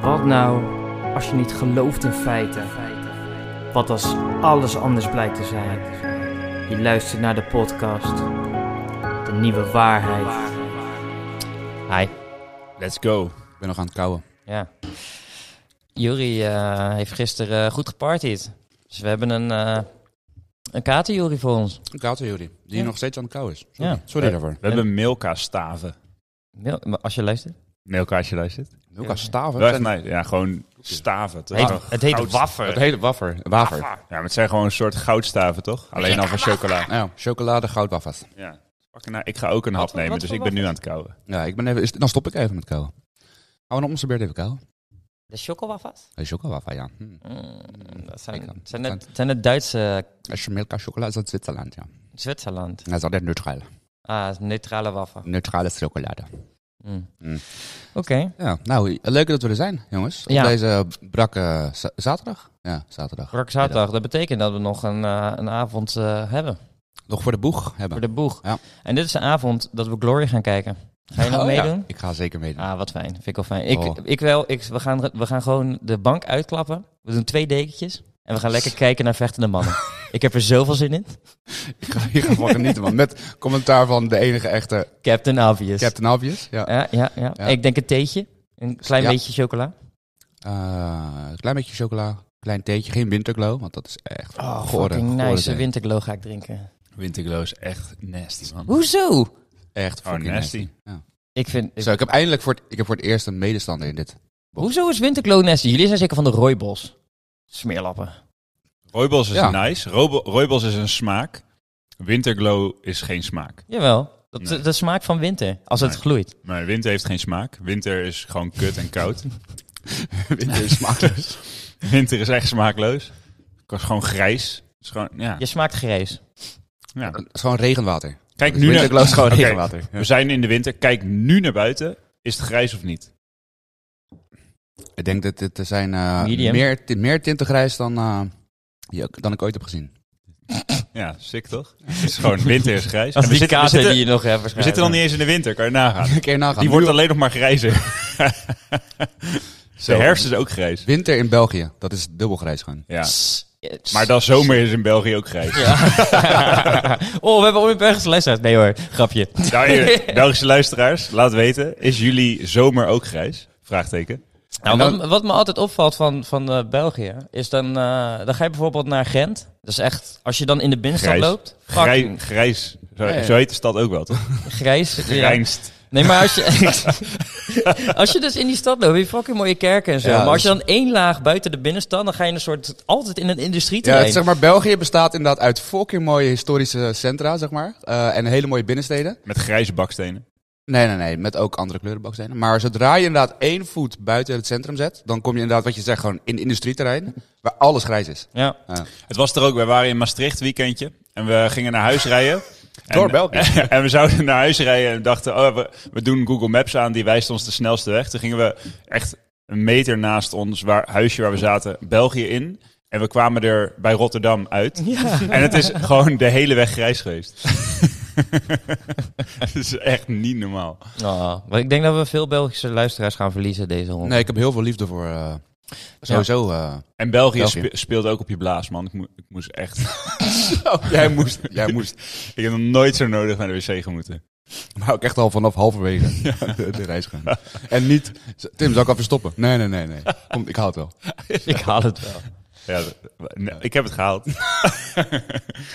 Wat nou als je niet gelooft in feiten? Wat als alles anders blijkt te zijn? Je luistert naar de podcast. De nieuwe waarheid. Hi. Let's go. Ik ben nog aan het kouwen. Ja. Juri eh, heeft gisteren eh, goed gepartied. Dus we hebben een, eh een kater Juri voor ons. Een koude Juri, die Ja. nog steeds aan het kouwen is. Sorry, Ja. Sorry daarvoor. We hebben Milka staven. Mil- maar Als je luistert. Milka, als je luistert. Milka staven. Wel echt zijn- nice. Ja, gewoon staven. Het, Het heet, het heet Het waffer. hele waffer. Wafer. Ah, Ja, maar het zijn gewoon een soort goudstaven, toch? Alleen al van chocola. Nou, chocolade, goudwafers. Ja. Fucking nou, ik ga ook een hap Wat- nemen, wat dus voor ik ben nu waffel? aan het kouwen. Ja, ik ben even, is- dan stop ik even met kouwen. Gaan we dan om zijn beurt even kouwen? De chocowaffas? Een chocolade, ja. Hm. Mm, dat Ik kan- zijn, zijn, ik het, zijn het Duitse Als je Milka chocolade is uit Zwitserland, ja. Zwitserland. Dat is altijd neutraal. Ah, het is neutrale waffen. Neutrale chocolade. Mm. Mm. Oké. Ja, nou, leuk dat we er zijn, jongens. Op Ja. deze brakke za- zaterdag. Ja, zaterdag. Rock zaterdag, dat betekent dat we nog een, eh, een avond eh, hebben. Nog voor de boeg hebben. Voor de boeg. Ja. En dit is een avond dat we Glory gaan kijken. Ga je nog Oh, ja. meedoen? Ik ga zeker meedoen. Ah, wat fijn. Vind ik wel fijn. Ik, Oh. ik wel, ik, we, gaan, we gaan gewoon de bank uitklappen. We doen twee dekentjes. En we gaan lekker kijken naar vechtende mannen. ik heb er zoveel zin in. Ik ga hier gewoon genieten, man. Met commentaar van de enige echte Captain Obvious. Captain Obvious. Ja. Ja, ja, ja. Ja. Ik denk een theetje. Een klein Ja. beetje chocola. Eh, een klein beetje chocola, klein theetje, geen winterglow, want dat is echt Ah, Oh, gore, fucking gore nice. thee. Een winterglow ga ik drinken. Winterglow is echt nasty, man. Hoezo? Echt fucking Oh, nasty. nasty. Ja. Ik vind... ik- Zo, ik heb eindelijk voor het, ik heb voor het eerst een medestander in dit. hoezo is winterglow nasty? Jullie zijn zeker van de rooibos. Smeerlappen. Rooibos is Ja. nice. Robo- Rooibos is een smaak. Winterglow is geen smaak. Jawel. Dat, Nee. dat smaakt van winter. Als het Nee. gloeit. Maar winter heeft geen smaak. Winter is gewoon kut en koud. Winter is smaakloos. winter is echt smaakloos. Het is gewoon grijs. Het is gewoon, ja. Je smaakt grijs. ja. Het is gewoon regenwater. Kijk Dus nu naar... winterglow is gewoon Oké, regenwater. Ja. We zijn in de winter. Kijk nu naar buiten. Is het grijs of niet? Ik denk dat dit er zijn eh, Medium. meer, ti- meer tinten grijs dan, eh, je- dan ik ooit heb gezien. Ja, sick toch? Het is gewoon winter is Als grijs. En we, die zitten, we, kater zitten, die je nog hebt we zitten waarschijnlijk. dan niet eens in de winter, kan je nagaan. Een keer nagaan. Die wordt alleen nog maar grijzer. De Zo. herfst is ook grijs. Winter in België, dat is dubbel grijs gewoon. Ja. Ja, tss. Maar dan zomer is in België ook grijs. Ja. oh, we hebben ooit ergens luisteraars. Nee hoor, grapje. Nou, hier, Belgische luisteraars, laat weten. Is jullie zomer ook grijs? Vraagteken. Nou, dan- wat, wat me altijd opvalt van, van eh, België, is dan, eh, dan ga je bijvoorbeeld naar Gent. Dat is echt, als je dan in de binnenstad Grijs. loopt, Grij, fucking grijs. Zo, Ja, ja. zo heet de stad ook wel, toch? grijs. ja. Grijnst. Nee, maar als je, als je dus in die stad loopt, heb je fucking mooie kerken en zo. Ja, maar als je dat dan één laag buiten de binnenstad, dan ga je in een soort, altijd in een Ja, industrieterrein. het, zeg maar, België bestaat inderdaad uit fucking mooie historische centra, zeg maar. eh, en hele mooie binnensteden. Met grijze bakstenen. Nee, nee, nee. Met ook andere kleurenbakstenen. Maar zodra je inderdaad één voet buiten het centrum zet, dan kom je inderdaad, wat je zegt, gewoon in industrieterrein, waar alles grijs is. ja. Het was er ook. We waren in Maastricht weekendje. En we gingen naar huis rijden. En- Door België. en we zouden naar huis rijden en dachten, oh, we, we doen Google Maps aan, die wijst ons de snelste weg. Toen gingen we echt een meter naast ons waar, huisje waar we zaten, België in. En we kwamen er bij Rotterdam uit. En het is gewoon de hele weg grijs geweest. Het is echt niet normaal. Oh, maar ik denk dat we veel Belgische luisteraars gaan verliezen deze hond. Nee, ik heb heel veel liefde voor eh, sowieso. eh, En België, België. spe- speelde ook op je blaas, man. Ik, mo- ik moest echt... Oh, jij moest, jij moest. Ik heb nog nooit zo nodig naar de wc gemoeten. Maar ook echt al vanaf halverwege de, de reis gaan. En niet, Tim, zal ik even stoppen? Nee, nee, nee, nee. Kom, ik haal het wel. Ik haal het wel. Ja, dat- nee, ik heb het gehaald.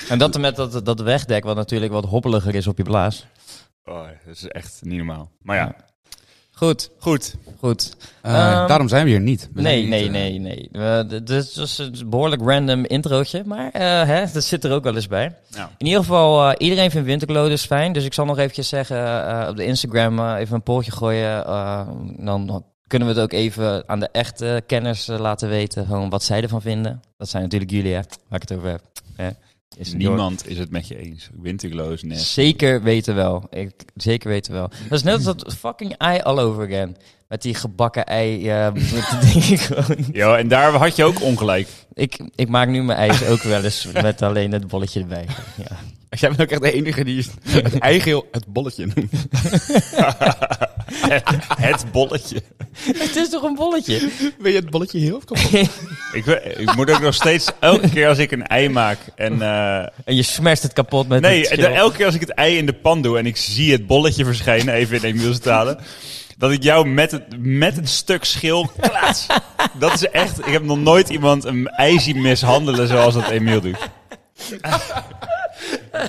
En dat met dat, dat wegdek, wat natuurlijk wat hoppeliger is op je blaas. Oh, dat is echt niet normaal. Maar ja, Goed, goed. goed. Eh, Ehm, daarom zijn we hier niet. We zijn Nee, hier nee, niet, eh, nee, nee. We- d- Dit was een behoorlijk random introotje, maar eh, hè, dat zit er ook wel eens bij. Nou. In ieder geval, eh, iedereen vindt Winterglow dus fijn. Dus ik zal nog eventjes zeggen, eh, op de Instagram eh, even een polletje gooien. eh, dan kunnen we het ook even aan de echte kenners eh, laten weten, gewoon wat zij ervan vinden. Dat zijn natuurlijk jullie, hè, waar ik het over heb. Hè. Is Niemand is het met je eens. Winterglow is nasty. Zeker weten wel. Ik, zeker weten wel. Dat is net als dat fucking ei all over again. Met die gebakken ei. eh met die dingen gewoon. Ja, en daar had je ook ongelijk. Ik, ik maak nu mijn ijs ook wel eens met alleen het bolletje erbij. Ja. Jij bent ook echt de enige die het eigeel het bolletje noemt. het bolletje. Het is toch een bolletje? Wil je het bolletje heel of kapot? Ik, we- ik moet ook nog steeds elke keer als ik een ei maak en... eh, En je smerst het kapot met nee, het de- schil. elke keer als ik het ei in de pan doe en ik zie het bolletje verschijnen, even in Emiel's talen, dat ik jou met het, met het stuk schil plaats. Dat is echt... Ik heb nog nooit iemand een ei zien mishandelen zoals dat Emiel doet.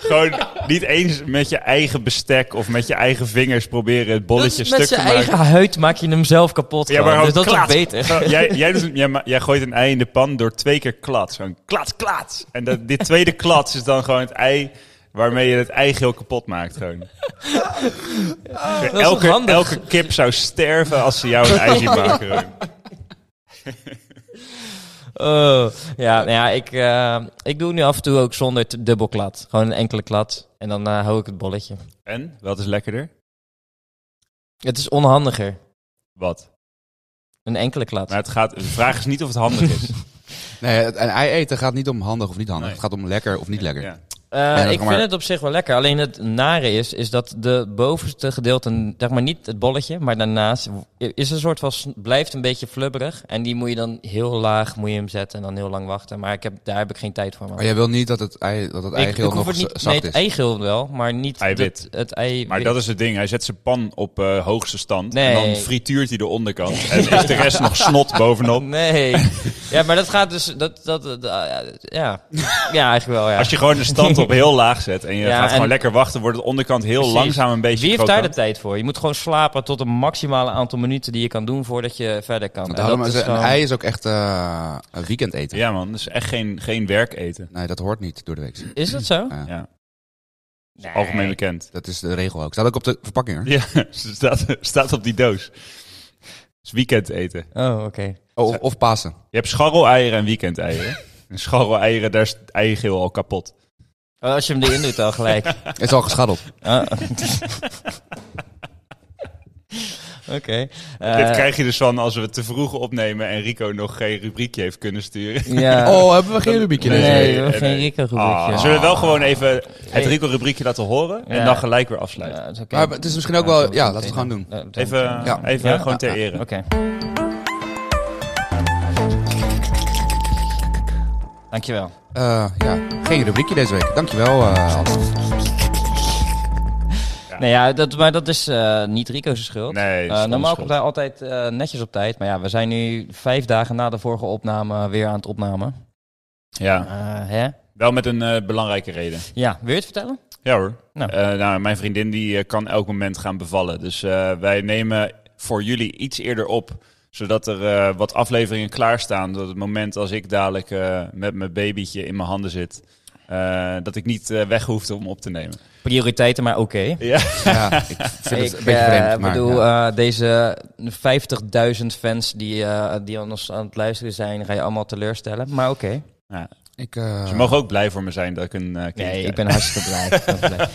Gewoon niet eens met je eigen bestek of met je eigen vingers proberen Dat het bolletje is stuk met te zijn maken. eigen huid maak je hem zelf kapot. Ja, maar gewoon. gewoon dus dat is ook klats. beter. Gewoon, Jij, jij, doet- jij, ma- jij gooit een ei in de pan door twee keer klats. Zo'n klats, klats. En dat, dit tweede klats is dan gewoon het ei waarmee je het eigeel kapot maakt. Gewoon. Ah, toch elke, handig? elke kip zou sterven als ze jou een ei zien maken. gewoon. Oh, ja, nou ja ik, eh, ik doe nu af en toe ook zonder t- dubbel klad. Gewoon een enkele klad. En dan eh, hou ik het bolletje. En, wat is lekkerder? Het is onhandiger. Wat? Een enkele klad. Maar het gaat, de vraag is niet of het handig is. Nee, het- een ei eten gaat niet om handig of niet handig. Nee. Het gaat om lekker of niet lekker. Ja. Eh, dat ik kan maar. vind het op zich wel lekker. Alleen het nare is, is dat de bovenste gedeelte, zeg maar niet het bolletje, maar daarnaast is een soort van, s- blijft een beetje flubberig. En die moet je dan heel laag moet je hem zetten en dan heel lang wachten. Maar ik heb, daar heb ik geen tijd voor. Man. Maar jij wil niet dat het, ei, dat het Ik- ik eigeel hoef nog het z- niet, nee, zacht het is. eigeel wel, maar niet Eiwit. Het, het ei. Maar dat is het ding. Hij zet zijn pan op eh, hoogste stand. En Nee. dan frituurt hij de onderkant. En is de rest nog snot bovenop. Nee. ja, maar dat gaat dus. Dat, dat, dat- ah, ja. ja, eigenlijk wel. Ja. Als je gewoon de stand op heel laag zet en je Ja, gaat gewoon en- lekker wachten, wordt de onderkant heel Precies. langzaam een beetje Wie heeft daar de krokant. tijd voor? Je moet gewoon slapen tot een maximale aantal minuten die je kan doen voordat je verder kan. Want En daarom is is een gewoon- ei is ook echt eh, een weekend eten. Ja man, dat is echt geen, geen werk eten. Nee, dat hoort niet door de week. Is dat zo? Ja. Ja, Nee. algemeen bekend. Dat is de regel ook. Staat ook op de verpakking. Hoor. Ja, ze staat, staat op die doos. Het is weekendeten. Oh, oké. Oh, of, of Pasen. Je hebt scharreleieren en weekendeieren. En scharreleieren, daar is het eigeel al kapot. Oh, als je hem erin doet al gelijk. Is al geschaddeld. Ah. Oké. Eh, Dit krijg je dus van als we het te vroeg opnemen en Rico nog geen rubriekje heeft kunnen sturen. Ja. Oh, hebben we geen rubriekje? nee, nee, we hebben nee. geen rico Ah, rubriekje. zullen we wel gewoon even het Rico-rubriekje laten horen en Ja. dan gelijk weer afsluiten. Ja, is oké. Maar het is misschien ook wel... Ja, laten we het meteen gewoon doen. dan. Eh, Even, Ja. even Ja? gewoon ter ere. Oké. Dankjewel. Eh, ja, geen rubriekje deze week. Dankjewel, eh Hans. Nee, ja, dat, maar dat is eh, niet Rico's schuld. Nee, Eh, dat is normaal onze komt schuld. hij altijd eh, netjes op tijd. Maar ja, we zijn nu vijf dagen na de vorige opname weer aan het opnemen. Ja. Eh, hè? Wel met een eh, belangrijke reden. Ja, wil je het vertellen? Ja hoor. Nou. Eh, nou, mijn vriendin die eh, kan elk moment gaan bevallen. Dus eh, wij nemen voor jullie iets eerder op. Zodat er eh, wat afleveringen klaarstaan. Dat het moment als ik dadelijk eh, met mijn babytje in mijn handen zit. eh, dat ik niet eh, weg hoef om op te nemen. Prioriteiten, maar oké. Ja, ik vind Ik het een beetje eh, vreemd, maar... bedoel, ja. eh, deze 50.000 fans die, eh die aan ons aan het luisteren zijn, ga je allemaal teleurstellen. Maar oké. ik, eh, Ze mogen ook blij voor me zijn dat Ah. ik een eh kindje Nee, krijg. ik ben hartstikke blij. Ik ben blij.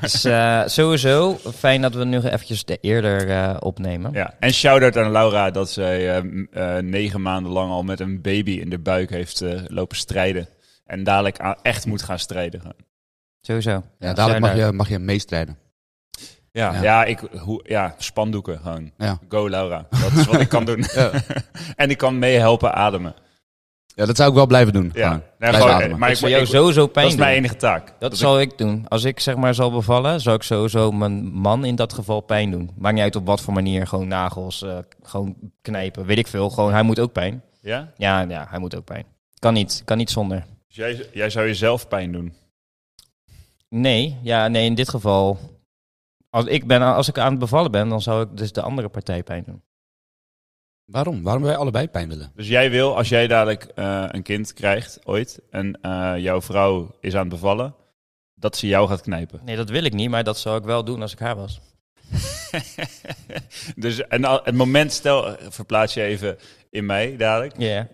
Dus eh, sowieso, fijn dat we nu eventjes de eerder eh, opnemen. Ja. En shout-out aan Laura dat zij eh, m- eh, negen maanden lang al met een baby in de buik heeft eh, lopen strijden. En dadelijk a- echt moet gaan strijden. Sowieso. ja, dadelijk mag Shout-out. je, mag je meestrijden. Ja, ja. Ja. ik, hoe, ja spandoeken gewoon. Ja. Go Laura, dat is wat ik kan doen. Ja. en ik kan meehelpen ademen. Ja, dat zou ik wel blijven doen. Ja. gewoon. Nou, Blijven gewoon, ademen. maar Ik ik, zal ik- jou sowieso pijn dat is doen. mijn enige taak. Dat ik- zal ik... doen. Als ik zeg maar zal bevallen, zal ik sowieso mijn man in dat geval pijn doen. Maakt niet uit op wat voor manier. Gewoon nagels, eh, gewoon knijpen, weet ik veel. Gewoon, hij moet ook pijn. ja? Ja, ja, hij moet ook pijn. Kan niet, kan niet zonder. Dus jij, jij zou jezelf pijn doen. Nee, ja, nee, in dit geval... Als ik, ben, als ik aan het bevallen ben, dan zou ik dus de andere partij pijn doen. Waarom? Waarom wij allebei pijn willen? Dus jij wil, als jij dadelijk eh, een kind krijgt ooit en eh, jouw vrouw is aan het bevallen, dat ze jou gaat knijpen. Nee, dat wil ik niet, maar dat zou ik wel doen als ik haar was. dus en al- het moment, stel, verplaats je even in mij dadelijk. Ja.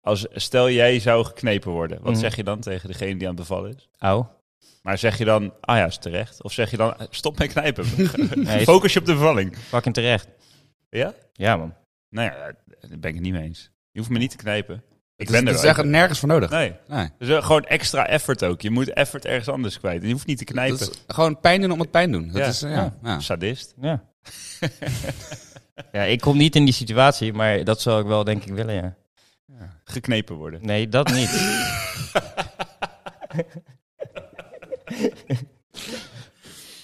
Als, stel jij zou geknepen worden, wat Mhm. zeg je dan tegen degene die aan het bevallen is? Au. Maar zeg je dan, ah ja, is terecht. Of zeg je dan, stop met knijpen. Nee, is Focus je op de bevalling. fucking terecht. Ja? Ja, man. Nou ja, daar ben ik het niet mee eens. Je hoeft me niet te knijpen. Ik Het is, ben er het is wel. echt nergens voor nodig. Nee, Nee. dus eh, gewoon extra effort ook. Je moet effort ergens anders kwijt. En je hoeft niet te knijpen. Dat is gewoon pijn doen om het pijn doen. Dat Ja. is, eh, ja. Ja. Sadist. Ja. Ja, ik kom niet in die situatie, maar dat zou ik wel denk ik willen, ja. Geknepen worden. Nee, dat niet.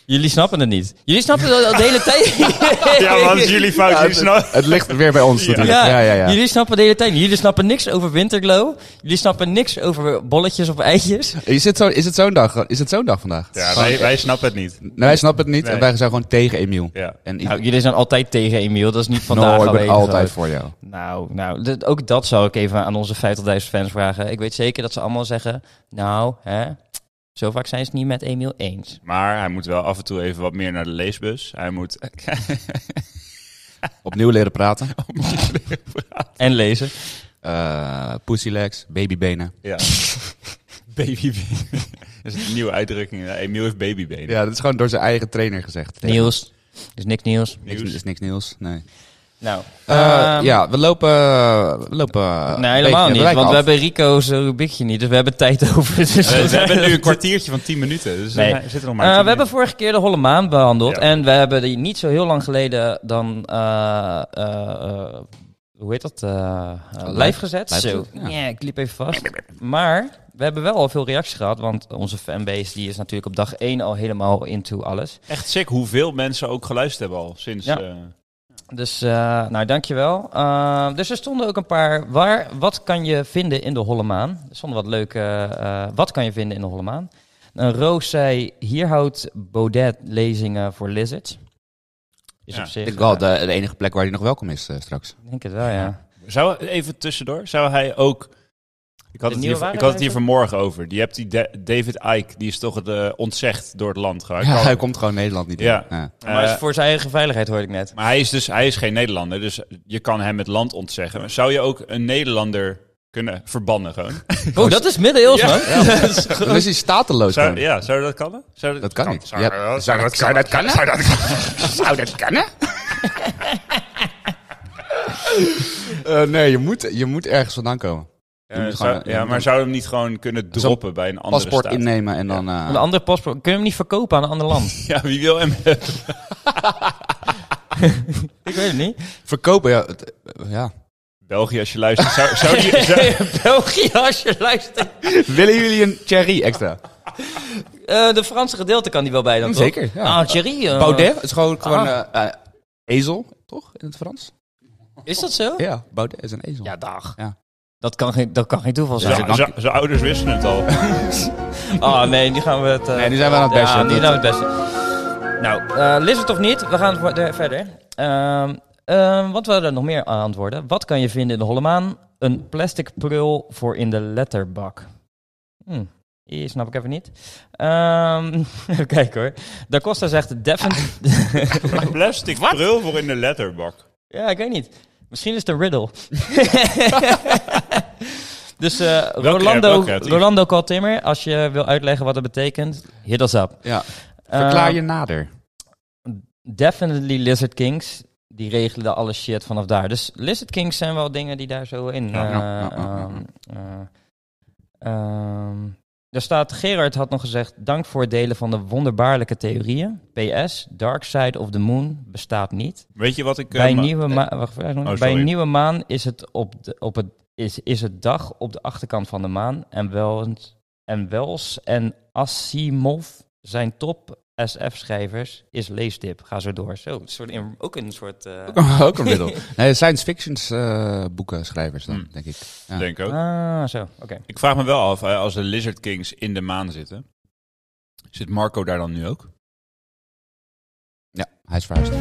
Jullie snappen het niet. Jullie snappen het al de hele tijd. Ja, want jullie fout. Ja, jullie snap- Het ligt weer bij ons Ja. natuurlijk. Ja, ja, ja. Jullie snappen de hele tijd. niet. Jullie snappen niks over winterglow. Jullie snappen niks over bolletjes of eitjes. Is het zo- is het zo'n dag? Is het zo'n dag vandaag? Ja, wij, wij snappen het niet. Nou, wij snappen het niet Nee. en wij zijn gewoon tegen Emiel. Ja. En Nou, jullie zijn altijd tegen Emiel. Dat is niet vandaag no, Nou, ik ben alleen altijd gewoon. voor jou. Nou, nou dat- ook dat zou ik even aan onze 50.000 fans vragen. Ik weet zeker dat ze allemaal zeggen... Nou, hè, zo vaak zijn ze het niet met Emiel eens. Maar hij moet wel af en toe even wat meer naar de leesbus. Hij moet Opnieuw leren praten. En lezen. Eh pussylegs, babybenen. Ja. Babybeen. Dat is een nieuwe uitdrukking. Ja, Emiel heeft babybeen. Ja, dat is gewoon door zijn eigen trainer gezegd. Nieuws. Dus niks nieuws. Niks, is niks nieuws, nee. Nou, Eh, ehm, ja, we lopen... We lopen eh, Nee, een beetje helemaal het niet. bereik Want we af. hebben Rico's eh, rubriekje niet. Dus we hebben tijd over. Dus We, we hebben nu een eigenlijk- kwartiertje van 10 minuten. Dus Nee. we zitten nog maar. Eh, 10 we hebben minuten. vorige keer de holle maan behandeld. Ja. En we hebben die niet zo heel lang geleden dan... eh, eh, eh, hoe heet dat? eh eh, live live- gezet. live zo. gezet, ja. Ja, ik liep even vast. Maar we hebben wel al veel reacties gehad. Want onze fanbase die is natuurlijk op dag 1 al helemaal into alles. Echt sick hoeveel mensen ook geluisterd hebben al sinds. Ja. eh, Dus, eh nou, dankjewel. Eh, dus er stonden ook een paar. Waar, wat kan je vinden in de Holle Maan? Er stonden wat leuke. eh, wat kan je vinden in de Holle Maan? Een Roos zei: Hier houdt Baudet lezingen voor Lizards. Is Ja, op zich. Ik denk wel eh, de, de enige plek waar hij nog welkom is eh, straks. ik denk het wel, ja. zou, even tussendoor. Zou hij ook. Ik had, De het nieuwe hier, ik had het waarheidswijzer? hier vanmorgen over. Je hebt die Da- David Icke, die is toch het, eh, ontzegd door het land geraakt. Ja, Al- hij komt gewoon Nederland niet in. Ja. maar het is Eh, voor zijn eigen veiligheid hoorde ik net. Maar hij is dus hij is geen Nederlander, dus je kan hem het land ontzeggen. Maar Zou je ook een Nederlander kunnen verbannen gewoon? Oh, dat is middeleeuws, Ja. man. Dan is hij stateloos Zou, gewoon. ja, zou dat kunnen? Zou Dat kan niet. Zou, Je zou- hebt- Zou dat zou dat kunnen? Zou dat- Zou dat kunnen? Eh, nee, je moet, je moet ergens vandaan komen. Je eh, moet zou- gewoon, eh, ja, maar zou je hem niet gewoon kunnen droppen bij een andere paspoort staat? innemen en dan... eh, Een andere paspoort. Kunnen we hem niet verkopen aan een ander land? Ja, wie wil hem? ik weet het niet. verkopen, ja. het- eh, ja. België, als je luistert. Zou, zou die, zou- België, als je luistert. Willen jullie een cherry extra? Eh, de Franse gedeelte kan die wel bij dan, toch? Mm, Zeker, ja. Ah, Thierry. eh, Baudet het is gewoon, gewoon Ah. eh, eh, ezel, toch? In het Frans? Is dat zo? Ja, Baudet is een ezel. Ja, dag. Ja. Dat, kan geen, dat kan geen toeval zijn. zou- zou- zijn ouders wisten het al. Oh nee, nu gaan we het... eh, Nee, nu zijn we aan het Ja, bashen. nu Dat- zijn we het beste. Nou, eh Lizard of niet, we gaan vo- eh, verder. Ehm, ehm, wat waren er nog meer aan antwoorden? Wat kan je vinden in de Holle Maan? Een plastic prul voor in de letterbak. Hm, die snap ik even niet. Ehm, even kijken hoor. Da Costa zegt Devent... Een plastic prul voor in de letterbak. ja, ik weet niet. Misschien is het een riddle. dus eh, wel Rolando, creatief. Rolando Kaltimmer, als je wil uitleggen wat dat betekent, hit us up. Ja. Verklaar je Ehm, nader. Definitely Lizard Kings. Die regelen alle shit vanaf daar. Dus Lizard Kings zijn wel dingen die daar zo in. Ja, eh, ja, ja, ja, ehm, eh, ehm. Daar staat, Gerard had nog gezegd, dank voor het delen van de wonderbaarlijke theorieën. PS, Dark Side of the Moon bestaat niet. Weet je wat ik... eh, Bij, ma- nieuwe, ma- wacht, wacht, wacht. Oh, bij sorry. nieuwe maan is het, op de, op het, is, is het dag op de achterkant van de maan. En, Wels, en Wells en Asimov zijn top SF-schrijvers is leesdip. Ga zo door. Zo, een soort in- ook een soort... eh, Ook een middel. Nee, science fiction eh, boeken schrijvers dan, Hmm. denk ik. Ja. Denk ook. ah, zo, oké. Ik vraag me wel af, eh, als de Lizard Kings in de maan zitten... Zit Marco daar dan nu ook? Ja, hij is verhuisd.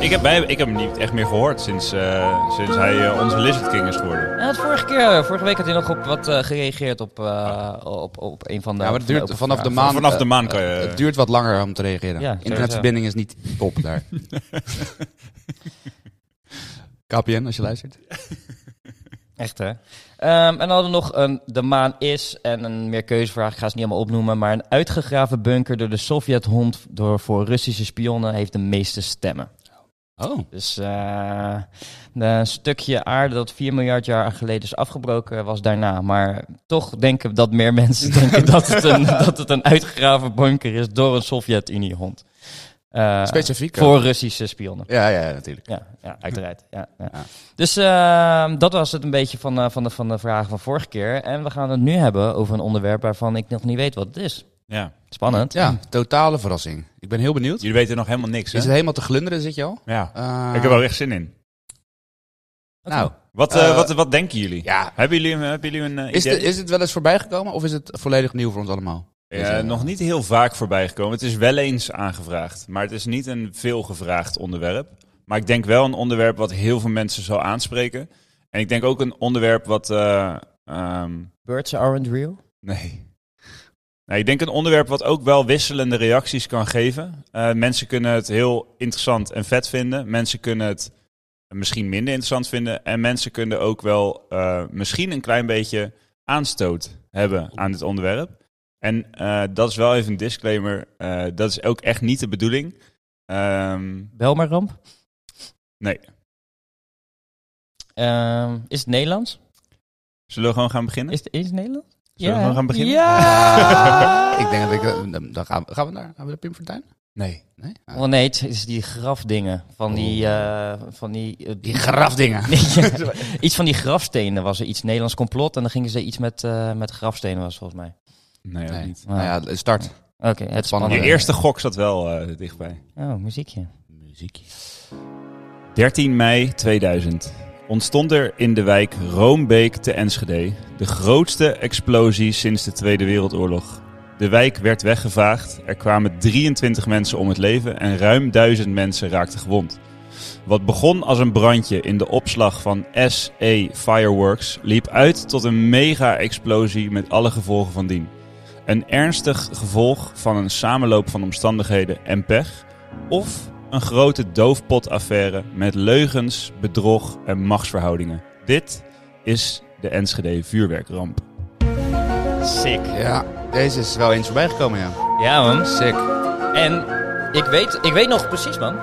Ik heb, wij- ik heb hem niet echt meer gehoord sinds, eh, sinds hij eh, onze Lizard King is geworden. Hij had vorige keer, eh, vorige week had hij nog op wat eh, gereageerd op, eh, op, op een van de... Ah. Ja, van maar het de duurt open vanaf de Nou, vragen. maan. Vanaf de eh, maan kan je- Het duurt wat langer om te Ja, reageren. sowieso. Internetverbinding is niet top daar. KPN, als je luistert. Echt hè? Ehm, en dan hadden we nog een De Maan is en een meerkeuzevraag. Ik ga ze niet allemaal opnoemen. Maar een uitgegraven bunker door de Sovjet-hond door voor Russische spionnen heeft de meeste stemmen. Oh. Dus eh, een stukje aarde dat 4 miljard jaar geleden is afgebroken was daarna. Maar toch denken dat meer mensen denken dat, het een, dat het een uitgegraven bunker is door een Sovjet-Unie-hond. eh, Specifiek. hè? voor Russische spionnen. Ja, ja, natuurlijk. Ja, ja uiteraard. Ja, ja. Ja. Dus ehm, dat was het een beetje van, eh, van, de, van de vragen van vorige keer. En we gaan het nu hebben over een onderwerp waarvan ik nog niet weet wat het is. Ja. Spannend. Ja, totale verrassing. Ik ben heel benieuwd. Jullie weten nog helemaal niks, hè? Is het helemaal te glunderen, zit je al? Ja. Eh, Ik heb er echt zin in. Nou, Wat, eh, Eh, wat, wat denken jullie? ja. Hebben jullie, een- hebben jullie een eh, Is, idee? de- is het wel eens voorbijgekomen of is het volledig nieuw voor ons allemaal? Ja, nog niet heel vaak voorbij gekomen. Het is wel eens aangevraagd, maar het is niet een veel gevraagd onderwerp. Maar ik denk wel een onderwerp wat heel veel mensen zal aanspreken. En ik denk ook een onderwerp wat. eh, ehm, Birds aren't real. nee. nee. Nou, Ik denk een onderwerp wat ook wel wisselende reacties kan geven. Eh, mensen kunnen het heel interessant en vet vinden. Mensen kunnen het misschien minder interessant vinden. En mensen kunnen ook wel eh, misschien een klein beetje aanstoot hebben aan dit onderwerp. En eh, dat is wel even een disclaimer. eh, dat is ook echt niet de bedoeling. Ehm, Bel maar ramp. Nee. Ehm, is het Nederlands? zullen we gewoon gaan beginnen? Is het, is het Nederlands? Zullen Ja. we gewoon gaan beginnen? Ja! ik denk dat ik... eh, Dan, dan gaan, we, gaan we naar, gaan we naar Pim Fortuyn? Nee. Nee? Ah. Oh nee, het is die grafdingen. Van die... eh, van die, eh, Oh. Die grafdingen. Ja, iets van die grafstenen was er iets Nederlands complot. En dan gingen ze iets met, eh, met grafstenen was het volgens mij. Ah. Nee, ook Nee. niet. Nou ja, de start. Oké, het Spannende. Je spannende. eerste gok zat wel eh, dichtbij. Oh, muziekje. Muziekje. 13 mei 2000 ontstond er in de wijk Roombeek te Enschede de grootste explosie sinds de Tweede Wereldoorlog. De wijk werd weggevaagd, er kwamen 23 mensen om het leven en ruim 1000 mensen raakten gewond. Wat begon als een brandje in de opslag van SA Fireworks liep uit tot een mega-explosie met alle gevolgen van dien. Een ernstig gevolg van een samenloop van omstandigheden en pech, of een grote doofpotaffaire met leugens, bedrog en machtsverhoudingen. Dit is de Enschede vuurwerkramp. Sick. Ja, deze is wel eens voorbijgekomen, ja. Ja man. Sick. En ik weet, ik weet nog precies man.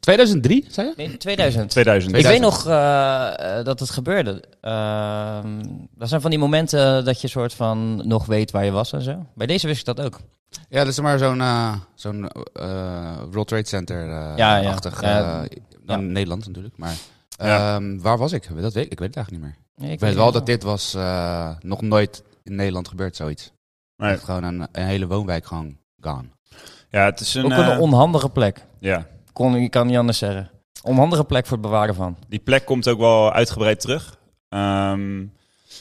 2003, zei je? Nee, 2000. 2000. Ik weet 2000. nog eh, eh, dat het gebeurde. Ehm dat zijn van die momenten eh, dat je soort van nog weet waar je was en zo. Bij deze wist ik dat ook. Ja, dat is maar zo'n eh, zo'n eh, World Trade eh, Center-achtig. Ja, ja. Ja. dan Ja. eh, Nederland natuurlijk, maar... Ja. ehm, waar was ik? Dat weet, ik weet het eigenlijk niet meer. Nee, Ik weet wel dat dit was eh, nog nooit in Nederland gebeurd, zoiets. Nee. Echt gewoon een, een hele woonwijk gewoon gone. Ja, het is een, Ook een eh, onhandige plek. ja, Kon, ik kan niet anders zeggen. Onhandige plek voor het bewaren van. die plek komt ook wel uitgebreid terug. Ehm,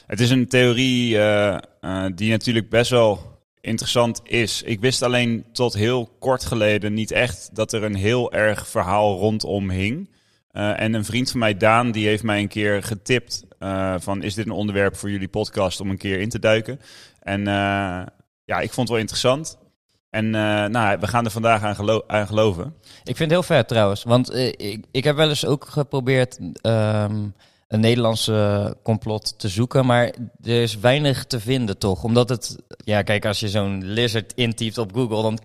het is een theorie eh, eh, die natuurlijk best wel interessant is. Ik wist alleen tot heel kort geleden niet echt dat er een heel erg verhaal rondom hing. Eh, en een vriend van mij, Daan, die heeft mij een keer getipt eh, van is dit een onderwerp voor jullie podcast om een keer in te duiken. En eh, ja, ik vond het wel interessant. En eh, nou, we gaan er vandaag aan, gelo- aan geloven. Ik vind het heel vet trouwens. Want eh, ik, ik heb wel eens ook geprobeerd ehm, een Nederlandse complot te zoeken. Maar er is weinig te vinden toch. Omdat het... Ja, kijk, als je zo'n lizard intypt op Google, dan,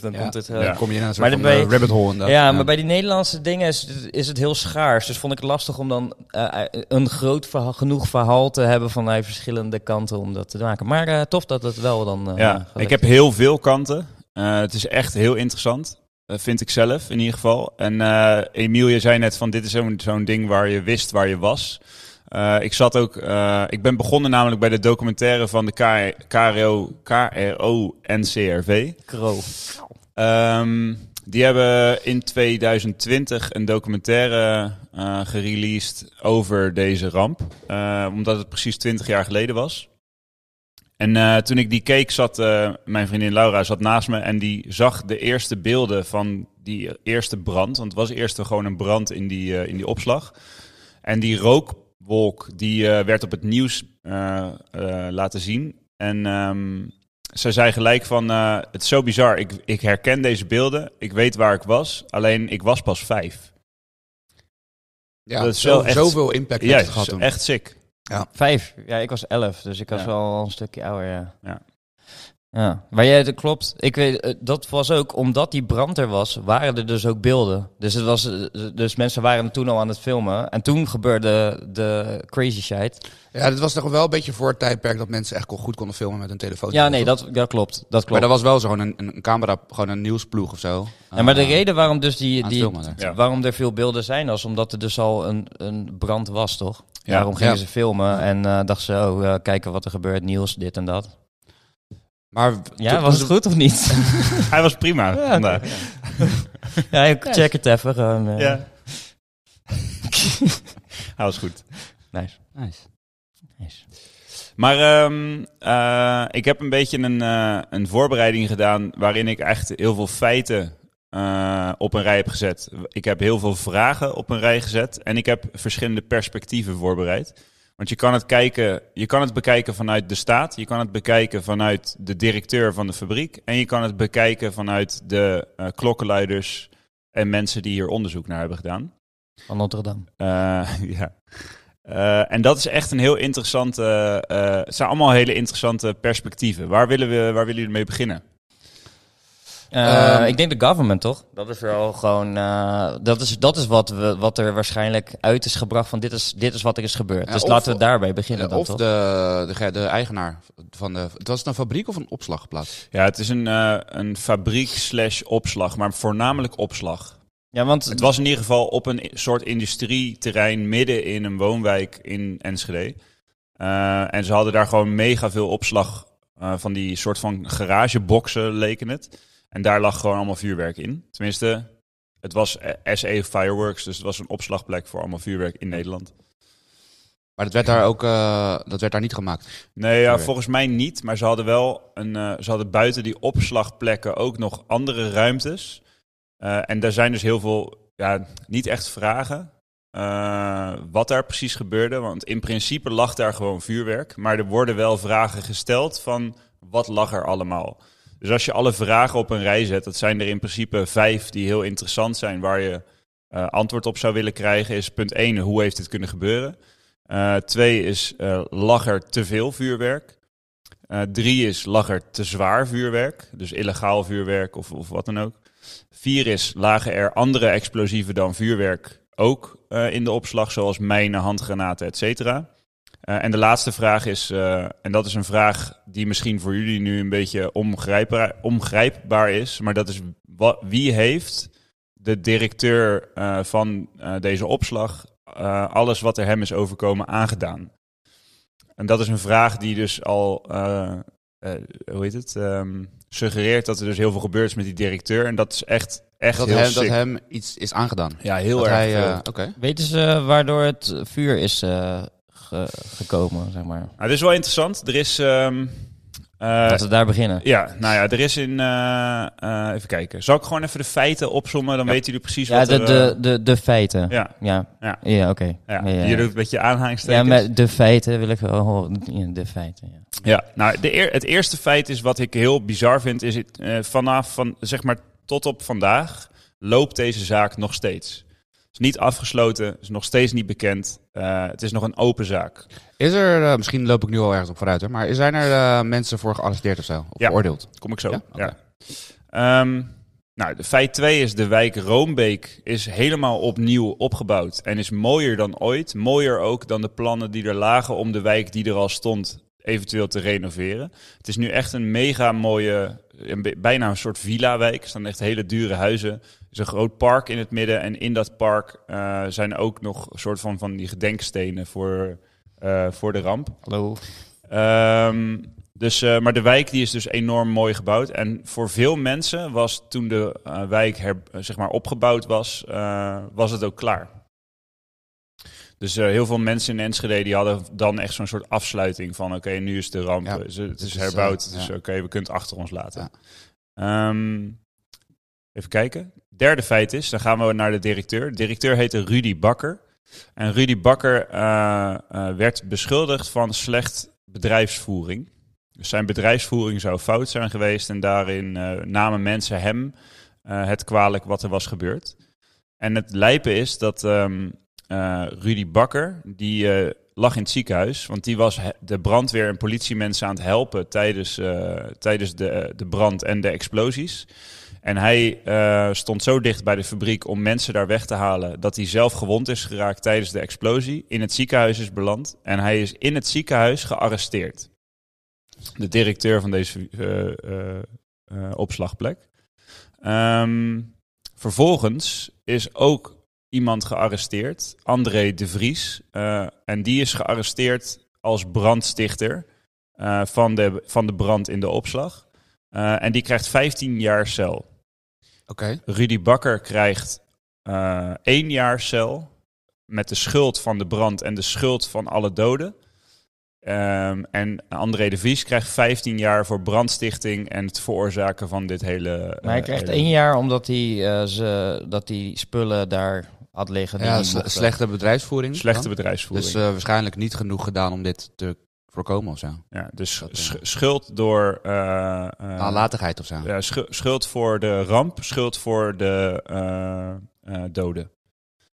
dan Ja. komt het... eh, Ja. Dan kom je in een soort Maar van dan ben je- eh, rabbit hole. inderdaad. Ja, maar bij die Nederlandse dingen is, is het heel schaars. Dus vond ik het lastig om dan eh, een groot verhaal, genoeg verhaal te hebben van eh, verschillende kanten om dat te maken. Maar eh, tof dat het wel dan. eh, ja, gelukt ik heb is. heel veel kanten. Eh, het is echt heel interessant, eh, vind ik zelf in ieder geval. En eh Emiel, je zei net van dit is zo'n zo'n ding waar je wist waar je was. Eh, ik zat ook, eh, ik ben begonnen namelijk bij de documentaire van de K- KRO, KRO NCRV. Kro. Ehm, die hebben in 2020 een documentaire eh gereleased over deze ramp. Eh, omdat het precies 20 jaar geleden was. En eh, toen ik die keek, zat eh, mijn vriendin Laura zat naast me en die zag de eerste beelden van die eerste brand. Want het was eerst gewoon een brand in die, eh, in die opslag. En die rookwolk die eh, werd op het nieuws eh, eh, laten zien. En ehm, zij zei gelijk van, eh, het is zo bizar, ik, ik herken deze beelden, ik weet waar ik was, alleen ik was pas vijf. Ja, dat is zo- wel echt- zoveel impact heeft Ja, het gehad toen. echt sick. Vijf. Ja, ik was elf, dus ik was Ja. wel een stukje ouder. Ja. Ja. Ja, maar jij, dat klopt. Ik weet, eh, dat was ook, omdat die brand er was, waren er dus ook beelden. Dus, het was, eh, dus mensen waren toen al aan het filmen. En toen gebeurde de crazy shit. Ja, dit was toch wel een beetje voor het tijdperk dat mensen echt kon- goed konden filmen met hun telefoon. Ja, nee, dat, dat klopt. Dat Maar klopt. dat was wel zo'n een, een camera, gewoon een nieuwsploeg of zo. Ja, maar de Eh, reden waarom, dus die, aan die, het filmen daar. Ja. waarom er veel beelden zijn, was omdat er dus al een, een brand was, toch? Ja. Daarom gingen Ja. ze filmen en eh dachten ze, oh, eh, kijken wat er gebeurt, nieuws, dit en dat. Maar Ja, was het goed of niet? Hij was prima Ja, vandaag. ja, ik check het even. gewoon, eh. Ja. Hij was goed. Nice. Nice. nice. Maar ehm, eh, ik heb een beetje een, eh, een voorbereiding gedaan waarin ik echt heel veel feiten eh, op een rij heb gezet. Ik heb heel veel vragen op een rij gezet en ik heb verschillende perspectieven voorbereid. Want je kan het, kijken, je kan het bekijken vanuit de staat, je kan het bekijken vanuit de directeur van de fabriek en je kan het bekijken vanuit de eh, klokkenluiders en mensen die hier onderzoek naar hebben gedaan. Van Notre Dame. Eh, ja. Eh, en dat is echt een heel interessante. eh, het zijn allemaal hele interessante perspectieven. Waar willen, we, waar willen jullie mee beginnen? Eh, Ehm, ik denk de government, toch? Dat is wel gewoon. eh, dat is, dat is wat, we, wat er waarschijnlijk uit is gebracht van dit is, dit is wat er is gebeurd. Ja, dus of- laten we daarbij beginnen dan, of toch? de, de, ge- de eigenaar van de. Het was het een fabriek of een opslagplaats? Ja, het is een, eh, een fabriek slash opslag, maar voornamelijk opslag. Ja, want Het was in ieder geval op een i- soort industrieterrein midden in een woonwijk in Enschede. Eh, en ze hadden daar gewoon mega veel opslag eh, van die soort van garageboxen, leken het. En daar lag gewoon allemaal vuurwerk in. Tenminste, het was eh, SA Fireworks, dus het was een opslagplek voor allemaal vuurwerk in Nederland. Maar dat werd daar ook eh, dat werd daar niet gemaakt. Nee, ja, Vuurwerk. volgens mij niet. Maar ze hadden wel een, eh, ze hadden buiten die opslagplekken ook nog andere ruimtes. Eh, en daar zijn dus heel veel, ja, niet echt vragen eh, wat daar precies gebeurde. Want in principe lag daar gewoon vuurwerk. Maar er worden wel vragen gesteld van wat lag er allemaal. Dus als je alle vragen op een rij zet, dat zijn er in principe vijf die heel interessant zijn, waar je eh, antwoord op zou willen krijgen, is punt 1, hoe heeft dit kunnen gebeuren? Eh, twee is, eh, lag er te veel vuurwerk? Eh, drie is, lag er te zwaar vuurwerk? Dus illegaal vuurwerk of, of wat dan ook. Vier is, lagen er andere explosieven dan vuurwerk ook eh, in de opslag, zoals mijnen, handgranaten, et cetera? Eh, en de laatste vraag is, eh, en dat is een vraag die misschien voor jullie nu een beetje omgrijpbaar, omgrijpbaar is, maar dat is wa- wie heeft de directeur eh, van eh, deze opslag eh, alles wat er hem is overkomen aangedaan? En dat is een vraag die dus al, eh, eh, hoe heet het, ehm, suggereert dat er dus heel veel gebeurd is met die directeur. En dat is echt, echt Dat heel hem, dat sick. hem iets is aangedaan. ja, heel dat erg hij, veel. eh, Oké. weten ze waardoor het vuur is eh, ge- gekomen, zeg maar. Nou, dit is wel interessant. Er is... ehm, eh, Laten we daar beginnen. Ja, nou ja, er is in... eh, eh, even kijken. Zal ik gewoon even de feiten opzommen? Dan weten jullie precies Ja, wat de, er... de, eh, de, de feiten. Ja, ja, ja, Ja. oké. ja. ja. je doet een beetje Ja, aanhalingstekens. Ja, maar de feiten wil ik wel horen. Ja, De feiten, ja. nou, de eer- het eerste feit is wat ik heel bizar vind, is het, eh, vanaf, van, zeg maar, tot op vandaag loopt deze zaak nog steeds. Het is niet afgesloten, is nog steeds niet bekend. eh, het is nog een open zaak. Is er, eh, misschien loop ik nu al ergens op vooruit, hè, maar zijn er eh, mensen voor gearresteerd of zo? Of Ja. veroordeeld? Kom ik zo. Ja? Oké. Ja. Ehm, nou, de feit 2 is de wijk Roombeek is helemaal opnieuw opgebouwd en is mooier dan ooit. Mooier ook dan de plannen die er lagen om de wijk die er al stond eventueel te renoveren. Het is nu echt een mega mooie, een bi- bijna een soort villa-wijk. Er staan echt hele dure huizen. Er is een groot park in het midden en in dat park eh, zijn ook nog een soort van, van die gedenkstenen voor, eh, voor de ramp. Hallo. Ehm, dus, eh, maar de wijk die is dus enorm mooi gebouwd. En voor veel mensen was toen de eh, wijk her, eh, zeg maar opgebouwd was, eh, was het ook klaar. Dus eh, heel veel mensen in Enschede die hadden dan echt zo'n soort afsluiting van... oké, nu is de ramp, Ja, eh, ze- het dit is is, herbouwd, eh, dus ja. oké, we kunnen het achter ons laten. Ehm, even kijken. Derde feit is, dan gaan we naar de directeur. De directeur heette Rudy Bakker. En Rudy Bakker eh, eh, werd beschuldigd van slecht bedrijfsvoering. Dus zijn bedrijfsvoering zou fout zijn geweest en daarin eh, namen mensen hem eh, het kwalijk wat er was gebeurd. En het lijpe is dat ehm, eh, Rudy Bakker, die eh, lag in het ziekenhuis. Want die was he- de brandweer en politiemensen aan het helpen tijdens, eh, tijdens de, de brand en de explosies. En hij eh, stond zo dicht bij de fabriek om mensen daar weg te halen. dat hij zelf gewond is geraakt tijdens de explosie. in het ziekenhuis is beland. En hij is in het ziekenhuis gearresteerd. De directeur van deze eh, eh, eh, opslagplek. Ehm, vervolgens is ook iemand gearresteerd, André de Vries. eh, en die is gearresteerd als brandstichter eh, van, de, van de brand in de opslag. Eh, en die krijgt 15 jaar cel. Rudy Bakker krijgt eh één jaar cel met de schuld van de brand en de schuld van alle doden. Ehm, en André de Vries krijgt 15 jaar voor brandstichting en het veroorzaken van dit hele... eh, Maar hij krijgt hele- één jaar omdat hij, eh, ze, dat die spullen daar had liggen. die Ja, niet eh. sle- mochten. slechte bedrijfsvoering. Slechte dan. bedrijfsvoering. Dus eh, waarschijnlijk niet genoeg gedaan om dit te voorkomen of zo. ja, dus dat, eh, Nou, sch- schuld door... eh, eh, Nalatigheid of zo. ja, schu- schuld voor de ramp, schuld voor de eh, eh, doden.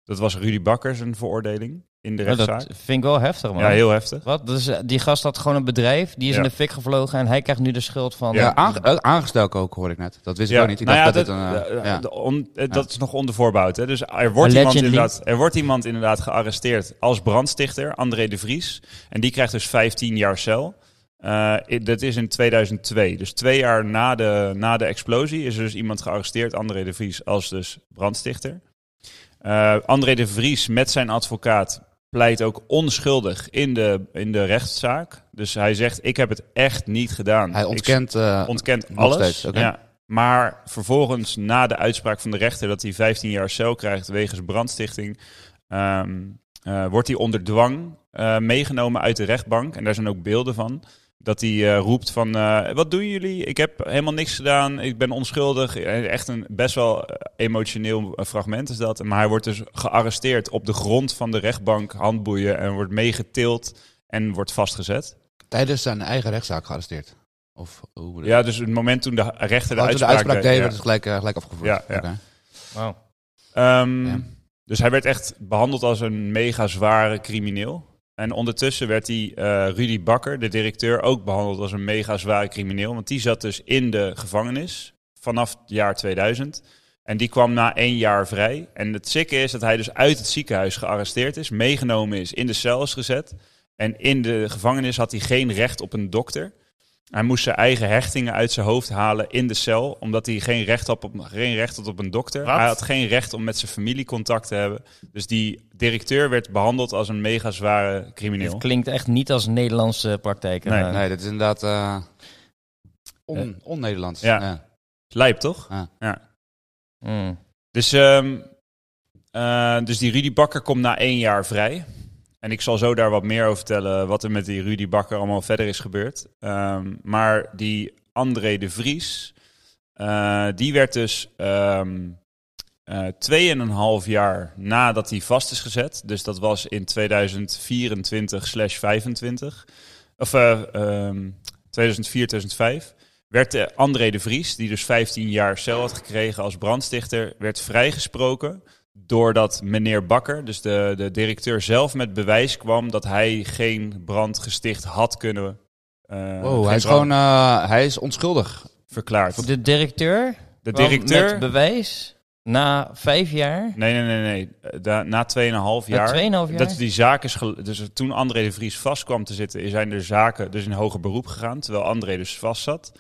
Dat was Rudy Bakker zijn veroordeling in de Nou, rechtszaak. dat vind ik wel heftig, man. ja, heel heftig. Wat? Dus eh, die gast had gewoon een bedrijf, die is Ja. in de fik gevlogen en hij krijgt nu de schuld van... Ja, aange- eh, aangesteld ook, hoor ik net. Dat wist Dus ik ook niet. Ik nou dacht ja, dat dit een... dat- eh, eh, ja. de on- eh, dat is nog onder voorbouw. Hè? Dus er wordt, iemand Allegedly. inderdaad, er wordt iemand inderdaad gearresteerd als brandstichter, André de Vries. En die krijgt dus 15 jaar cel. Eh, i- dat is in 2002. Dus twee jaar na de, na de explosie is er dus iemand gearresteerd, André de Vries, als dus brandstichter. Eh, André de Vries met zijn advocaat pleit ook onschuldig in de, in de rechtszaak. Dus hij zegt, ik heb het echt niet gedaan. Hij Hm. Ik ontkent... eh, ontkent nog alles. steeds, oké. ja. Maar vervolgens, na de uitspraak van de rechter dat hij 15 jaar cel krijgt wegens brandstichting, ehm, eh, wordt hij onder dwang eh, meegenomen uit de rechtbank. En daar zijn ook beelden van. Dat hij eh, roept van, eh, wat doen jullie? Ik heb helemaal niks gedaan, ik ben onschuldig. Eh, Echt een best wel eh, emotioneel eh, fragment is dat. Maar hij wordt dus gearresteerd op de grond van de rechtbank, handboeien en wordt meegetild en wordt vastgezet. tijdens zijn eigen rechtszaak gearresteerd. Of hoe bedoel je? Ja, dus het moment toen de rechter de Oh, toen uitspraak, de uitspraak deed, ja. werd het gelijk, eh, gelijk afgevoerd. Ja, ja. Oké. Wauw. Ehm, Ja. Dus hij werd echt behandeld als een mega zware crimineel. En ondertussen werd die eh, Rudy Bakker, de directeur, ook behandeld als een mega zware crimineel. Want die zat dus in de gevangenis vanaf het jaar 2000. En die kwam na één jaar vrij. En het zikke is dat hij dus uit het ziekenhuis gearresteerd is, meegenomen is, in de cel is gezet. En in de gevangenis had hij geen recht op een dokter. Hij moest zijn eigen hechtingen uit zijn hoofd halen in de cel, omdat hij geen recht had op, geen recht had op een dokter. Wat? Hij had geen recht om met zijn familie contact te hebben. Dus die directeur werd behandeld als een mega zware crimineel. Het klinkt echt niet als Nederlandse praktijk. Nee. Eh, Nee, dat is inderdaad eh, on, on-Nederlands. Ja. Lijp toch? Mm. Dus, ehm, eh, dus die Rudy Bakker komt na één jaar vrij. En ik zal zo daar wat meer over vertellen wat er met die Rudy Bakker allemaal verder is gebeurd. Ehm, maar die André de Vries, eh, die werd dus ehm eh, tweeënhalf jaar nadat hij vast is gezet. Dus dat was in 2024 slash 25. Of eh, ehm, 2004, 2005 werd eh, André de Vries, die dus 15 jaar cel had gekregen als brandstichter, werd vrijgesproken doordat meneer Bakker, dus de, de directeur zelf, met bewijs kwam dat hij geen brand gesticht had kunnen. eh, Wow, geen hij is brand gewoon eh, hij is onschuldig. verklaard. De directeur, De kwam directeur. met bewijs, na vijf jaar, Nee, nee, nee, nee. Eh, Da, na 2,5 na jaar. tweeënhalf jaar... Dat die zaak is gel- dus toen André de Vries vast kwam te zitten, zijn er zaken dus in hoger beroep gegaan, terwijl André dus vast zat.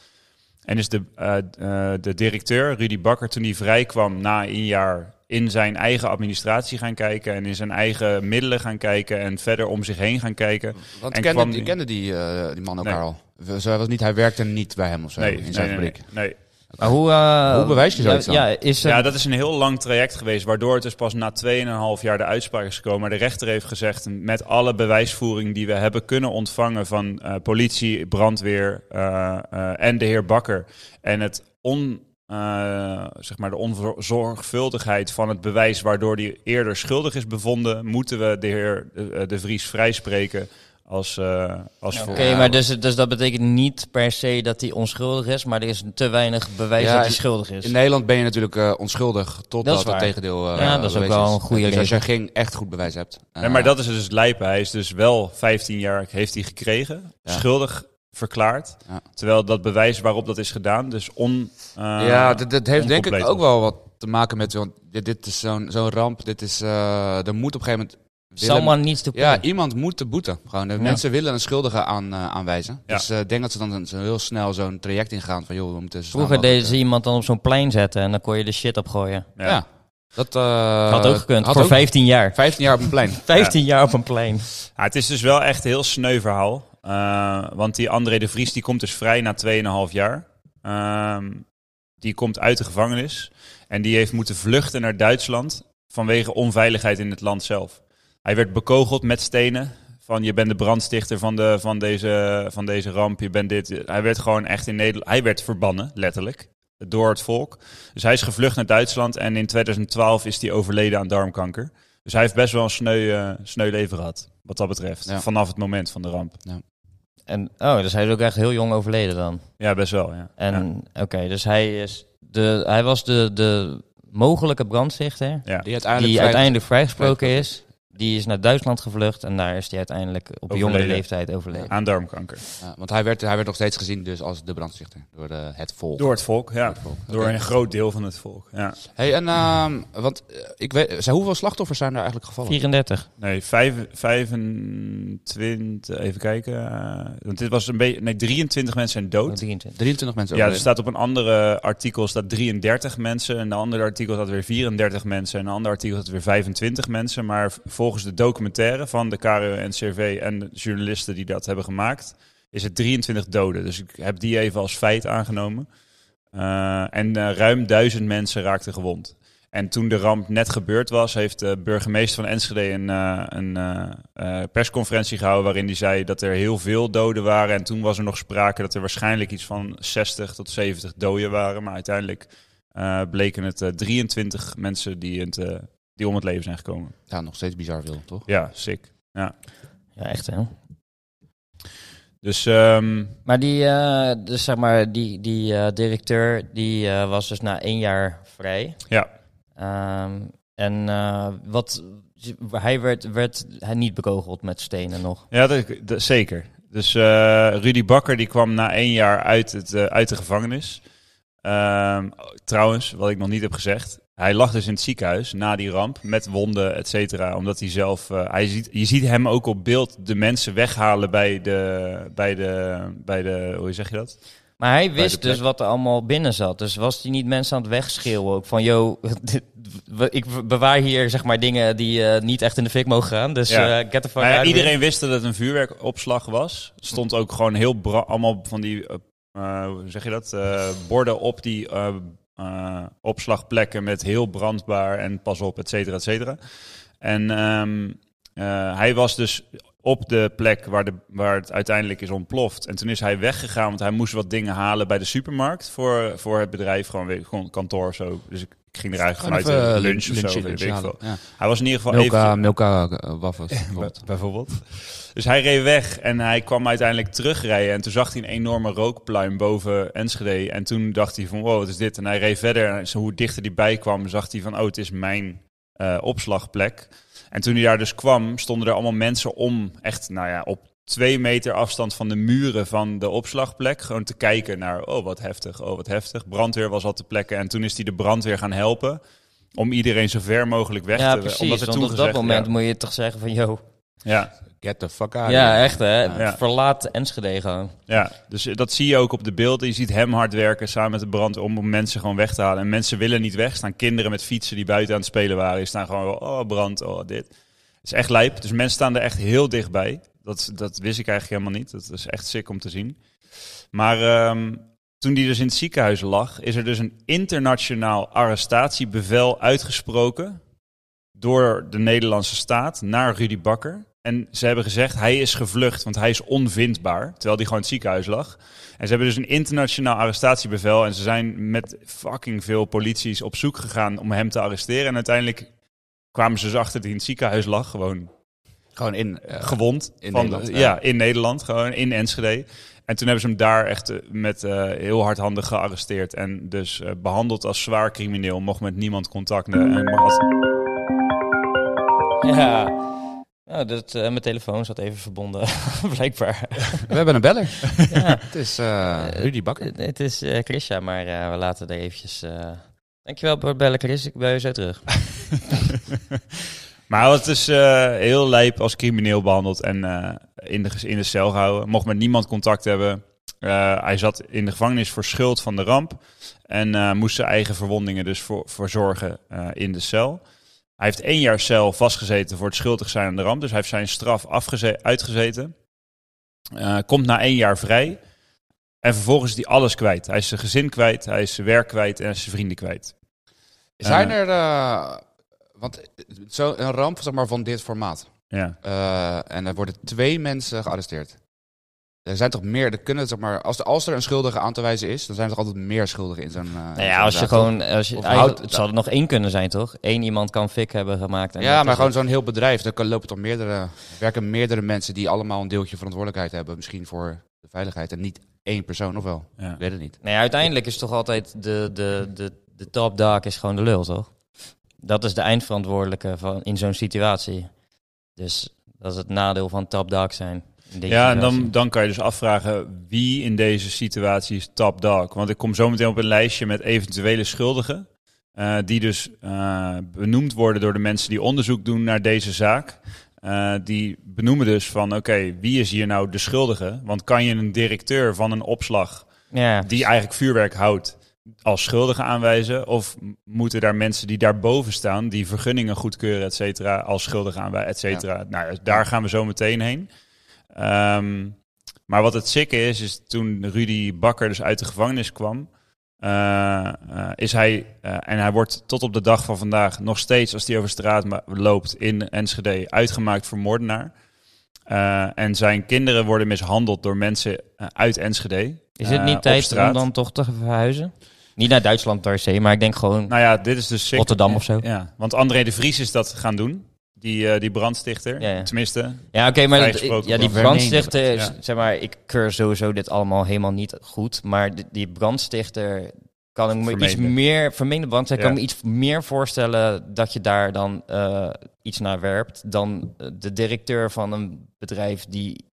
En is de, eh, eh, de directeur, Rudy Bakker, toen hij vrij kwam na een jaar, in zijn eigen administratie gaan kijken en in zijn eigen middelen gaan kijken en verder om zich heen gaan kijken. Want En kende, kwam die, die- kende die, eh, die man elkaar Nee. al? We- Zo was niet, hij werkte niet bij hem of zo Nee, in nee, zijn nee, fabriek. nee, nee. Maar hoe, eh, Hoe bewijs je zoiets ja, dan? Ja, is eh, er, Ja, dat is een heel lang traject geweest, waardoor het dus pas na 2,5 jaar de uitspraak is gekomen. Maar de rechter heeft gezegd, met alle bewijsvoering die we hebben kunnen ontvangen van eh, politie, brandweer eh, eh, en de heer Bakker. En het on, eh, zeg maar de onzorgvuldigheid van het bewijs waardoor die eerder schuldig is bevonden, moeten we de heer eh, De Vries vrijspreken als, eh, als Oké, voor. maar dus, dus dat betekent niet per se dat hij onschuldig is, maar er is te weinig bewijs Ja, dat hij en- schuldig is. In Nederland ben je natuurlijk eh, onschuldig Dus- Dat totdat is het waar. tegendeel eh, Ja, dat is ook bewezen wel een goede Dus als je geen echt goed bewijs hebt. eh, Nee, maar dat is dus lijpen. Hij is dus wel 15 jaar heeft hij gekregen, Ja. schuldig verklaard. Ja. Terwijl dat bewijs waarop dat is gedaan, dus on... eh, ja, dat, dat heeft denk ik oncompleet ook wel wat te maken met... Want dit, dit is zo'n zo'n ramp, dit is... eh, er moet op een gegeven moment... willen- Someone needs to pay. ja, iemand moet de boete. Gewoon, de Ja. Mensen willen een schuldige aan, eh, aanwijzen. Ja. Dus eh, ik denk dat ze dan een- zo heel snel zo'n traject ingaan van... joh, we moeten zo snel Vroeger mogelijk, deden ze iemand dan op zo'n plein zetten en dan kon je de shit opgooien. eh, Ja, dat... eh, had ook gekund, had voor ook 15 jaar. 15 jaar op een plein. 15 jaar op een plein. Ja, het is dus wel echt een heel sneu verhaal. Eh, want die André de Vries die komt dus vrij na 2,5 jaar. Ehm, die komt uit de gevangenis. En die heeft moeten vluchten naar Duitsland vanwege onveiligheid in het land zelf. Hij werd bekogeld met stenen. Van je bent de brandstichter van, de, van, deze, van deze ramp, je bent dit. Hij werd gewoon echt in Nederland. Hij werd verbannen, letterlijk. Door het volk. Dus hij is gevlucht naar Duitsland en in 2012 is hij overleden aan darmkanker. Dus hij heeft best wel een sneu, eh, sneu leven gehad, wat dat betreft. Ja. Vanaf het moment van de ramp. En, oh, dus hij is ook echt heel jong overleden dan. Ja, best wel, ja. Ja. En oké, dus hij, is de, hij was de, de mogelijke brandstichter Die uiteindelijk... die vrij- uiteindelijk vrijgesproken vrij- is. Die is naar Duitsland gevlucht en daar is hij uiteindelijk op jongere Overleden. leeftijd overleden. Aan darmkanker. Ja, want hij werd, hij werd nog steeds gezien dus als de brandstichter door eh, het volk. Door het volk, ja. het volk. Door Oké. een groot deel van het volk, ja. Hey, en ehm, want eh, ik weet, zijn- hoeveel slachtoffers zijn er eigenlijk gevallen? 34. Nee, vijf- 25, even kijken. eh, want dit was een beetje, nee, 23 mensen zijn dood. 23. 23 mensen. Ja, er overleden. staat op een andere artikel staat 33 mensen. En een ander artikel staat weer 34 mensen. En een ander artikel staat weer 25 mensen. Maar v- volgens de documentaire van de KRO-NCRV en de journalisten die dat hebben gemaakt, is het 23 doden. Dus ik heb die even als feit aangenomen. Eh, en eh, ruim duizend mensen raakten gewond. En toen de ramp net gebeurd was, heeft de burgemeester van Enschede een, eh, een eh, eh, persconferentie gehouden waarin hij zei dat er heel veel doden waren. En toen was er nog sprake dat er waarschijnlijk iets van 60 tot 70 doden waren. Maar uiteindelijk eh, bleken het eh, 23 mensen die, het, eh, die om het leven zijn gekomen. Ja, nog steeds bizar veel, toch? Ja, sick. Ja, echt hè. Dus ehm, Maar die, eh, dus zeg maar, die, die eh, directeur die eh, was dus na één jaar vrij. Ja. Ehm, en eh, wat, hij werd, werd hij niet bekogeld met stenen nog. Ja, dat, dat- zeker. Dus eh, Rudy Bakker die kwam na één jaar uit, het, eh, uit de gevangenis. Ehm, trouwens, wat ik nog niet heb gezegd. Hij lag dus in het ziekenhuis na die ramp met wonden, et cetera. Omdat hij zelf. eh, hij ziet, je ziet hem ook op beeld de mensen weghalen bij de. Bij de, bij de hoe zeg je dat? Maar hij de wist plek. dus wat er allemaal binnen zat. Dus was hij niet mensen aan het wegschreeuwen ook van... Yo, dit- we- ik bewaar hier zeg maar dingen die eh, niet echt in de fik mogen gaan. Dus Ja. eh, get the fuck Nou ja, out of here. iedereen wist dat het een vuurwerkopslag was. Stond ook gewoon heel bra allemaal van die, eh, eh, hoe zeg je dat, eh, borden op die eh, eh, opslagplekken met heel brandbaar en pas op, et cetera, et cetera. En ehm, eh, hij was dus op de plek waar, de, waar het uiteindelijk is ontploft. En toen is hij weggegaan, want hij moest wat dingen halen bij de supermarkt voor, voor het bedrijf, gewoon, weer, gewoon kantoor of zo. Dus ik, ik ging er eigenlijk vanuit eh, Even, eh, lunch, of zo, lunchje, weet lunchje ik halen. veel. Ja. Hij was in ieder geval even... Milka, Milka eh, waffels. bijvoorbeeld. Bijvoorbeeld. Dus hij reed weg en hij kwam uiteindelijk terugrijden. En toen zag hij een enorme rookpluim boven Enschede. En toen dacht hij van, wow, wat is dit? En hij reed verder. En zo hoe dichter hij bij kwam, zag hij van, oh, het is mijn eh, opslagplek. En toen hij daar dus kwam, stonden er allemaal mensen om. Echt, nou ja, op twee meter afstand van de muren van de opslagplek. Gewoon te kijken naar, oh, wat heftig, oh, wat heftig. Brandweer was al te plekken. En toen is hij de brandweer gaan helpen. Om iedereen zo ver mogelijk weg Ja, te... precies. omdat er want toen op dat gezegd- moment ja, moet je toch zeggen van... Yo, ja. Get the fuck out. ja, echt hè. Ja. Verlaat Enschede gewoon. Ja, dus eh, dat zie je ook op de beelden. Je ziet hem hard werken samen met de brand om mensen gewoon weg te halen. En mensen willen niet weg. Er Staan kinderen met fietsen die buiten aan het spelen waren. Die staan gewoon, oh brand, oh dit. Het is echt lijp. Dus mensen staan er echt heel dichtbij. Dat, dat wist ik eigenlijk helemaal niet. Dat is echt sick om te zien. Maar ehm, toen die dus in het ziekenhuis lag, is er dus een internationaal arrestatiebevel uitgesproken door de Nederlandse staat naar Rudy Bakker. En ze hebben gezegd, hij is gevlucht, want hij is onvindbaar, terwijl hij gewoon in het ziekenhuis lag. En ze hebben dus een internationaal arrestatiebevel en ze zijn met fucking veel polities op zoek gegaan om hem te arresteren. En uiteindelijk kwamen ze dus achter dat hij in het ziekenhuis lag, gewoon Gewoon in. eh, gewond. in van, Nederland, ja. ja. in Nederland, gewoon in Enschede. En toen hebben ze hem daar echt eh, met eh, heel hardhandig gearresteerd. En dus eh, behandeld als zwaar crimineel. Mocht met niemand contact. eh, En had- Ja. Nou, dat, eh, mijn telefoon zat even verbonden, blijkbaar. we hebben een beller. ja. Het is eh Rudy Bakker. Het, het is eh Chrisja, maar eh, we laten er eventjes... eh, Dankjewel voor het bellen, Chris. Ik ben je zo terug. maar het is eh, heel lijp als crimineel behandeld. En eh, in, de, ges- in de cel gehouden. Mocht met niemand contact hebben. Eh, hij zat in de gevangenis voor schuld van de ramp. En eh, moest zijn eigen verwondingen dus voor, voor zorgen eh, in de cel. Hij heeft één jaar cel vastgezeten voor het schuldig zijn aan de ramp. Dus hij heeft zijn straf afgeze- uitgezeten. Eh, komt na één jaar vrij. En vervolgens is hij alles kwijt. Hij is zijn gezin kwijt, hij is zijn werk kwijt en hij is zijn vrienden kwijt. Zijn er. eh, want zo'n ramp zeg maar, van dit formaat. Ja. Eh, en er worden twee mensen gearresteerd. Er zijn toch meer. Er kunnen, zeg maar, als, er, als er een schuldige aan te wijzen is, dan zijn er toch altijd meer schuldigen in zo'n. eh, in Nou zo'n ja, als je zaak, gewoon... Als je, Of eigenlijk- houdt- het zal er nog één kunnen zijn, toch? Eén iemand kan fik hebben gemaakt. En toch? Ja, dat maar is gewoon zo'n heel bedrijf. Daar kan- lopen toch meerdere, werken meerdere mensen die allemaal een deeltje verantwoordelijkheid hebben. Misschien voor de veiligheid. En niet één persoon, of wel? Ja. Ik weet het niet. Nee, uiteindelijk is toch altijd de, de, de, de top dog is gewoon de lul, toch? Dat is de eindverantwoordelijke van, in zo'n situatie. Dus dat is het nadeel van top dog zijn. in deze Ja, en dan, situatie. dan kan je dus afvragen wie in deze situatie is top dog. Want ik kom zo meteen op een lijstje met eventuele schuldigen. eh, die dus eh, benoemd worden door de mensen die onderzoek doen naar deze zaak. Eh, die benoemen dus van oké, wie is hier nou de schuldige? Want kan je een directeur van een opslag Ja, die eigenlijk vuurwerk houdt als schuldige aanwijzen? Of m- moeten daar mensen die daarboven staan, die vergunningen goedkeuren, et cetera, als schuldige aanwijzen, et cetera? Nou, ja, daar gaan we zo meteen heen. Ehm, maar wat het sikke is, is toen Rudy Bakker dus uit de gevangenis kwam, eh, eh, is hij, eh, en hij wordt tot op de dag van vandaag nog steeds, als hij over straat ma- loopt in Enschede, uitgemaakt voor moordenaar. Eh, en zijn kinderen worden mishandeld door mensen eh, uit Enschede. is het eh, niet op tijd om straat. dan toch te verhuizen? Niet naar Duitsland per se, maar ik denk gewoon... Nou ja, dit is dus sick. Rotterdam of zo. Ja, want André de Vries is dat gaan doen. Die, eh, die brandstichter. Ja, ja. Tenminste. ja, oké, maar dat- vrijgesproken ja, die wordt. brandstichter... is- Ja. Zeg maar, ik keur sowieso dit allemaal helemaal niet goed. Maar di- die brandstichter kan ik me iets Vermeende. meer... Vermeende brandstichter kan Ja. ik me iets meer voorstellen... dat je daar dan eh, iets naar werpt... dan eh, de directeur van een bedrijf die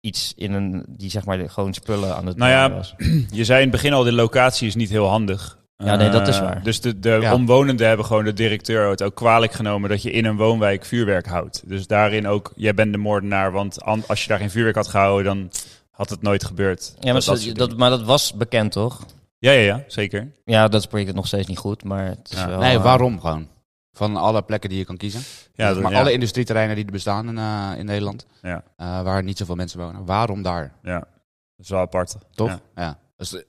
iets in een... die zeg maar gewoon spullen aan het Nou ja, doen was. Je zei in het begin al, de locatie is niet heel handig. Ja, nee, dat is waar. Eh, dus de, de Ja. omwonenden hebben gewoon de directeur het ook kwalijk genomen dat je in een woonwijk vuurwerk houdt. Dus daarin ook, jij bent de moordenaar, want an- als je daar geen vuurwerk had gehouden, dan had het nooit gebeurd. Ja, maar, Dat- dat dat, soort dat, dingen. maar dat was bekend, toch? ja, ja, ja, zeker. Ja, dat spreekt het nog steeds niet goed, maar het is Ja. wel... Nee, eh, waarom gewoon? Van alle plekken die je kan kiezen. Ja, Dus dat- maar ja. alle industrieterreinen die er bestaan in, eh, in Nederland, Ja. eh, waar niet zoveel mensen wonen, waarom daar? ja, dat is wel apart. Toch? Ja. Ja. Dus, eh,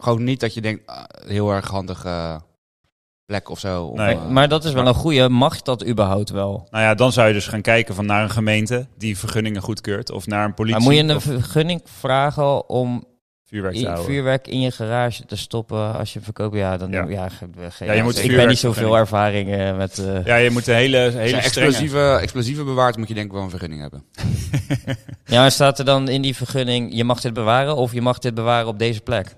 gewoon niet dat je denkt, ah, heel erg handig eh, plek of zo. om, Nee. eh, Maar dat is wel een goede. Mag dat überhaupt wel? Nou ja, dan zou je dus gaan kijken van naar een gemeente die vergunningen goedkeurt of naar een politie Maar moet je een of vergunning vragen om vuurwerk te i- houden. vuurwerk in je garage te stoppen als je verkoopt? Ja, dan Ja. ja. ge- ge- Ja, je ja, moet ik ben vuurwerk- niet zoveel ervaring eh, met. eh, ja. Ja, je moet een hele, als je hele strenge... explosieven, explosieven bewaart, moet je denk ik wel een vergunning hebben. maar staat er dan in die vergunning: je mag dit bewaren of je mag dit bewaren op deze plek?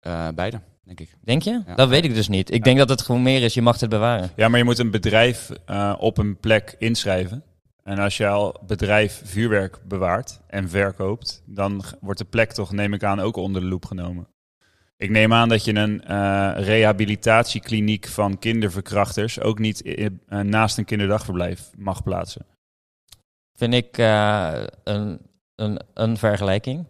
Eh, beide, denk ik. Denk je? Ja. Dat weet ik dus niet. Ik denk dat het gewoon meer is: je mag dit bewaren. Ja, maar je moet een bedrijf eh, op een plek inschrijven. En als je al bedrijf vuurwerk bewaart en verkoopt, dan g- wordt de plek toch, neem ik aan, ook onder de loep genomen. Ik neem aan dat je een eh, rehabilitatiekliniek van kinderverkrachters ook niet i- i- eh, naast een kinderdagverblijf mag plaatsen. Vind ik eh, een, een, een vergelijking.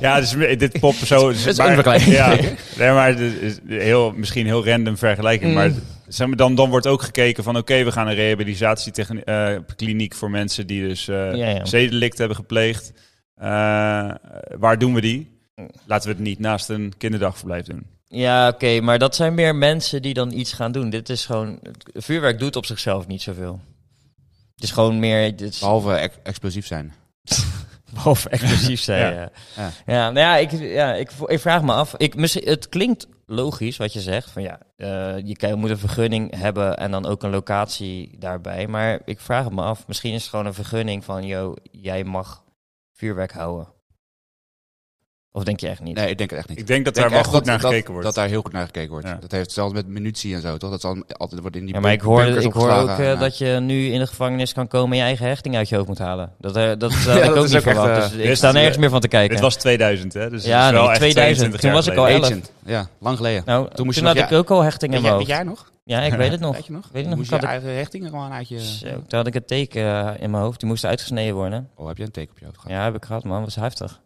Ja, dus me- dit pop zo. Het is een vergelijking. Ja, nee, maar het is heel, misschien heel random vergelijking. Maar, eh, Mm. zeg maar dan, dan wordt ook gekeken van oké, we gaan een rehabilitatiekliniek voor mensen die dus eh Ja, ja. zedelict hebben gepleegd. Eh, waar doen we die? Laten we het niet naast een kinderdagverblijf doen. Ja, oké, maar dat zijn meer mensen die dan iets gaan doen. Dit is gewoon. Vuurwerk doet op zichzelf niet zoveel. Het is gewoon meer. Dit is, Behalve ex- explosief zijn. Behalve explosief zijn. Ja. ja. Ja. Ja. nou ja, ik, ja ik, vo- ik vraag me af. Ik, misschien, het klinkt logisch wat je zegt. Van ja, eh, je, kan, je moet een vergunning hebben en dan ook een locatie daarbij. Maar ik vraag het me af. Misschien is het gewoon een vergunning van, yo, jij mag vuurwerk houden. Of denk je echt niet? Nee, ik denk het echt niet. Ik denk dat Ik daar denk wel echt goed dat- naar dat- gekeken wordt. Dat daar heel goed naar gekeken wordt. Ja. Dat heeft zelfs met munitie en zo, toch? Dat zal altijd worden in die Ja, maar ik bun- hoor, bunkers ik hoor ook opgeslagen. eh, Ja. dat je nu in de gevangenis kan komen en je eigen hechting uit je hoofd moet halen. Dat, eh, dat had Ja, ik dat ook is niet ook echt, verwacht. eh, dus ik dit sta is- nergens meer van te kijken. Dit was 2000, hè? Dus Ja, het is wel nee, echt 2000. 22 Toen jaar was ik al geleden. elf. Agent. Ja, lang geleden. nou, toen toen, moest je had nog- ik ook al hechting in Weet mijn jij, weet hoofd. jij nog? Ja, ik weet het nog. Weet je nog? Weet je nog? Moest Ik je had eigen hechtingen gewoon uit Zo, je... toen had ik het teken eh, in mijn hoofd. Die moest uitgesneden worden. Oh, heb je een teken op je hoofd gehad? Ja, heb ik gehad, man. was heftig.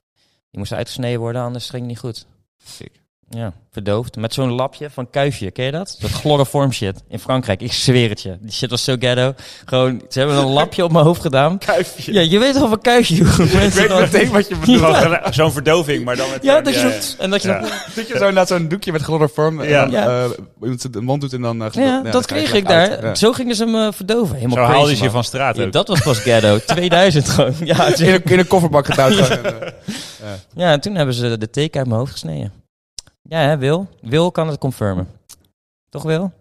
Die moest uitgesneden worden, anders ging het niet goed. Sick. Ja, verdoofd. Met zo'n lapje van kuifje, ken je dat? Dat chloroform shit in Frankrijk. Ik zweer het je. Die shit was zo ghetto. Gewoon, ze hebben een lapje op mijn hoofd gedaan. Kuifje. Ja, je weet toch van kuifje hoe Ik mensen weet gewoon- meteen wat je bedoelt. Zo'n verdoving, maar dan met... Ja, dat je ja, zo- En dat je Ja. dan- Zit je zo naar zo'n doekje met chloroform Ja. en dan eh, iemand zijn mond doet en dan... eh, Ja, ja, dan dat krijg je kreeg ik dat uit. daar. Ja. Zo gingen ze me verdoven. Helemaal Zo crazy, haalden ze je man. van straat Ja, ook. dat was pas ghetto. 2000 gewoon. Ja, het is- In een, in een kofferbak gedaan. gewoon. En, eh, Ja, en toen hebben ze de teken uit mijn hoofd gesneden. Ja, hè, Wil? Wil kan het confirmen. Toch, Wil?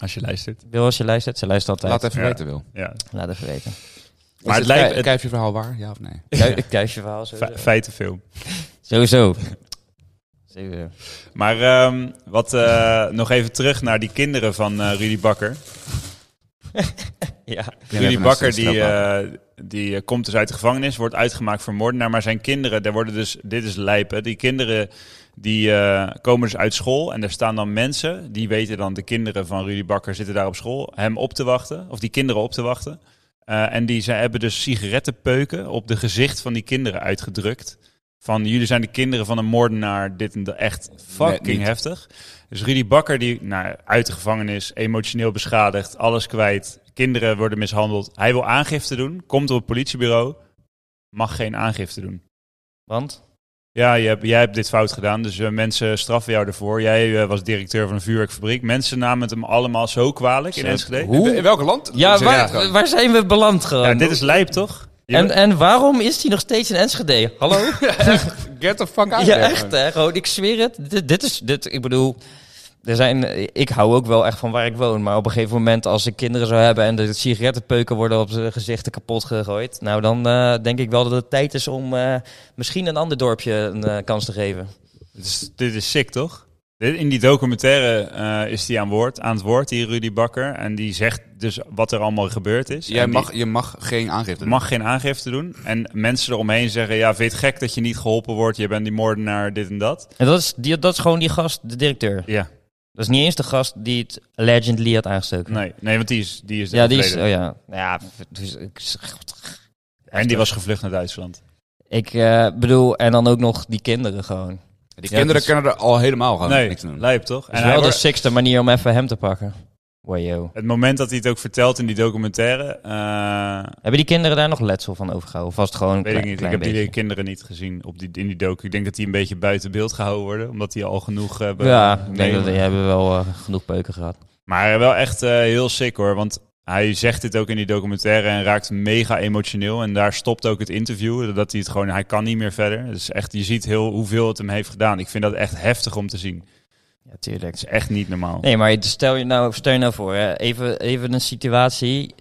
Als je luistert. Wil, als je luistert, ze luistert altijd. Laat even Ja. weten, Wil. Ja. Laat even weten. Maar het Is lijkt- ku- Kuif je verhaal waar, ja of nee? Kui- Kuifje verhaal, Fe- sowieso. Feitenfilm. Sowieso. Sowieso. Maar ehm, wat, eh, nog even terug naar die kinderen van eh, Rudy Bakker. Ja. Rudy Bakker die, eh, eh, die eh, komt dus uit de gevangenis, wordt uitgemaakt voor moordenaar. Maar zijn kinderen, daar worden dus, dit is lijpen. Die kinderen die eh, komen dus uit school en er staan dan mensen. Die weten dan, de kinderen van Rudy Bakker zitten daar op school. Hem op te wachten, of die kinderen op te wachten. Eh, en die ze hebben dus sigarettenpeuken op de gezicht van die kinderen uitgedrukt. Van jullie zijn de kinderen van een moordenaar, dit en dat. Echt Nee, fucking niet. heftig. Dus Rudy Bakker, die nou, uit de gevangenis, emotioneel beschadigd, alles kwijt. Kinderen worden mishandeld. Hij wil aangifte doen, komt op het politiebureau, mag geen aangifte doen. Want? Ja, je hebt, jij hebt dit fout gedaan, dus eh, mensen straffen jou ervoor. Jij eh, was directeur van een vuurwerkfabriek. Mensen namen het hem allemaal zo kwalijk in Zo. Enschede. In welk land? Ja, Zeg het waar, gewoon. waar zijn we beland gewoon? Ja, dit is lijp, toch? Je- en, en waarom is hij nog steeds in Enschede? Hallo? Get the fuck out Eh, Ja, there, echt gewoon. hè. Gewoon, ik zweer het. Dit, dit is, dit, ik bedoel, er zijn, ik hou ook wel echt van waar ik woon. Maar op een gegeven moment, als ik kinderen zou hebben en de sigarettenpeuken worden op hun gezichten kapot gegooid. Nou, dan eh, denk ik wel dat het tijd is om eh, misschien een ander dorpje een eh, kans te geven. Dit is, dit is sick, toch? Dit- In die documentaire eh, is die aan, woord, aan het woord, die Rudy Bakker. En die zegt dus wat er allemaal gebeurd is. Dus Jij En die mag, je mag geen aangifte doen. mag geen aangifte doen. En mensen eromheen zeggen, ja, vind je het gek dat je niet geholpen wordt? Je bent die moordenaar, dit en dat. En dat is, die, dat is gewoon die gast, de directeur. Ja, Dat is niet eens de gast die het allegedly had aangestoken. nee, nee want die is, die is Ja, die is, oh overleden. ja. Ja, dus ik- eh, En die was gevlucht naar Duitsland. ik eh, bedoel, en dan ook nog die kinderen gewoon. Die Ja, kinderen dat is- kunnen er al helemaal Oh, gewoon nee, niks aan doen. lijp toch? Dat is hij Dus wel de wordt- sixte manier om even hem te pakken. Wajo. het moment dat hij het ook vertelt in die documentaire, eh, Hebben die kinderen daar nog letsel van overgehouden? Of was het gewoon een weet klein, ik niet. Ik klein heb die beetje? kinderen niet gezien op die, in die docu. Ik denk dat die een beetje buiten beeld gehouden worden, omdat die al genoeg... eh, be- Ja, ik denk mee- dat die hebben wel eh, genoeg peuken gehad. Maar wel echt eh, heel sick hoor. Want hij zegt dit ook in die documentaire en raakt mega emotioneel. En daar stopt ook het interview. Dat hij het gewoon, hij kan niet meer verder. Dus echt, je ziet heel hoeveel het hem heeft gedaan. Ik vind dat echt heftig om te zien. Het Ja, tuurlijk. is echt niet normaal. Nee, maar stel je nou, stel je nou voor, hè, even, even een situatie.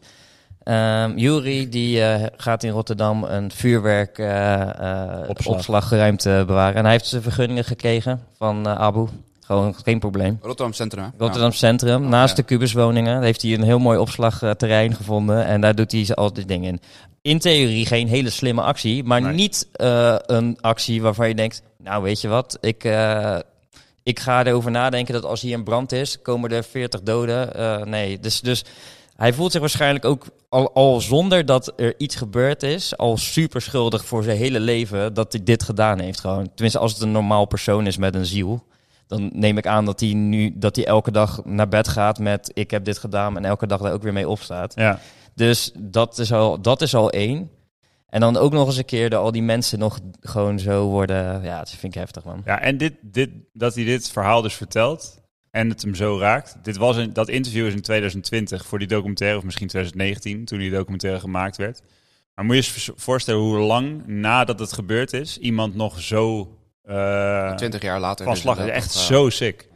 Ehm Jury die eh, gaat in Rotterdam een vuurwerk eh, eh, Opslag. opslagruimte bewaren. En hij heeft zijn vergunningen gekregen van eh, Abu. Gewoon geen probleem. Rotterdam Centrum. hè? Rotterdam Centrum, naast ja. de Kubuswoningen. Daar heeft hij een heel mooi opslagterrein gevonden. En daar doet hij ze al die dingen in. In theorie geen hele slimme actie. Maar Nee. niet eh, een actie waarvan je denkt... Nou, weet je wat? Ik, eh, ik ga erover nadenken dat als hier een brand is... komen er 40 doden. Eh, nee, dus, dus hij voelt zich waarschijnlijk ook... Al, al zonder dat er iets gebeurd is... al super schuldig voor zijn hele leven... dat hij dit gedaan heeft gewoon. Tenminste, als het een normaal persoon is met een ziel dan neem ik aan dat hij nu dat hij elke dag naar bed gaat met ik heb dit gedaan en elke dag daar ook weer mee opstaat. Ja. Dus dat is al, dat is al één. En dan ook nog eens een keer dat al die mensen nog gewoon zo worden. Ja, dat vind ik heftig man. ja, en dit, dit, dat hij dit verhaal dus vertelt en het hem zo raakt. Dit was in, dat interview is in 2020 voor die documentaire, of misschien 2019, toen die documentaire gemaakt werd. Maar moet je je eens voorstellen hoe lang nadat het gebeurd is, iemand nog zo eh Twintig jaar later. van dus slag is. inderdaad Echt nog, eh, zo sick.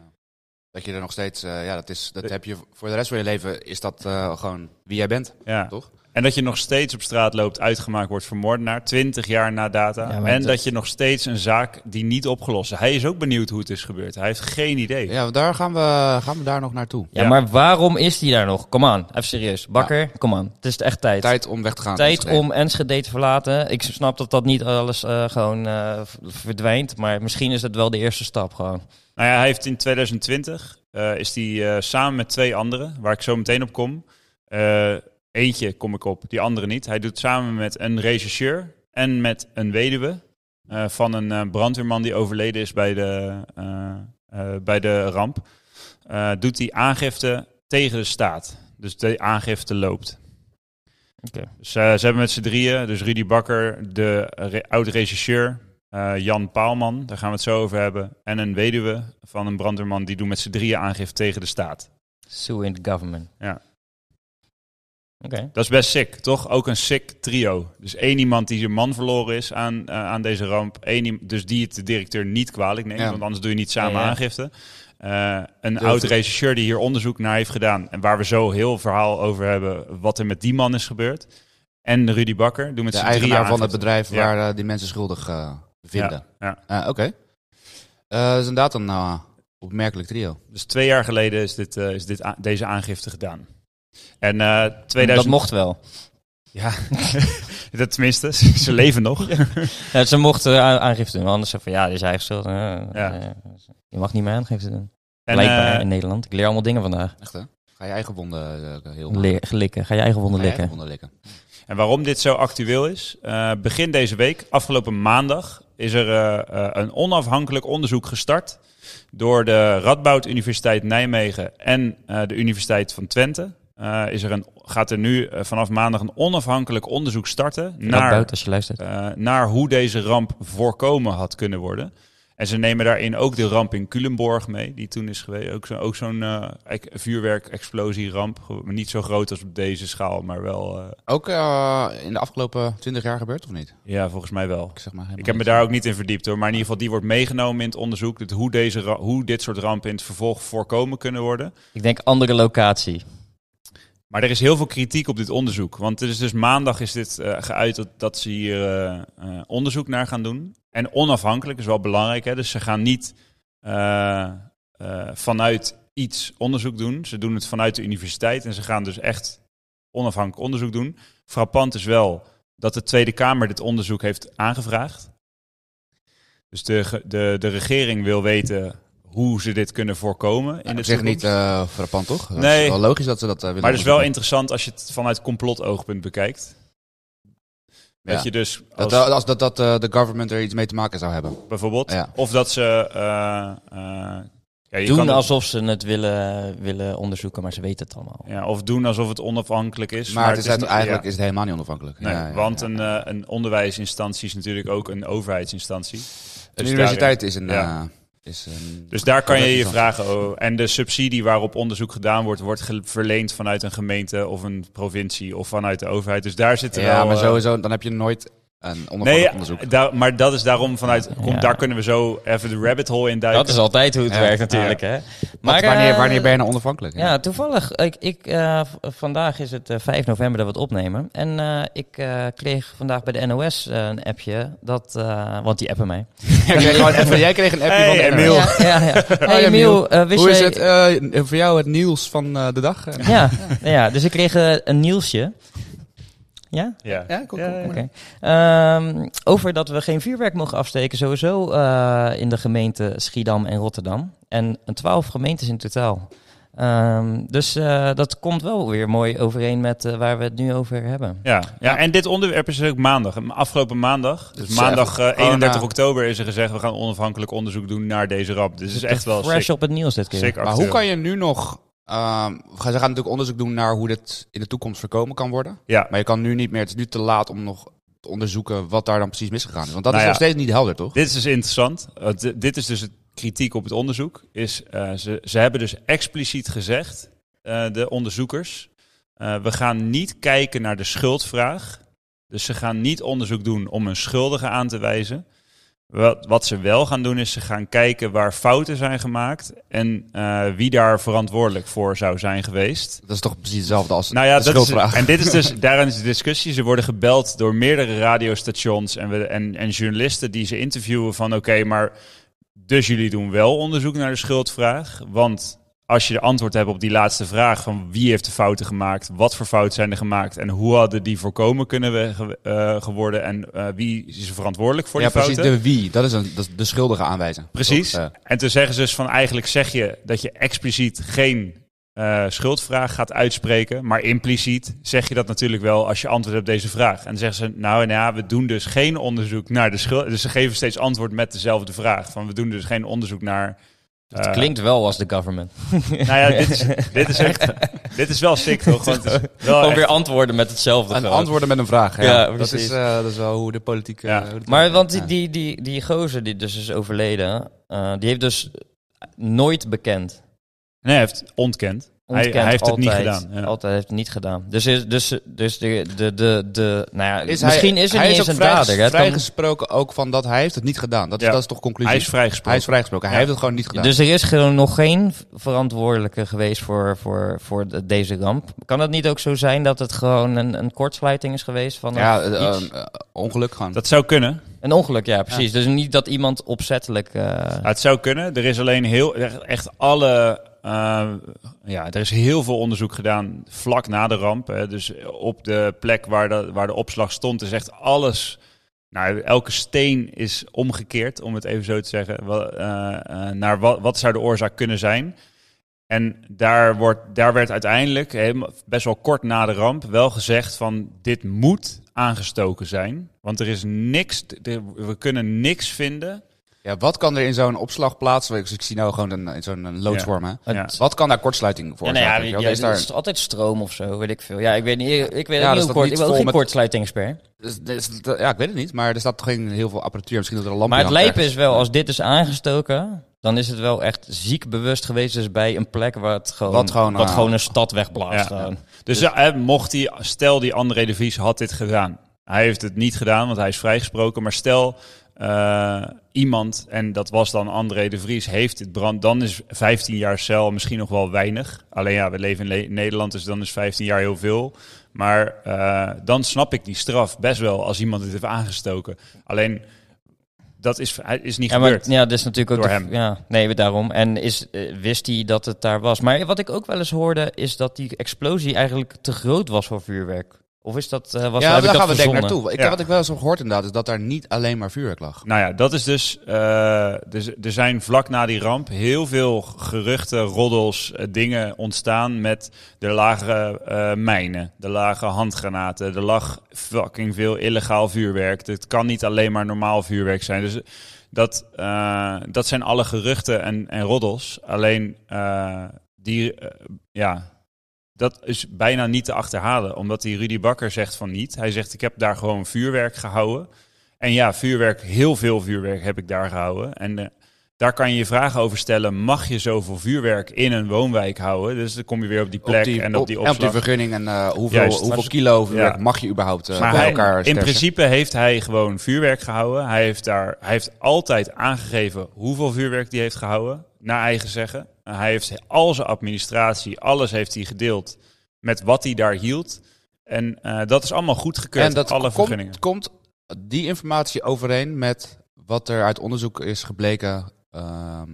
Dat je er nog steeds, eh, ja, dat, is, dat heb je voor de rest van je leven, is dat eh, gewoon wie jij bent. Ja. Toch? En dat je nog steeds op straat loopt, uitgemaakt wordt voor moordenaar, 20 jaar na data. Ja, maar en dat- dat je nog steeds een zaak die niet opgelost is. Hij is ook benieuwd hoe het is gebeurd. Hij heeft geen idee. Ja, daar gaan we, gaan we daar nog naartoe. Ja, Ja. maar waarom is die daar nog? Kom aan, even serieus. Bakker, kom aan. Het is echt tijd. Tijd om weg te gaan. Dus, eh, Tijd om Enschede te verlaten. Ik snap dat dat niet alles eh, gewoon eh, v- verdwijnt. Maar misschien is dat wel de eerste stap gewoon. Nou ja, hij heeft in 2020 eh, is die eh, samen met twee anderen, waar ik zo meteen op kom. eh, eentje kom ik op, die andere niet. Hij doet samen met een regisseur en met een weduwe eh, van een eh, brandweerman die overleden is bij de, eh, eh, bij de ramp. eh, doet hij aangifte tegen de staat. Dus de aangifte loopt. Oké. Dus, eh, ze hebben met z'n drieën, dus Rudy Bakker, de re- oud-regisseur, eh, Jan Paalman, daar gaan we het zo over hebben. En een weduwe van een brandweerman, die doen met z'n drieën aangifte tegen de staat. Sue in the government. Ja. Oké. Dat is best sick, toch? Ook een sick trio. Dus één iemand die zijn man verloren is aan, eh, aan deze ramp. Eén, iem- dus die het de directeur niet kwalijk neemt, Ja. want anders doe je niet samen Ja, ja. aangifte. Eh, een Dus- oud-regisseur die hier onderzoek naar heeft gedaan. En waar we zo heel verhaal over hebben wat er met die man is gebeurd. En Rudy Bakker, doen met De z'n drieën eigenaar van het aangifte. bedrijf Ja. waar eh, die mensen schuldig eh, vinden. Ja, Eh, Oké. Eh, dat is inderdaad een eh, opmerkelijk trio. Dus twee jaar geleden is, dit, eh, is dit a- deze aangifte gedaan. En eh Dat 2000... mocht wel. Ja, dat tenminste, ze ze leven nog. Ja, ze mochten a- aangifte doen. Anders zei van ja, dit is eigen schuld. Eh, eh, je mag niet meer aangifte doen. En, Blijkbaar eh, in Nederland. Ik leer allemaal dingen vandaag. Echt hè? Ga je eigen wonden eh, heel Leer, likken. Ga je eigen wonden Ga je eigen likken. wonden likken. en waarom dit zo actueel is? eh, begin deze week, afgelopen maandag, is er eh, eh, een onafhankelijk onderzoek gestart door de Radboud Universiteit Nijmegen en eh, de Universiteit van Twente. Eh, is er een, gaat er nu eh, vanaf maandag een onafhankelijk onderzoek starten Naar naar buiten als je luistert. eh, naar hoe deze ramp voorkomen had kunnen worden. En ze nemen daarin ook de ramp in Culemborg mee, die toen is geweest. Ook, zo, ook zo'n eh ek- vuurwerk-explosie-ramp. Ge- Niet zo groot als op deze schaal, maar wel, eh, Ook eh, in de afgelopen 20 jaar gebeurd of niet? ja, volgens mij wel. Ik, zeg maar helemaal Ik heb me niks. daar ook niet in verdiept hoor, maar in ieder geval die wordt meegenomen in het onderzoek. Dat hoe, deze, ra- hoe dit soort rampen in het vervolg voorkomen kunnen worden. Ik denk andere locatie. Maar er is heel veel kritiek op dit onderzoek. Want het is dus maandag is dit eh, geuit dat, dat ze hier eh, eh, onderzoek naar gaan doen. En onafhankelijk is wel belangrijk. Hè? Dus ze gaan niet eh, eh, vanuit iets onderzoek doen. Ze doen het vanuit de universiteit. En ze gaan dus echt onafhankelijk onderzoek doen. Frappant is wel dat de Tweede Kamer dit onderzoek heeft aangevraagd. Dus de, ge- de, de regering wil weten hoe ze dit kunnen voorkomen. In Nou, Op de zich toekomst. niet eh, frappant, toch? Dat Nee. is wel logisch dat ze dat eh, willen Maar het is wel onderzoeken. interessant als je het vanuit complotoogpunt bekijkt. Dat Ja. je dus Dat, als, dat- als dat, dat eh, de government er iets mee te maken zou Dus hebben. bijvoorbeeld, Ja. of dat ze. eh, eh, ja, je Doen kan- alsof ze het willen, willen onderzoeken, maar ze weten het allemaal. ja, of doen alsof het onafhankelijk is. Maar, het is, uit- niet- eigenlijk ja. is het helemaal niet onafhankelijk. Nee, Ja, ja, want ja. Een, eh, een onderwijsinstantie is natuurlijk ook een overheidsinstantie. Dus Een daar- universiteit is een... Ja. eh, is een Dus daar kan Dat je is je dan- vragen over. En de subsidie waarop onderzoek gedaan wordt, wordt ge- verleend vanuit een gemeente of een provincie of vanuit de overheid. Dus daar zitten ja, wel... maar eh, sowieso, dan heb je nooit een onafhankelijk Nee, eh, onderzoek. daar- maar dat is daarom vanuit. Kom, Ja. Daar kunnen we zo even de rabbit hole in duiken. Dat is altijd hoe het Ja. werkt natuurlijk, hè. Want eh, wanneer, wanneer ben je nou onafhankelijk? Ja, toevallig. Ik, ik, eh, v- vandaag is het eh, 5 november dat we het opnemen. En eh, ik eh, kreeg vandaag bij de NOS eh, een appje. Dat, eh, want die appen mij. Jij kreeg gewoon even- jij kreeg een appje Hey, van de Emiel. NOS. Ja, ja, ja. Hey, Hoi, Emiel, eh, wist Hoe is jij- het eh, voor jou het nieuws van eh, de dag? Ja, ja, dus ik kreeg eh, een nieuwsje. Ja? Ja. Ja, kom, kom, Ja, ja, kom. Oké. Ehm, over dat we geen vuurwerk mogen afsteken, sowieso eh, in de gemeente Schiedam en Rotterdam. En een twaalf gemeentes in totaal. Ehm, dus eh, dat komt wel weer mooi overeen met eh, waar we het nu over hebben. Ja, ja, en dit onderwerp is ook maandag. Afgelopen maandag, dus Het is maandag eh, even- 31 corona. oktober, is er gezegd: we gaan onafhankelijk onderzoek doen naar deze ramp. Dus het is echt wel Fresh sick, op het nieuws dit keer. sick Maar hoe kan je nu nog... ehm, we gaan- ze gaan natuurlijk onderzoek doen naar hoe dit in de toekomst voorkomen kan worden. Ja, Maar je kan nu niet meer, het is nu te laat om nog te onderzoeken wat daar dan precies misgegaan is. Want dat Nou is ja. nog steeds niet helder, toch? dit is dus interessant. want di- dit is dus het kritiek op het onderzoek. Is, eh, ze, ze hebben dus expliciet gezegd, eh, de onderzoekers: eh, we gaan niet kijken naar de schuldvraag. Dus ze gaan niet onderzoek doen om een schuldige aan te wijzen. Wat, wat ze wel gaan doen is ze gaan kijken waar fouten zijn gemaakt en eh, wie daar verantwoordelijk voor zou zijn geweest. Dat is toch precies hetzelfde als Nou ja, de dat is, schuldvraag. en dit is dus, daarin is de discussie. Ze worden gebeld door meerdere radiostations en, we, en, en journalisten die ze interviewen van oké, maar dus jullie doen wel onderzoek naar de schuldvraag. Want als je de antwoord hebt op die laatste vraag van wie heeft de fouten gemaakt, wat voor fouten zijn er gemaakt en hoe hadden die voorkomen kunnen we, ge- eh, geworden en eh, wie is er verantwoordelijk voor ja, die precies. Dus fouten. De wie. Dat is, een, dat is de schuldige aanwijzen. Precies. Toch, eh. En toen zeggen ze dus van eigenlijk zeg je dat je expliciet geen eh, schuldvraag gaat uitspreken. Maar impliciet zeg je dat natuurlijk wel als je antwoord op deze vraag. En dan zeggen ze nou, nou ja, we doen dus geen onderzoek naar de schuld. Dus ze geven steeds antwoord met dezelfde vraag. Van we doen dus geen onderzoek naar... Het eh, klinkt wel als de government. Nou ja, dit is, dit is echt... Dit is wel sick toch? Want het is wel Gewoon echt- weer antwoorden met hetzelfde. En gewoon. antwoorden met een vraag. Ja, Ja, dat, precies. is, eh, dat is wel hoe de politiek... eh, Ja. hoe het- Maar want ja. die, die, die, die gozer die dus is overleden, eh, die heeft dus nooit bekend. Nee, hij heeft ontkend. Hij- Ontkend, hij heeft het niet altijd, gedaan, ja. Altijd heeft het niet gedaan. Dus, is- dus, dus de, de, de, de, nou ja, Is hij- misschien is er hij niet eens ook een vrij- dader. hè. Het kan- vrijgesproken ook van dat hij heeft het niet gedaan. Dat is, Ja. dat is toch conclusie? Hij is vrijgesproken. Hij is vrijgesproken. Hij Ja. heeft het gewoon niet gedaan. dus er is gewoon nog geen verantwoordelijke geweest voor, voor, voor de- deze ramp. Kan het niet ook zo zijn dat het gewoon een, een kortsluiting is geweest? Van ja, een, eh, iets? eh, ongeluk gewoon. Dat zou kunnen. Een ongeluk, ja, precies. Dus niet dat iemand opzettelijk... eh, Ja, Ah, het zou kunnen. Er is alleen heel echt alle. eh, ja, er is heel veel onderzoek gedaan vlak na de ramp. Hè. Dus op de plek waar de, waar de opslag stond, is echt alles. Nou, elke steen is omgekeerd, om het even zo te zeggen. Wel, eh, eh, naar wat, wat zou de oorzaak kunnen zijn? En daar, wordt, daar werd uiteindelijk, helemaal- best wel kort na de ramp, wel gezegd van dit moet aangestoken zijn. Want er is niks, er- we kunnen niks vinden Ja, wat kan er in zo'n opslag plaatsen? Ik, ik zie nou gewoon een, in zo'n loodsworm. hè. Ja. Wat kan daar kortsluiting voor Ja, nou ja, zijn? weet weet je wel? je, Is daar- het is altijd stroom of zo, weet ik veel. Ja, ik weet niet, ik weet dat niet is hoe dat kort, niet ik ben ook vol geen met- kortsluitingsper. Dus- dus- dat- ja, ik weet het niet, maar er staat toch geen heel veel apparatuur. Misschien dat er een lampje Maar het hangt lijpen is ergens. wel, als dit is aangestoken, dan is het wel echt ziek bewust geweest dus bij een plek waar het gewoon, Wat gewoon, eh, een stad wegblaast. Ja. gewoon. Dus ja, eh, hè, mocht die, stel die André de Vries had dit gedaan. Hij heeft het niet gedaan, want hij is vrijgesproken. Maar stel eh, iemand, en dat was dan André de Vries, heeft dit brand. Dan is 15 jaar cel misschien nog wel weinig. Alleen ja, we leven in Le- Nederland, dus dan is 15 jaar heel veel. Maar eh, dan snap ik die straf best wel als iemand het heeft aangestoken. Alleen dat is, hij- is niet Ja, maar gebeurd. ja, dat is natuurlijk ook... Door de- hem. Ja, nee, daarom. En is, eh, wist hij dat het daar was. Maar wat ik ook wel eens hoorde, is dat die explosie eigenlijk te groot was voor vuurwerk. Of is dat... eh was, Ja, heb ik dat daar gaan we denk ik verzonnen? naartoe. Ik, Ja. Wat ik wel eens heb gehoord inderdaad, is dat daar niet alleen maar vuurwerk lag. Nou ja, dat is dus. eh, dus er zijn vlak na die ramp heel veel geruchten, roddels, eh, dingen ontstaan met de lage eh, mijnen, de lage handgranaten, er lag fucking veel illegaal vuurwerk. Het kan niet alleen maar normaal vuurwerk zijn. Dus dat, eh, dat zijn alle geruchten en, en roddels. Alleen eh, die, eh, ja, dat is bijna niet te achterhalen. Omdat die Rudy Bakker zegt van niet. Hij zegt ik heb daar gewoon vuurwerk gehouden. En ja, vuurwerk, heel veel vuurwerk heb ik daar gehouden. En eh, daar kan je je vragen over stellen. Mag je zoveel vuurwerk in een woonwijk houden? Dus dan kom je weer op die plek en op die en opslag. vergunning en eh, hoeveel, Juist. hoeveel Maar ze- kilo vuurwerk ja. mag je überhaupt eh, maar bij hij- elkaar in sterken? principe heeft hij gewoon vuurwerk gehouden. Hij heeft, daar, hij heeft altijd aangegeven hoeveel vuurwerk hij heeft gehouden, naar eigen zeggen. Hij heeft al zijn administratie, alles heeft hij gedeeld met wat hij daar hield. En eh, dat is allemaal goedgekeurd, En dat alle vergunningen. komt, komt die informatie overeen met wat er uit onderzoek is gebleken ehm,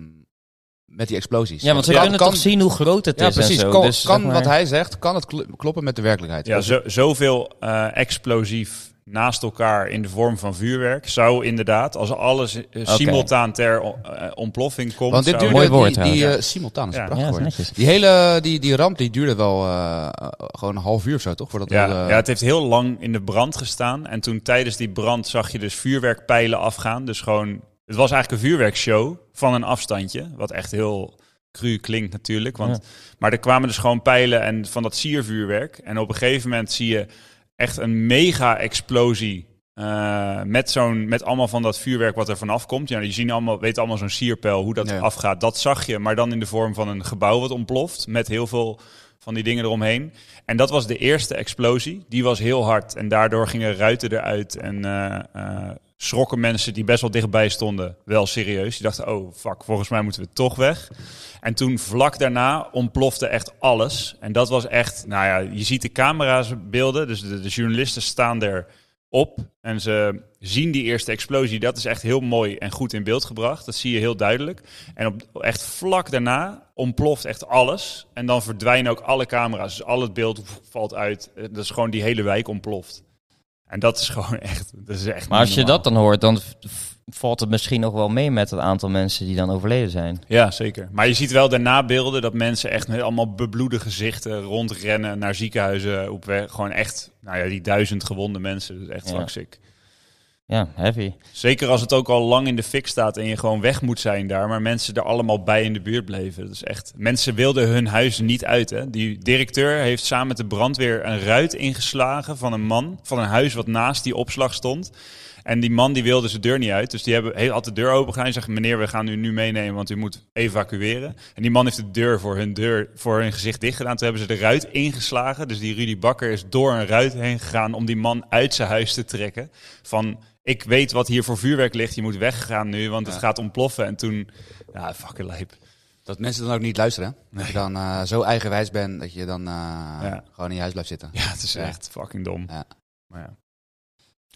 met die explosies? Ja, want ze Ja, kunnen kan- toch zien hoe groot het Ja, is precies. en zo. kan Dus kan zeg maar- wat hij zegt, kan het kl- kloppen met de werkelijkheid? Ja, zo, zoveel eh, explosief naast elkaar in de vorm van vuurwerk zou inderdaad, als alles eh, simultaan ter eh, ontploffing komt... Want dit zou- duurde Mooi woord die, die, trouwens, eh, simultaan, is Ja. een Ja, prachtig dat is woord. netjes. Die hele die, die ramp die duurde wel eh, eh, gewoon een half uur of zo, toch? Voordat Ja, we, eh, ja, het heeft heel lang in de brand gestaan. En toen tijdens die brand zag je dus vuurwerkpijlen afgaan. Dus gewoon, het was eigenlijk een vuurwerkshow van een afstandje. Wat echt heel cru klinkt natuurlijk. Want, Maar er kwamen dus gewoon pijlen en van dat siervuurwerk. En op een gegeven moment zie je echt een mega explosie. eh, met, zo'n, met allemaal van dat vuurwerk wat er vanaf komt. Ja, je ziet allemaal, weet allemaal zo'n sierpijl, hoe dat Ja. afgaat. Dat zag je, maar dan in de vorm van een gebouw wat ontploft. Met heel veel van die dingen eromheen. En dat was de eerste explosie. Die was heel hard. En daardoor gingen ruiten eruit. En eh, eh, schrokken mensen die best wel dichtbij stonden wel serieus. Die dachten, oh fuck, volgens mij moeten we toch weg. En toen vlak daarna ontplofte echt alles. En dat was echt, nou ja, je ziet de camera's beelden. Dus de, de journalisten staan daar op en ze zien die eerste explosie. Dat is echt heel mooi en goed in beeld gebracht. Dat zie je heel duidelijk. En op, echt vlak daarna ontploft echt alles. En dan verdwijnen ook alle camera's. Dus al het beeld valt uit. Eh, Dat is gewoon die hele wijk ontploft. En dat is gewoon echt. Dat is echt Maar als niet je normaal. dat dan hoort, dan v- v- valt het misschien nog wel mee met het aantal mensen die dan overleden zijn. Ja, zeker. Maar je ziet wel daarna beelden dat mensen echt met allemaal bebloede gezichten rondrennen naar ziekenhuizen op weg. Gewoon echt, nou ja, die duizend gewonde mensen. Dat is echt Ja. vlakziek. Ja, heavy. Zeker als het ook al lang in de fik staat en je gewoon weg moet zijn daar. Maar mensen er allemaal bij in de buurt bleven. Dat is echt. Mensen wilden hun huis niet uit. Hè? Die directeur heeft samen met de brandweer een ruit ingeslagen van een man. Van een huis wat naast die opslag stond. En die man die wilde zijn deur niet uit. Dus die hebben, he- had de deur open gedaan en zegt: Meneer, we gaan u nu meenemen, want u moet evacueren. En die man heeft de deur voor hun, deur, voor hun gezicht dicht gedaan. Toen hebben ze de ruit ingeslagen. Dus die Rudy Bakker is door een ruit heen gegaan om die man uit zijn huis te trekken. Van ik weet wat hier voor vuurwerk ligt. Je moet weggaan nu, want het Ja. gaat ontploffen. En toen, ja, fucking lijp. Dat mensen dan ook niet luisteren. hè? Dat je dan eh, zo eigenwijs bent dat je dan eh, gewoon in je huis blijft zitten. Ja, het is Ja. echt fucking dom. Ja. Maar ja.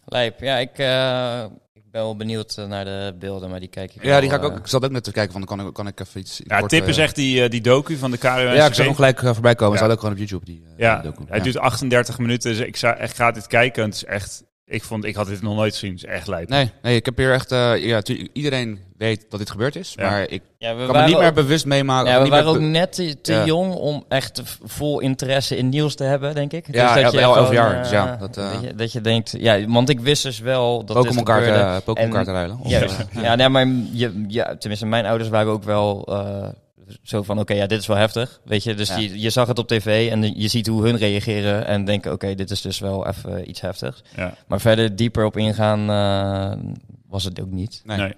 Lijp, ja, ik, eh, ik ben wel benieuwd eh, naar de beelden, maar die kijk ik Ja, die ga wel, ik ook. eh, Ik zat ook net te kijken van kan ik, kan ik even iets. ja, kort, tip eh, is echt die, eh, die docu van de KRO. Ja, ik zag hem gelijk eh, voorbij komen. Ja. Staat ook gewoon op YouTube die. eh, Ja, docu. hij duurt 38 minuten. Dus ik, zou, ik ga dit kijken. Het is echt, ik, vond, ik had dit nog nooit gezien. Het is echt lijp. Nee, nee, ik heb hier echt. eh, ja, tu- iedereen weet dat dit gebeurd is, Ja. maar ik ja, we kan me niet waren meer ook- bewust meemaken. Ja, we niet meer waren ook be- net te, te Ja. jong om echt v- vol interesse in nieuws te hebben, denk ik. Ja, dat elf- elf gewoon, jaar, eh, dus ja, dat, eh, je, dat je denkt, ja, want ik wist dus wel dat dit Pokémon kaarten, gebeurde. eh, Pokémon En- kaarten ruilen. Of, Ja, eh, ja. nee, maar je, ja, tenminste, mijn ouders waren ook wel eh, zo van, oké, ja, dit is wel heftig, weet je. Dus Ja. die, je zag het op tv en je ziet hoe hun reageren en denken, oké, dit is dus wel even iets heftigs. Ja. Maar verder dieper op ingaan eh, was het ook niet. nee. Nee.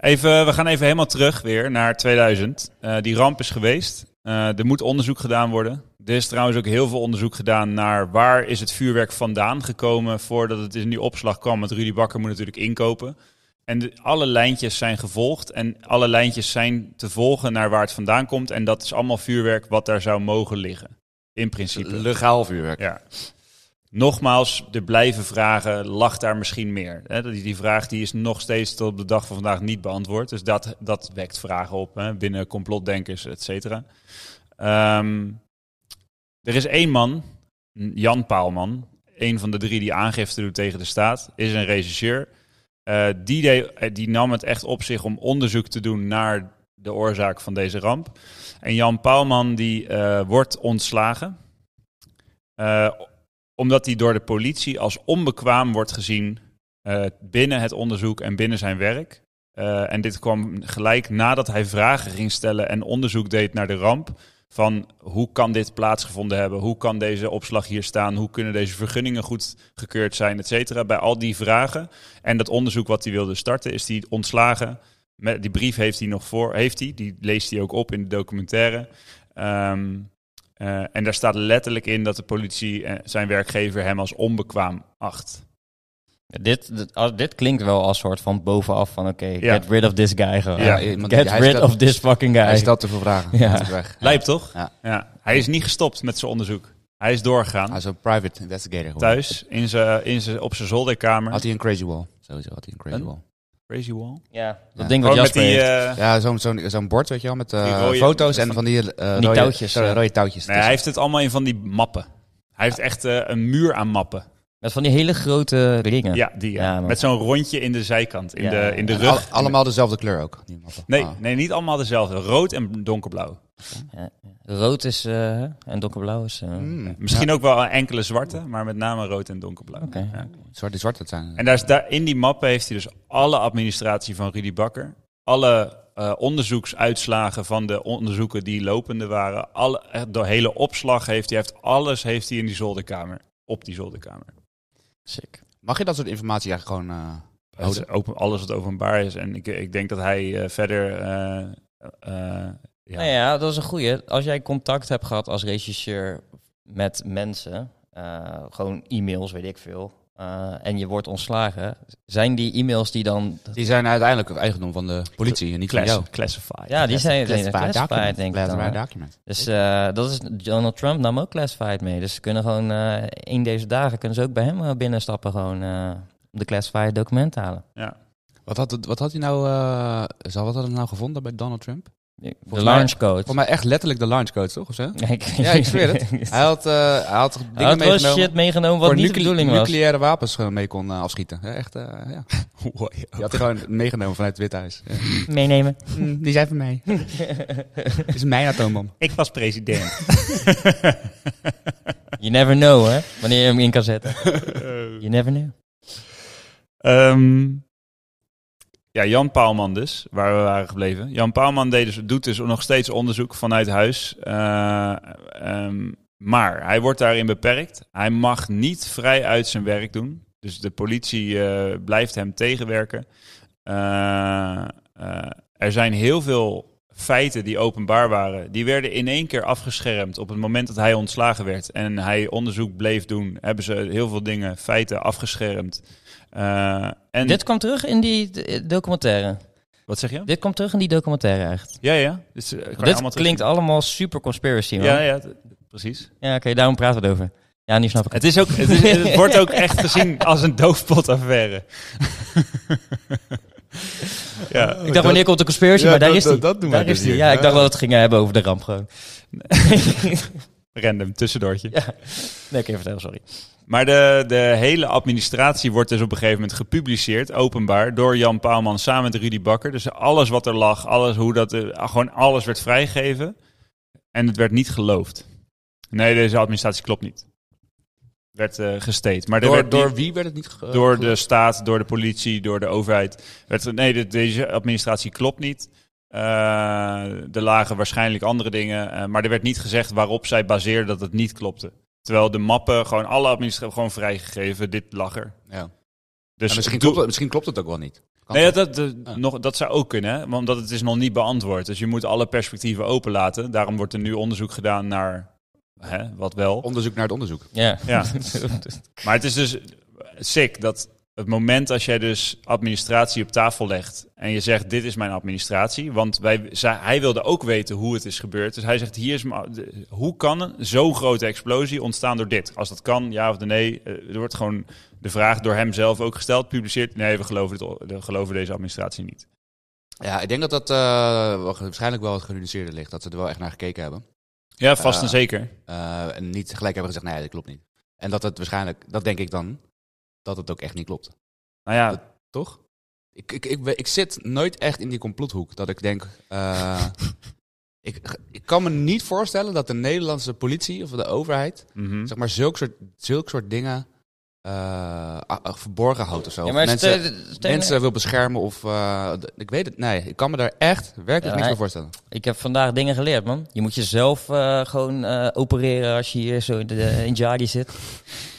Even, we gaan even helemaal terug weer naar 2000. Eh, die ramp is geweest. Eh, er moet onderzoek gedaan worden. Er is trouwens ook heel veel onderzoek gedaan naar waar is het vuurwerk vandaan gekomen voordat het in die opslag kwam. Want Rudy Bakker moet natuurlijk inkopen. En de- alle lijntjes zijn gevolgd en alle lijntjes zijn te volgen naar waar het vandaan komt. En dat is allemaal vuurwerk wat daar zou mogen liggen. In principe. Legaal vuurwerk. Ja. Nogmaals, er blijven vragen, lag daar misschien meer? Hè? Die, die vraag die is nog steeds tot op de dag van vandaag niet beantwoord. Dus dat, dat wekt vragen op hè? binnen complotdenkers, et cetera. Ehm, er is één man, Jan Paalman, een van de drie die aangifte doet tegen de staat, is een regisseur. Eh, die, deed- eh, die nam het echt op zich om onderzoek te doen naar de oorzaak van deze ramp. En Jan Paalman die eh, wordt ontslagen. Eh, omdat hij door de politie als onbekwaam wordt gezien eh, binnen het onderzoek en binnen zijn werk. Eh, en dit kwam gelijk nadat hij vragen ging stellen en onderzoek deed naar de ramp. Van hoe kan dit plaatsgevonden hebben? Hoe kan deze opslag hier staan? Hoe kunnen deze vergunningen goedgekeurd zijn? Et cetera. Bij al die vragen en dat onderzoek wat hij wilde starten, is hij ontslagen. Met, die brief heeft hij nog voor, heeft hij. Die leest hij ook op in de documentaire. Ehm, eh, en daar staat letterlijk in dat de politie eh, zijn werkgever hem als onbekwaam acht. Dit, dit, als- dit klinkt wel als soort van bovenaf van, oké, Ja. get rid of this guy gewoon. Ja. iemand- Get hij rid stelt- of this fucking guy. Hij stelt te veel vragen. Ja. Ja. Weg. Lijp toch? Ja. Hij is niet gestopt met zijn onderzoek. Hij is doorgegaan. Hij is een Ah, private investigator geworden. Thuis, in zijn, eh, in zijn, op zijn zolderkamer. Had hij een crazy wall. Sowieso had hij een crazy Een? wall. Crazy Wall. ja, dat Ja. ding wat Gewoon met Jasper die... heeft. eh, Ja, zo'n zo'n zo'n bord, weet je wel, met eh, Die rode- foto's en van- van die, eh, die rode, touwtjes, sorry, ja. rode touwtjes. eh, nee, hij heeft het allemaal in van die mappen. Hij heeft echt eh, een muur aan mappen. Met van die hele grote ringen. Ja, die. ja. Ja, man. met zo'n rondje in de zijkant, in, Ja. de, in de En al- rug. allemaal dezelfde kleur ook. die mappen. Nee, Ah. nee, niet allemaal dezelfde. Rood en donkerblauw. Rood is eh, en donkerblauw is... eh, Mm. Misschien ook wel enkele zwarte, maar met name rood en donkerblauw. Oké. Ja. Ja, zwart, die zwart, dat zijn. En daar is daar, in die mappen heeft hij dus alle administratie van Rudy Bakker, alle eh, onderzoeksuitslagen van de onderzoeken die lopende waren, alle, eh, de hele opslag heeft hij, heeft alles heeft hij in die zolderkamer, op die zolderkamer. Sick. Mag je dat soort informatie eigenlijk gewoon... eh, Oh, Het is open, alles wat openbaar is. En ik, ik denk dat hij eh, verder eh, eh, Ja. Nou ja, dat is een goeie. Als jij contact hebt gehad als regisseur met mensen, eh, gewoon e-mails, weet ik veel, eh, en je wordt ontslagen, zijn die e-mails die dan... Die zijn uiteindelijk het eigendom van de politie en niet van Class- jou. classified. Ja, die zijn Classified classified, document. denk ik dan, Classified hè. document. Dus eh, dat is, Donald Trump nam ook classified mee. Dus ze kunnen gewoon eh, in deze dagen kunnen ze ook bij hem eh, binnenstappen. Gewoon eh, om de classified document te halen. Wat had, het- wat had hij nou, eh, zal wat had hij nou gevonden bij Donald Trump? De mij- launch code. Voor mij echt letterlijk de launch code, toch? Of zo? Ik, Ja, ik zweer het. Hij had, eh, hij had dingen Hij had wel meegenomen shit meegenomen wat voor niet de nucle- bedoeling was. nucleaire wapens eh, mee kon eh, afschieten. Ja, echt, eh, ja. Die had hij gewoon meegenomen vanuit het Witte Huis. Ja. Meenemen. Hm, die zijn van mij. Dat is mijn atoombom. Ik was president. You never know, hè? Wanneer je hem in kan zetten. You never know. Ehm, ja, Jan Paalman dus, waar we waren gebleven. Jan Paalman deed dus, doet dus nog steeds onderzoek vanuit huis. Eh, ehm, maar hij wordt daarin beperkt. Hij mag niet vrij uit zijn werk doen. Dus de politie eh, blijft hem tegenwerken. Eh, eh, er zijn heel veel feiten die openbaar waren. Die werden in één keer afgeschermd op het moment dat hij ontslagen werd. En hij onderzoek bleef doen. Hebben ze heel veel dingen, feiten afgeschermd. Eh, en Dit kwam terug in die eh, documentaire. wat zeg je? Dit kwam terug in die documentaire echt. Ja, ja. Dus, eh, kan je allemaal Dit klinkt allemaal super conspiracy, man. terug- Ja, Ja, ja, t- precies. oké, daarom praten we het over. Ja, nu snap ik het. Het, is ook, het, is- het wordt ook echt gezien als een doofpotaffaire. Oh, ja, Ik dacht, wanneer komt de conspiracy? maar daar is die. doen dus Daar is die. Ja, ik dacht wel dat we het gingen hebben over de ramp gewoon. random tussendoortje. Nee, oké, vertel, sorry. Maar de, de hele administratie wordt dus op een gegeven moment gepubliceerd, openbaar, door Jan Paalman samen met Rudy Bakker. Dus alles wat er lag, alles, hoe dat, eh, gewoon alles werd vrijgegeven. En het werd niet geloofd. Nee, deze administratie klopt niet. Werd eh gesteed. Maar er Door, werd niet- door wie werd het niet ge- Eh, door de ge- staat, door de politie, door de overheid. Werd, er- nee, de- deze administratie klopt niet. Eh, er lagen waarschijnlijk andere dingen. eh, maar er werd niet gezegd waarop zij baseerden dat het niet klopte. Terwijl de mappen, gewoon alle administratie, gewoon vrijgegeven. Dit lag er. Ja. Dus Ja, misschien, doe- klopt het, misschien klopt het ook wel niet. Kan Nee, toch? dat, dat, dat- Ah. nog, dat zou ook kunnen, hè? omdat het is nog niet beantwoord. Dus je moet alle perspectieven openlaten. Daarom wordt er nu onderzoek gedaan naar hè, wat wel. Onderzoek naar het onderzoek. Ja. Ja. Maar het is dus sick dat het moment als jij dus administratie op tafel legt en je zegt dit is mijn administratie, want wij, zij- hij wilde ook weten hoe het is gebeurd. Dus hij zegt hier is mijn- de- hoe kan een- zo'n grote explosie ontstaan door dit? Als dat kan, ja of nee, eh, er wordt gewoon de vraag door hem zelf ook gesteld, publiceert. Nee, we geloven, het, o- we geloven deze administratie niet. Ja, ik denk dat dat eh, wa- waarschijnlijk wel wat gereduceerder ligt. Dat ze er wel echt naar gekeken hebben. Ja, vast en Ah. zeker. Eh, en niet gelijk hebben gezegd, nee, dat klopt niet. En dat het waarschijnlijk, dat denk ik dan, dat het ook echt niet klopt. Nou ja, Dat- Toch? Ik, ik, ik, we- ik zit nooit echt in die complothoek. Dat ik denk, eh, ik, ik kan me niet voorstellen dat de Nederlandse politie of de overheid, mhm. zeg maar, zulke soort, zulk soort dingen eh, a- a- verborgen houdt of zo. Ja, Of maar mensen, stel- stel- mensen wil beschermen of, eh, d- ik weet het, nee, ik kan me daar echt werkelijk Ja, niks hij- meer voorstellen. Ik heb vandaag dingen geleerd, man. Je moet jezelf eh, gewoon eh, opereren als je hier zo in, de, eh, in Jadi zit.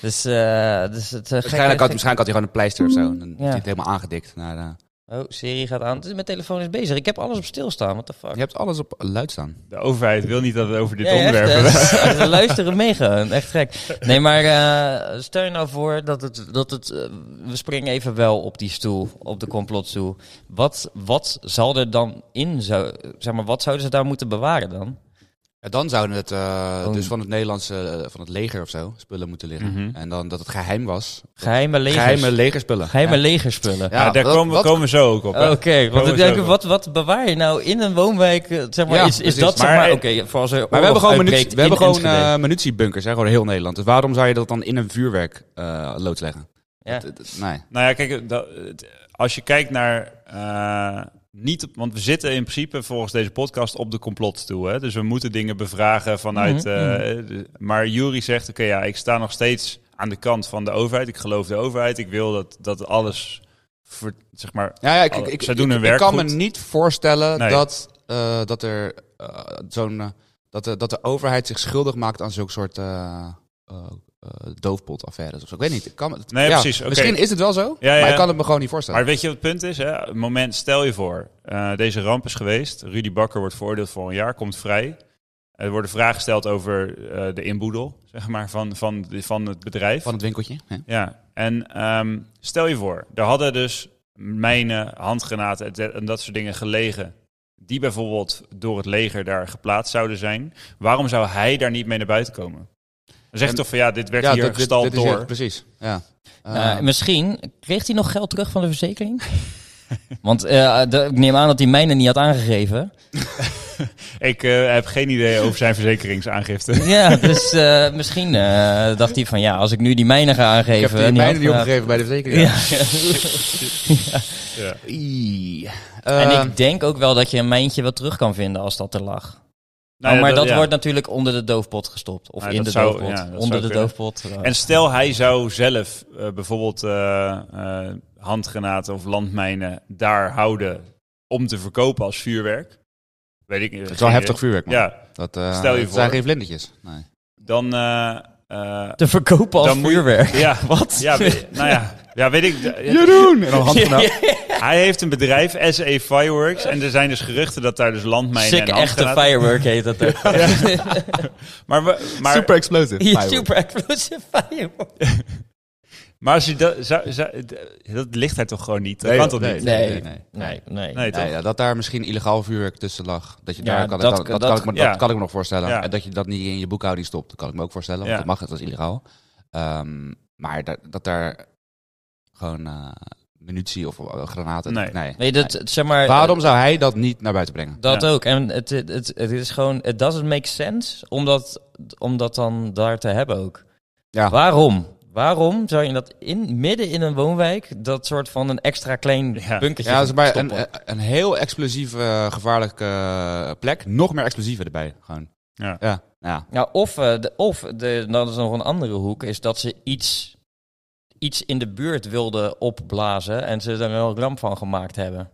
Dus, eh dus het eh, gekke- Waarschijnlijk had, waarschijnlijk had hij gewoon een pleister of zo. En dan is hij Ja. het helemaal aangedikt. Naar, eh, Oh, Siri gaat aan. Mijn telefoon is bezig. Ik heb alles op stilstaan. What the fuck? je hebt alles op luid staan. de overheid wil niet dat het over dit Ja, onderwerp echt, eh, ze luisteren mee gewoon. Echt gek. Nee, maar eh, stel je nou voor dat het... Dat het eh, we springen even wel op die stoel, op de complotstoel. Wat, wat zal er dan in... Zo, zeg maar, wat zouden ze daar moeten bewaren dan? Ja, dan zouden het eh, Oh. dus van het Nederlandse, eh, van het leger of zo, spullen moeten liggen. Mhm. En dan dat het geheim was. Geheime legers. Geheime Geheime, legerspullen. Ja. legerspullen. Ja, Oh, daar wat- komen, wat- komen we zo ook op. hè. Oké, want ik denk, Sowieso. wat, wat bewaar je nou in een woonwijk? eh, Zeg maar, Ja, is, is precies. dat zeg Maar- maar... Oké, voor als er Maar we hebben oorlog gewoon, uitbreekt munitie, we hebben in gewoon Enschede. eh, munitiebunkers, hè, gewoon heel Nederland. Dus waarom zou je dat dan in een vuurwerk eh loods leggen? Ja. Dat- dat- nee. Nou ja, kijk, dat- het- als je kijkt naar. eh, niet op, want we zitten in principe volgens deze podcast op de complotstoel. Hè? Dus we moeten dingen bevragen vanuit. Mhm, eh, de- maar Jury zegt: Oké, ja, ik sta nog steeds aan de kant van de overheid. Ik geloof de overheid. Ik wil dat, dat alles. Ver, zeg maar. Ja, ja, ik, Alle- ik, ik, zij doen hun ik- werk ik kan goed. me niet voorstellen Nee. dat, eh, dat, er, eh, zo'n, eh, dat, de, dat de overheid zich schuldig maakt aan zulke soort eh, eh, eh, doofpotaffaires of zo. Ik weet niet. Ik kan, het- Nee, ja, precies, oké. Misschien is het wel zo, Ja, ja. maar ik kan het me gewoon niet voorstellen. Maar weet je wat het punt is? Hè? Het Moment, stel je voor, eh, deze ramp is geweest. Rudy Bakker wordt veroordeeld voor een jaar, komt vrij. Er wordt een vraag gesteld over eh, de inboedel, zeg maar, van, van, van het bedrijf. Van het winkeltje. Ja. Ja, en ehm, stel je voor, er hadden dus mijnen, handgranaten et cetera, en dat soort dingen gelegen. Die bijvoorbeeld door het leger daar geplaatst zouden zijn. Waarom zou hij daar niet mee naar buiten komen? Dan zeg je En- toch van ja, dit werd Ja, hier dit- dit- gestald dit is door. hier- precies. Ja. Eh, Eh, misschien kreeg hij nog geld terug van de verzekering. Want eh, de- ik neem aan dat hij mijne niet had aangegeven. Ik eh, heb geen idee over zijn verzekeringsaangifte. Ja, dus eh, misschien eh, dacht hij van ja, als ik nu die mijne ga aangeven. ik heb en die die mijnen niet handgranaten- opgegeven bij de verzekering. Ja. Ja. Ie. En Eh, ik denk ook wel dat je een mijntje wel terug kan vinden als dat er lag. Nou Oh, ja, maar dat ja. wordt natuurlijk onder de doofpot gestopt. Of Nou, Ja, in dat de zou- doofpot. ja, dat zou onder de kunnen. doofpot. eh. En stel hij zou zelf eh, bijvoorbeeld eh, eh, handgranaten of landmijnen daar houden om te verkopen als vuurwerk. Weet ik niet. het is wel heftig vuurwerk, man. Ja, Dat, eh, Stel je het zijn voor. geen vlindertjes. Nee. dan. eh, eh, te verkopen als Dan moet je- vuurwerk. ja, Wat? Ja, we- nou ja. Ja, weet ik. eh, Jeroen! En dan nou handgranaat. Hij heeft een bedrijf, SE Fireworks. En er zijn dus geruchten dat daar dus landmijnen Sick, en echte handgranaten- firework heet dat ook. Maar, we- maar, Super explosive. Ja, firework. super explosive firework. maar als je dat, zou, zou- d- dat ligt hij toch gewoon niet? Dat Nee, kan toch nee, niet? nee. nee, nee. Nee, toch? Nee, ja, dat daar misschien illegaal vuurwerk tussen lag. Dat je Ja, daar dat- kan, dat, dat, dat- kan ik me, ja. dat kan ik me nog voorstellen. Ja. En dat je dat niet in je boekhouding stopt, dat kan ik me ook voorstellen. Want Ja. dat mag, dat is illegaal. Ehm, maar dat, dat daar gewoon eh, munitie of eh, granaten... Nee. Nee, dat, zeg maar... eh, Waarom zou hij dat niet naar buiten brengen? Dat Ja. ook. En het, het, het, het is gewoon... It doesn't make sense om dat, om dat dan daar te hebben ook. Ja. Waarom? Waarom zou je dat in, midden in een woonwijk... dat soort van een extra klein Ja. bunkertje Ja, dat is maar eh, stoppen? een, een- een heel explosieve, eh, gevaarlijke eh, plek. Nog meer explosieven erbij, gewoon. Ja. Ja, ja. Nou, of, eh, de, of de, dat is nog een andere hoek, is dat ze iets, iets in de buurt wilden opblazen en ze er een ramp van gemaakt hebben.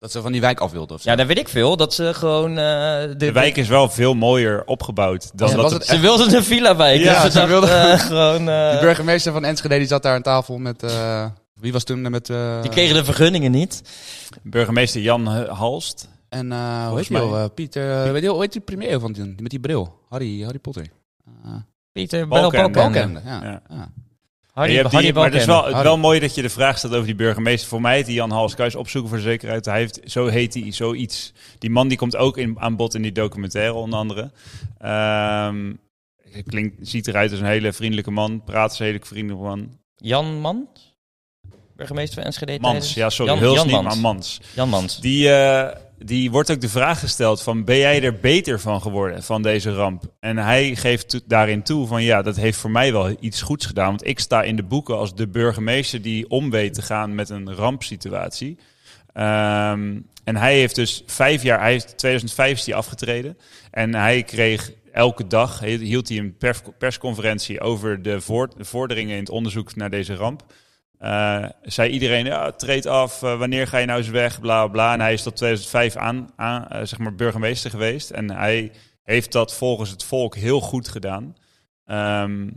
Dat ze van die wijk af wilden of zo. Ja, daar weet ik veel. Dat ze gewoon. eh, de, De wijk is wel veel mooier opgebouwd dan Was- dat was het het Ze wilden een villa-wijk. Ja, dus ze, ze dachten, wilden- eh, gewoon. eh, de burgemeester van Enschede die zat daar aan tafel met... eh, wie was toen er met... eh, die kregen de vergunningen niet. Burgemeester Jan H- Halst. En eh hoe Volgens heet die mij. al, eh, Pieter, eh, weet je, hoe heet die premier van toen? Die met die bril? Harry, Harry Potter. Eh Pieter Balkenende. Balkenende. Balkenende, ja. Ja. ja. Harry, je hebt Harry die, maar het is wel, Balkenende. het Harry. wel mooi dat je de vraag stelt over die burgemeester. Voor mij heet die Jan Hals. Kan je eens opzoeken voor de zekerheid. Hij heeft, zo heet hij, zoiets. Die man die komt ook in, aan bod in die documentaire, onder andere. Ehm, hij klinkt, ziet eruit als een hele vriendelijke man. Praat als een hele vriendelijke man. Jan Man? Burgemeester van Enschede. Mans, tijdens- ja, sorry. Jan- Huls Jan niet, Mans. maar Mans. Jan Mans. Die, eh, die wordt ook de vraag gesteld van, ben jij er beter van geworden van deze ramp? En hij geeft to- daarin toe van, ja, dat heeft voor mij wel iets goeds gedaan. Want ik sta in de boeken als de burgemeester die om weet te gaan met een rampsituatie. Ehm, en hij heeft dus vijf jaar, hij heeft 2005 is hij afgetreden. En hij kreeg elke dag, he- hield hij een perf- persconferentie over de voort- de vorderingen in het onderzoek naar deze ramp. Eh, zei iedereen, ja, treed af, eh, wanneer ga je nou eens weg, bla bla, bla. En hij is tot 2005 aan, aan eh, zeg maar burgemeester geweest. En hij heeft dat volgens het volk heel goed gedaan. Ehm,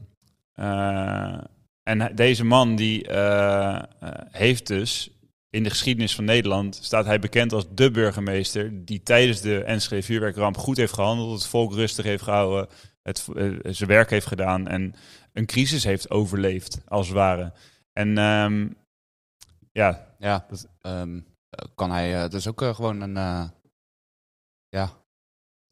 eh, en hij- deze man die eh, eh, heeft dus in de geschiedenis van Nederland staat hij bekend als de burgemeester die tijdens de Enschede vuurwerkramp goed heeft gehandeld, het volk rustig heeft gehouden, het, v- eh, zijn werk heeft gedaan en een crisis heeft overleefd als het ware. En ehm, ja, Ja, Dat- ehm, eh, kan hij... eh, dat is ook eh, gewoon een... eh, ja,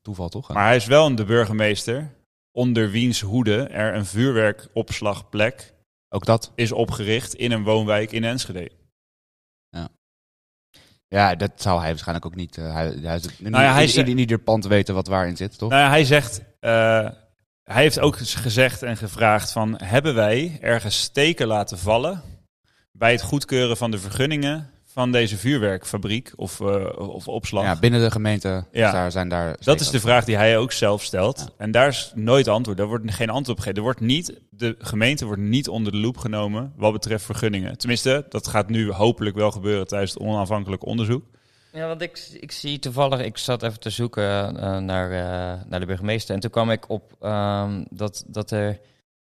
toeval toch? maar hij is wel een de burgemeester onder wiens hoede er een vuurwerkopslagplek ook dat. is opgericht in een woonwijk in Enschede. Ja, dat zou hij waarschijnlijk ook niet... eh, hij, hij is het, Nou ja, hij hij zei- in, in ieder pand weten wat waarin zit, toch? Nou ja, hij zegt. eh, hij heeft ook eens gezegd en gevraagd van... hebben wij ergens steken laten vallen... bij het goedkeuren van de vergunningen... van deze vuurwerkfabriek of, eh, of opslag? ja, binnen de gemeente Ja. daar zijn daar... Dus dat is de vraag die hij ook zelf stelt. Ja. En daar is nooit antwoord. Daar wordt geen antwoord op gegeven. Er wordt niet, de gemeente wordt niet onder de loep genomen... wat betreft vergunningen. Tenminste, dat gaat nu hopelijk wel gebeuren... tijdens het onafhankelijk onderzoek. Ja, want ik, ik zie toevallig, ik zat even te zoeken eh, naar, eh, naar de burgemeester. En toen kwam ik op ehm, dat, dat er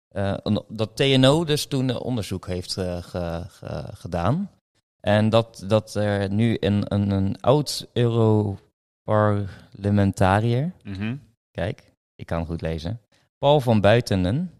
eh, eh, een- dat TNO dus toen eh, onderzoek heeft eh, ge- ge- gedaan. En dat, dat er nu een, een, een oud Europarlementariër, Mhm. kijk, ik kan goed lezen, Paul van Buitenen,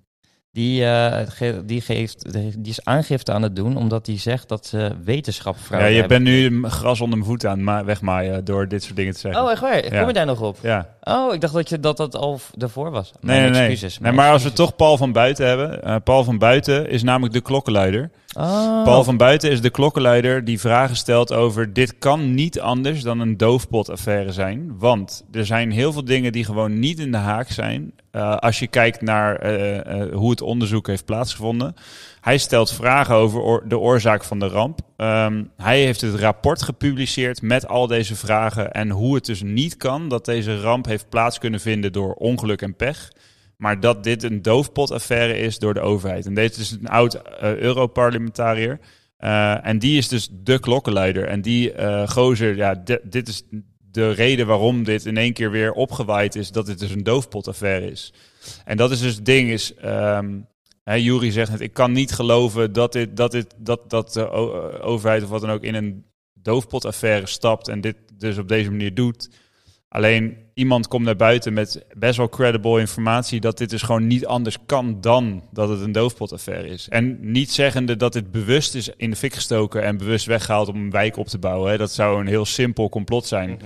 die, eh, ge- die, geeft, die is aangifte aan het doen omdat hij zegt dat ze wetenschap Ja, vrouwen je hebben. bent nu m- gras onder mijn voet aan het ma- wegmaaien door dit soort dingen te zeggen. Oh, echt waar? Ja. Kom je daar nog op? ja. Oh, ik dacht dat je, dat, dat al v- daarvoor was. Nee, Mijn nee, nee. excuses, nee. mijn Maar als we excuses. toch Paul van Buiten hebben. eh, Paul van Buiten is namelijk de klokkenluider. Oh. Paul van Buiten is de klokkenluider die vragen stelt over... dit kan niet anders dan een doofpotaffaire zijn. Want er zijn heel veel dingen die gewoon niet in de haak zijn... eh, als je kijkt naar eh, eh, hoe het onderzoek heeft plaatsgevonden. Hij stelt vragen over oor- de oorzaak van de ramp. Ehm, hij heeft het rapport gepubliceerd met al deze vragen... en hoe het dus niet kan dat deze ramp heeft plaats kunnen vinden... door ongeluk en pech. Maar dat dit een doofpotaffaire is door de overheid. En deze is een oud eh, Europarlementariër. Eh, en die is dus de klokkenluider. En die eh, gozer, ja, di- dit is de reden waarom dit in één keer weer opgewaaid is. Dat dit dus een doofpotaffaire is. En dat is dus het ding is... ehm hè, Jury zegt net, ik kan niet geloven dat, dit, dat, dit, dat, dat de o- eh, overheid of wat dan ook in een doofpotaffaire stapt en dit dus op deze manier doet. Alleen iemand komt naar buiten met best wel credible informatie dat dit dus gewoon niet anders kan dan dat het een doofpotaffaire is. En niet zeggende dat dit bewust is in de fik gestoken en bewust weggehaald om een wijk op te bouwen. Hè. Dat zou een heel simpel complot zijn.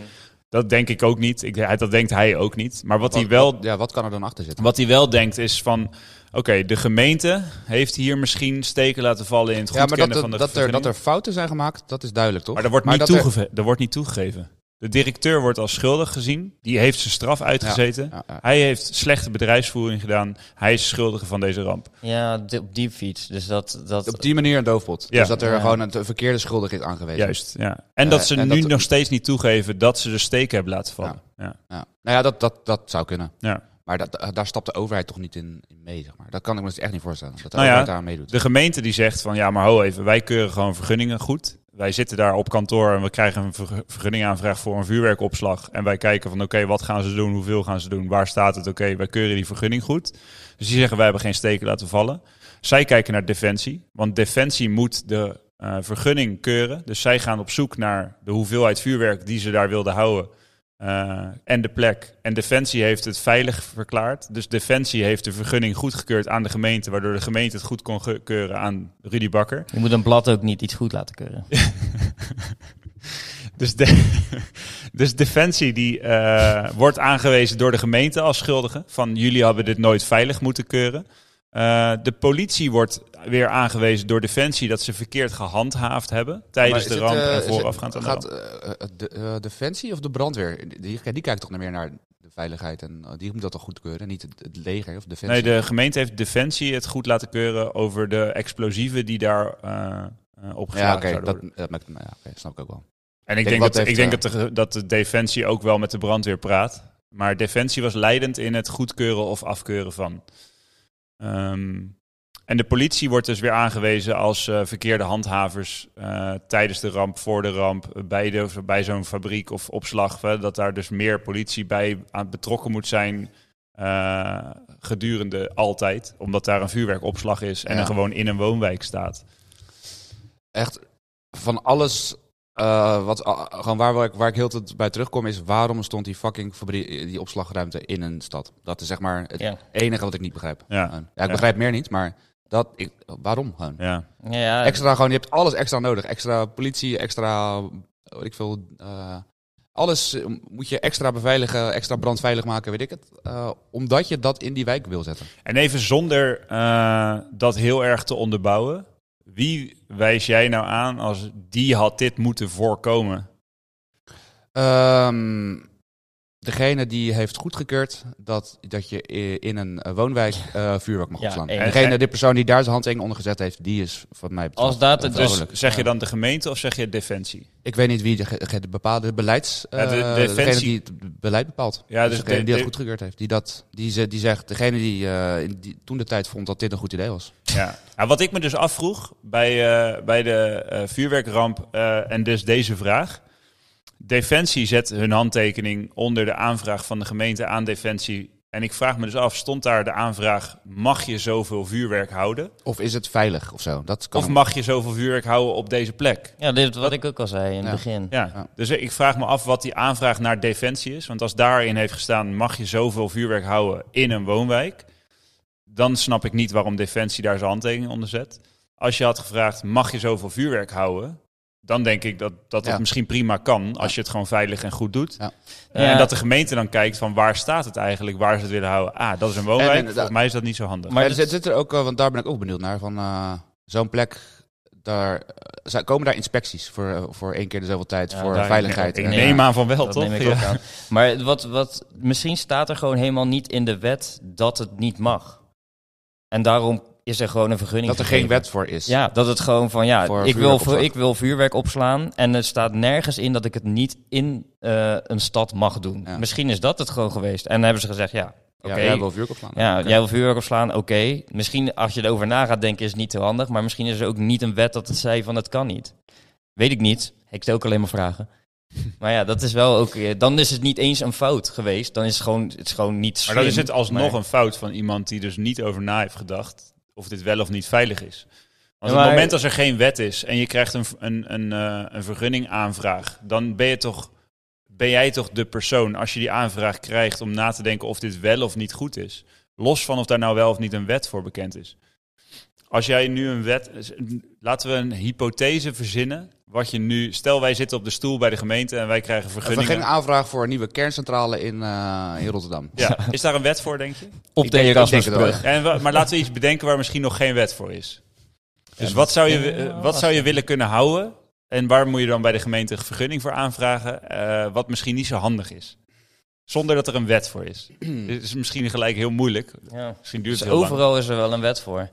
Dat denk ik ook niet. Ik, dat denkt hij ook niet. Maar wat hij wel Ja, wat kan er dan achter zitten? wat hij wel denkt is van... Oké, de gemeente heeft hier misschien steken laten vallen in het Ja, goedkennen maar dat, van de er- dat, er, dat vergunning. er fouten zijn gemaakt, dat is duidelijk, toch? Maar er wordt, niet dat er- toegeve- er wordt niet toegegeven. De directeur wordt als schuldig gezien. Die heeft zijn straf uitgezeten. Ja, ja. Hij heeft slechte bedrijfsvoering gedaan. Hij is schuldige van deze ramp. Ja, di- op die fiets. Dus dat... dat Op die manier een doofpot. Ja. Dus dat er Ja. gewoon een verkeerde schuldig is aangewezen. Juist, ja. En dat Eh, ze en nu dat- nog steeds niet toegeven dat ze de steken hebben laten vallen. Ja. Ja. Nou ja, dat, dat, dat zou kunnen. Ja. Maar dat, da- daar stapt de overheid toch niet in, in mee, zeg maar. Dat kan ik me dus echt niet voorstellen. Dat de Nou ja, overheid daar aan meedoet. De gemeente die zegt van ja, maar ho even, wij keuren gewoon vergunningen goed. Wij zitten daar op kantoor en we krijgen een verg- vergunningaanvraag voor een vuurwerkopslag. En wij kijken van oké, wat gaan ze doen, hoeveel gaan ze doen, waar staat het, oké, wij keuren die vergunning goed. Dus die zeggen wij hebben geen steken laten vallen. Zij kijken naar Defensie, want Defensie moet de eh, vergunning keuren. Dus zij gaan op zoek naar de hoeveelheid vuurwerk die ze daar wilden houden. eh, en de plek. En Defensie heeft het veilig verklaard. Dus Defensie heeft de vergunning goedgekeurd aan de gemeente, waardoor de gemeente het goed kon ge- keuren aan Rudy Bakker. Je moet een blad ook niet iets goed laten keuren. Dus, de, dus Defensie die, eh, wordt aangewezen door de gemeente als schuldige. Van jullie hebben dit nooit veilig moeten keuren. Eh, de politie wordt weer aangewezen door Defensie dat ze verkeerd gehandhaafd hebben tijdens de Maar is het, ramp eh, en is het- voorafgaand aan de ramp. Gaat eh, eh, de eh, Defensie of de brandweer? Die, die kijkt toch meer naar de veiligheid. En eh, die moet dat toch goedkeuren? Niet het, het leger of Defensie? Nee, de gemeente heeft Defensie het goed laten keuren over de explosieven die daar eh eh, opgeslagen Ja, oké. zouden dat, worden. dat maakt- nou ja, oké, snap ik ook wel. En ik Kijk, denk, wat dat, ik heeft, denk eh, dat, de, dat de Defensie ook wel met de brandweer praat. Maar Defensie was leidend in het goedkeuren of afkeuren van. Ehm, en de politie wordt dus weer aangewezen als eh, verkeerde handhavers eh, tijdens de ramp, voor de ramp, eh, bij, de, bij zo'n fabriek of opslag. hè, dat daar dus meer politie bij aan betrokken moet zijn eh, gedurende altijd. Omdat daar een vuurwerkopslag is en Ja. er gewoon in een woonwijk staat. Echt van alles... eh, wat, ah, gewoon waar, waar, ik, waar ik heel de tijd bij terugkom is... waarom stond die fucking fabrie- die opslagruimte in een stad? Dat is zeg maar het Ja. enige wat ik niet begrijp. Ja, Gewoon. Ja, ik begrijp meer niet, maar dat, ik, waarom gewoon? ja. Ja, ja, Extra gewoon, je hebt alles extra nodig. Extra politie, extra, eh, weet ik veel, eh, alles eh, moet je extra beveiligen, extra brandveilig maken, weet ik het. eh, omdat je dat in die wijk wil zetten. En even zonder eh, dat heel erg te onderbouwen. Wie wijs jij nou aan als die had dit moeten voorkomen? Ehm, degene die heeft goedgekeurd dat, dat je i- in een eh, woonwijk eh, vuurwerk mag Ja, opslaan. één. En degene, de persoon die daar zijn handtekening onder gezet heeft, die is van mij betreft. Als dat het Dus verantwoordelijk. zeg je dan de gemeente of zeg je defensie? Ik weet niet wie de, ge- de bepaalde beleids... eh Ja, de- de Degene defensie- die het beleid bepaalt. Ja, Ja, dus dus degene de- die dat de- goedgekeurd heeft. Die, dat, die, ze- die zegt, degene die, eh, in die toen de tijd vond dat dit een goed idee was. Ja. Nou, wat ik me dus afvroeg bij, eh, bij de eh, vuurwerkramp eh, en dus deze vraag. Defensie zet hun handtekening onder de aanvraag van de gemeente aan Defensie En ik vraag me dus af, stond daar de aanvraag, mag je zoveel vuurwerk houden? Of is het veilig of zo? Dat kan Of mag je zoveel vuurwerk houden op deze plek? Ja, dit is wat ik ook al zei in het Ja. begin. Ja, Ja. dus ik vraag me af wat die aanvraag naar Defensie is. Want als daarin heeft gestaan, mag je zoveel vuurwerk houden in een woonwijk? Dan snap ik niet waarom Defensie daar zijn handtekening onder zet. Als je had gevraagd, mag je zoveel vuurwerk houden? Dan denk ik dat dat, dat Ja. misschien prima kan, als je het gewoon veilig en goed doet. Ja. Eh, Ja. En dat de gemeente dan kijkt van waar staat het eigenlijk, waar ze het willen houden. Ah, dat is een woonwijk, En- en- volgens mij is dat niet zo handig. Maar Maar dat- zit, zit er ook, eh, want daar ben ik ook benieuwd naar, van eh, zo'n plek, daar, eh, zijn- komen daar inspecties voor, eh, voor één keer de zoveel tijd, Ja, voor Daar- veiligheid? Ik en- neem aan van wel, dat toch? neem ik Ja. ook aan. Maar wat, wat, misschien staat er gewoon helemaal niet in de wet dat het niet mag. En daarom is er gewoon een vergunning Dat er geen gegeven. wet voor is. Ja, dat het gewoon van ja, Voor ik wil, vuurwerkopslag. vu- ik wil vuurwerk opslaan. En het staat nergens in dat ik het niet in eh, een stad mag doen. Ja. Misschien is dat het gewoon geweest. En dan hebben ze gezegd, ja, Ja, oké. jij wil vuurwerk opslaan. Ja, Oké. jij wil vuurwerk opslaan, oké. Misschien als je erover na gaat denken is het niet zo handig. Maar misschien is er ook niet een wet dat het zei van dat kan niet. Weet ik niet. Ik stel ook alleen maar vragen. Maar ja, dat is wel ook... eh, Dan is het niet eens een fout geweest. Dan is het gewoon, het is gewoon niet Maar slim. dan is het alsnog maar- een fout van iemand die dus niet over na heeft gedacht of dit wel of niet veilig is. Want op Maar- het moment als er geen wet is en je krijgt een, v- een, een, eh, een vergunning aanvraag, dan ben, je toch, ben jij toch de persoon als je die aanvraag krijgt om na te denken of dit wel of niet goed is. Los van of daar nou wel of niet een wet voor bekend is. Als jij nu een wet. eh, Laten we een hypothese verzinnen. Wat je nu. Stel, wij zitten op de stoel bij de gemeente en wij krijgen Een vergunningen. vergunning aanvraag voor een nieuwe kerncentrale in, eh, in Rotterdam. Ja. Is daar een wet voor, denk je? op Ik de denk- ik denk het wel, Erasmusbrug. ja. En wa- maar laten we iets bedenken waar misschien nog geen wet voor is. Dus wat zou je, wi- eh, wat zou je willen kunnen houden? En waar moet je dan bij de gemeente een vergunning voor aanvragen? eh, wat misschien niet zo handig is. Zonder dat er een wet voor is. Het is misschien gelijk heel moeilijk. Ja. Misschien duurt Dus het heel lang. overal is er wel een wet voor.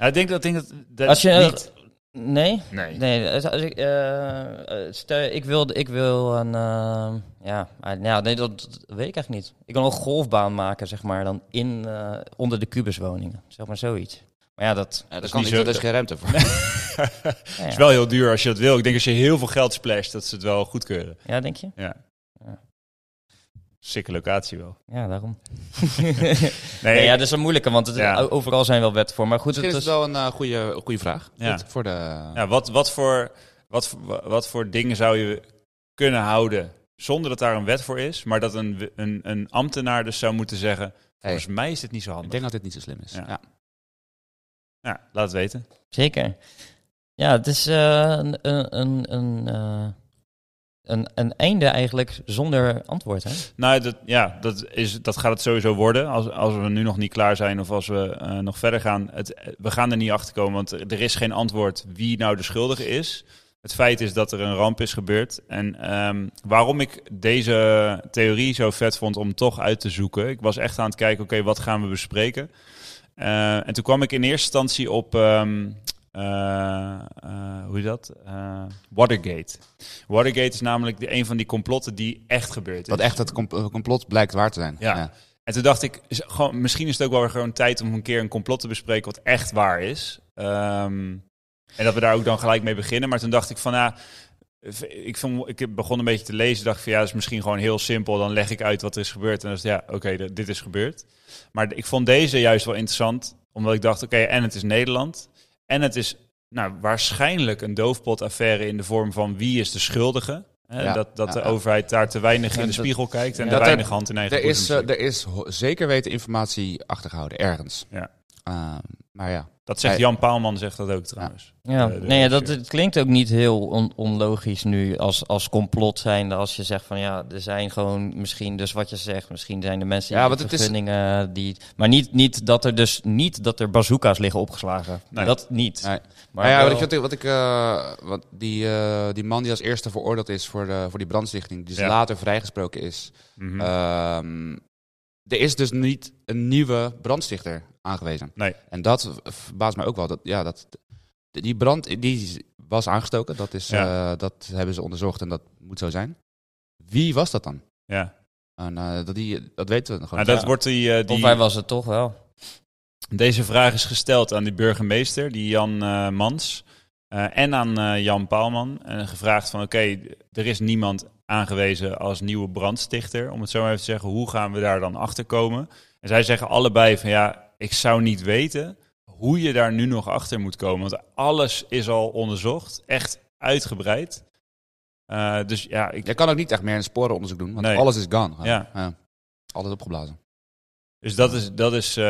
Ja, ik denk dat... ik Denk dat, dat Als je... niet. Nee? Nee. Nee, als als ik, eh, eh, stel, ik, wil, ik wil een... eh, ja, ah, nou, nee, dat, dat weet ik eigenlijk niet. Ik wil een golfbaan maken, zeg maar, dan in, eh, onder de kubuswoningen. Zeg maar zoiets. Maar ja, dat... Ja, dat, is kan niet niet, zo- want er is geen ruimte voor. nou Het ja. is wel heel duur als je dat wil. Ik denk als je heel veel geld splasht, dat ze het wel goedkeuren. ja, denk je? Ja. Ja. Sikke locatie wel. Ja, daarom. Nee, nee, ja, ik- dat is een moeilijke, want het, Ja. overal zijn wel wetten voor. Maar goed, het Misschien is het is... wel een eh, goede, goede vraag. Ja. Dit Voor de, Ja, wat, wat, voor, wat, voor- wat voor dingen zou je kunnen houden zonder dat daar een wet voor is, maar dat een, een, een ambtenaar dus zou moeten zeggen, volgens mij is dit niet zo ik handig. denk dat dit niet zo slim is. Ja. Ja. Ja, laat het weten. Zeker. Ja, het is eh, een, een, een, een, eh, een, een einde eigenlijk zonder antwoord, hè? Nou, dat, ja, dat, is, dat gaat het sowieso worden. Als, als we nu nog niet klaar zijn of als we eh, nog verder gaan. Het, eh, we gaan er niet achter komen, want er er is geen antwoord wie nou de schuldige is. Het feit is dat er een ramp is gebeurd. En ehm, waarom ik deze theorie zo vet vond om toch uit te zoeken. Ik was echt aan het kijken, oké, wat gaan we bespreken? Eh, en toen kwam ik in eerste instantie op, ehm, eh, eh, hoe is dat? Eh, Watergate. Watergate is namelijk de, een van die complotten die echt gebeurd is. Dat echt het comp- eh, complot blijkt waar te zijn. Ja. En toen dacht ik, is- gewoon, misschien is het ook wel weer gewoon tijd om een keer een complot te bespreken wat echt waar is. Ehm, en dat we daar ook dan gelijk mee beginnen. Maar toen dacht ik van, ja, v- ik, vond, ik begon een beetje te lezen. dacht ik van, ja, dat is misschien gewoon heel simpel. Dan leg ik uit wat er is gebeurd. En dan is het, ja, oké, d- dit is gebeurd. Maar d- ik vond deze juist wel interessant. Omdat ik dacht, oké, en het is Nederland. En het is nou, waarschijnlijk een doofpotaffaire in de vorm van wie is de schuldige. Hè, Ja, dat dat ja, de ja. overheid daar te weinig in Ja, de dat- spiegel kijkt en ja. te Dat er- weinig hand in eigen Er boezem is, eh, steekt. er is ho- zeker weten informatie achtergehouden, ergens. Ja. Ehm, maar ja, Dat zegt Hij- Jan Paalman, zegt dat ook trouwens. Ja, Eh, de nee, ja, dat regisseur. het klinkt ook niet heel on- onlogisch nu als, als complot zijnde. Als je zegt van ja, er zijn gewoon misschien dus wat je zegt. Misschien zijn de mensen Ja, ja, want die het is- vergunningen die... Maar niet, niet dat er dus niet dat er bazooka's liggen opgeslagen. Nee. Dat niet. Nee. Maar Nou ja, wel- wat ik, wat ik, wat ik, eh, wat die, eh, die man die als eerste veroordeeld is voor, de, voor die brandstichting, die dus Ja. later vrijgesproken is. Mhm. Ehm, er is dus niet een nieuwe brandstichter aangewezen. Nee. En dat verbaast mij ook wel. Dat, ja, dat, die brand die was aangestoken, dat, is, Ja. eh, dat hebben ze onderzocht en dat moet zo zijn. Wie was dat dan? ja. En, eh, dat, die, dat weten we nog Nou, gewoon. dat Ja. wordt die, eh, die, Of hij was het toch wel. Deze vraag is gesteld aan die burgemeester, die Jan eh, Mans. eh, en aan eh, Jan Paalman. En gevraagd van oké, er is niemand aangewezen als nieuwe brandstichter. Om het zo maar even te zeggen, hoe gaan we daar dan achter komen? En zij zeggen allebei van ja, ik zou niet weten hoe je daar nu nog achter moet komen. Want alles is al onderzocht, echt uitgebreid. Eh, dus ja, ik, Je kan ook niet echt meer een sporenonderzoek doen, want Nee. alles is gone. Ja. Alles opgeblazen. dus dat is, dat is eh,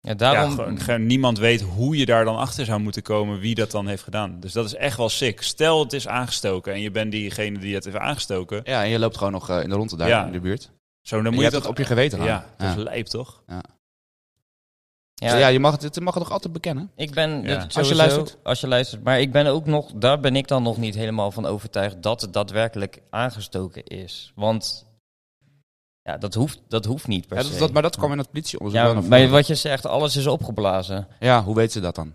Ja, Ja, daarom, gewoon, gewoon niemand weet hoe je daar dan achter zou moeten komen wie dat dan heeft gedaan. Dus dat is echt wel sick. Stel het is aangestoken en je bent diegene die het heeft aangestoken. Ja, en je loopt gewoon nog eh, in de rondte daar Ja. in de buurt. Zo, En dan moet je je hebt toch het op je geweten hangen. Ja, dat is lijp toch? Dus ja, Ja, je mag het, het mag het nog altijd bekennen. ik ben dit Ja. sowieso- Als je luistert. als je luistert, maar ik ben ook nog, daar ben ik dan nog niet helemaal van overtuigd dat het daadwerkelijk aangestoken is, want ja, dat hoeft, dat hoeft niet per Ja, se. dat, dat- maar dat kwam in het politieonderzoek. ja, wel naar maar voren. wat je zegt, alles is opgeblazen. ja, hoe weet ze dat dan?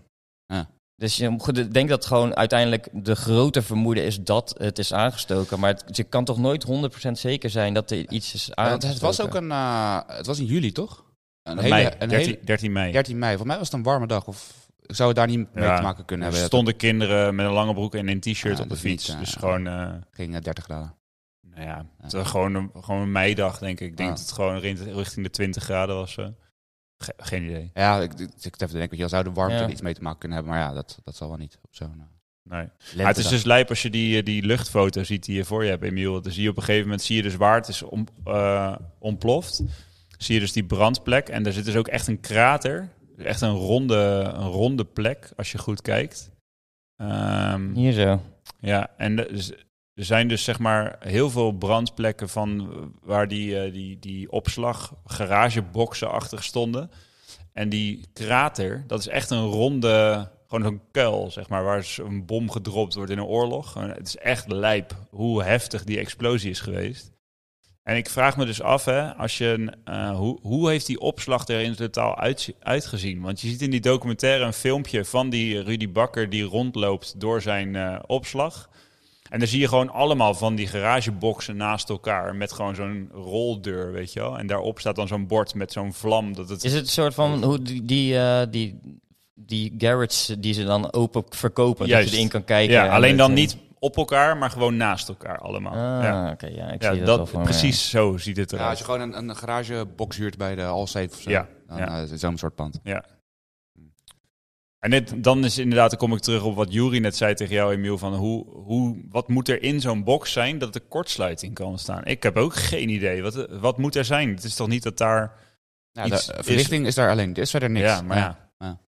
Dus je goed, ik denk dat gewoon uiteindelijk de grote vermoeden is dat het is aangestoken. Maar het, je kan toch nooit 100% zeker zijn dat er iets is Ah, Ja, aangestoken. want het was ook een, eh, het was in juli toch? Een mei, 13, hele 13 mei. 13 mei. Voor mij was het een warme dag. Of ik zou het daar niet mee Ja. te maken kunnen Er hebben. dat stonden kinderen met een lange broek en een t-shirt Ja, op de dat is fiets. niet, eh, dus gewoon, eh, het ging eh, 30 graden. nou ja, het was gewoon, een, gewoon een meidag denk ik. Ik denk Ah. dat het gewoon rin- richting de 20 graden was. eh. Ge- geen idee. Ja, ik, ik, ik denk dat je zou de warmte Ja. er iets mee te maken kunnen hebben. Maar ja, dat, dat zal wel niet. Op zo'n eh, Nee. Maar Ah, het lentedag. is dus lijp als je die, eh, die luchtfoto ziet die je voor je hebt, Emiel. Want Dan zie je op een gegeven moment, zie je dus waar het is om, eh, ontploft. Zie je dus die brandplek. En daar zit dus ook echt een krater. Echt een ronde, een ronde plek, als je goed kijkt. Ehm, Hier zo. ja, en de- dus- er zijn dus zeg maar heel veel brandplekken van eh, waar die, eh, die, die opslag garageboxen achter stonden. En die krater, dat is echt een ronde, gewoon zo'n kuil, zeg maar, waar z- een bom gedropt wordt in een oorlog. En Het is echt lijp hoe heftig die explosie is geweest. En ik vraag me dus af, hè, als je, een, eh, hoe, hoe heeft die opslag er in totaal uit, uitgezien? Want je ziet in die documentaire een filmpje van die Rudy Bakker die rondloopt door zijn eh, opslag. En dan zie je gewoon allemaal van die garageboxen naast elkaar met gewoon zo'n roldeur, weet je wel. En daarop staat dan zo'n bord met zo'n vlam. Dat het... Is het een soort van hoe die, die, eh, die, die garage die ze dan open verkopen, Juist. dat je erin kan kijken. ja, en alleen eh, dat dan je- niet op elkaar, maar gewoon naast elkaar allemaal. Ah, ja. oké, ja, ik Ja, zie dat, dat, wel voor me, precies zo ziet het Ja, als eruit. je gewoon een, een garagebox huurt bij de Allsafe of zo. Ja, Dan, ja. eh, zo'n soort pand. En dit, dan is inderdaad, dan kom ik terug op wat Jury net zei tegen jou, Emiel, van hoe, hoe, wat moet er in zo'n box zijn dat er kortsluiting kan ontstaan? Ik heb ook geen idee. Wat, wat moet er zijn? Het is toch niet dat daar... Ja, Iets de is- verlichting is, daar alleen. Er is verder niks. ja, maar ja. ja.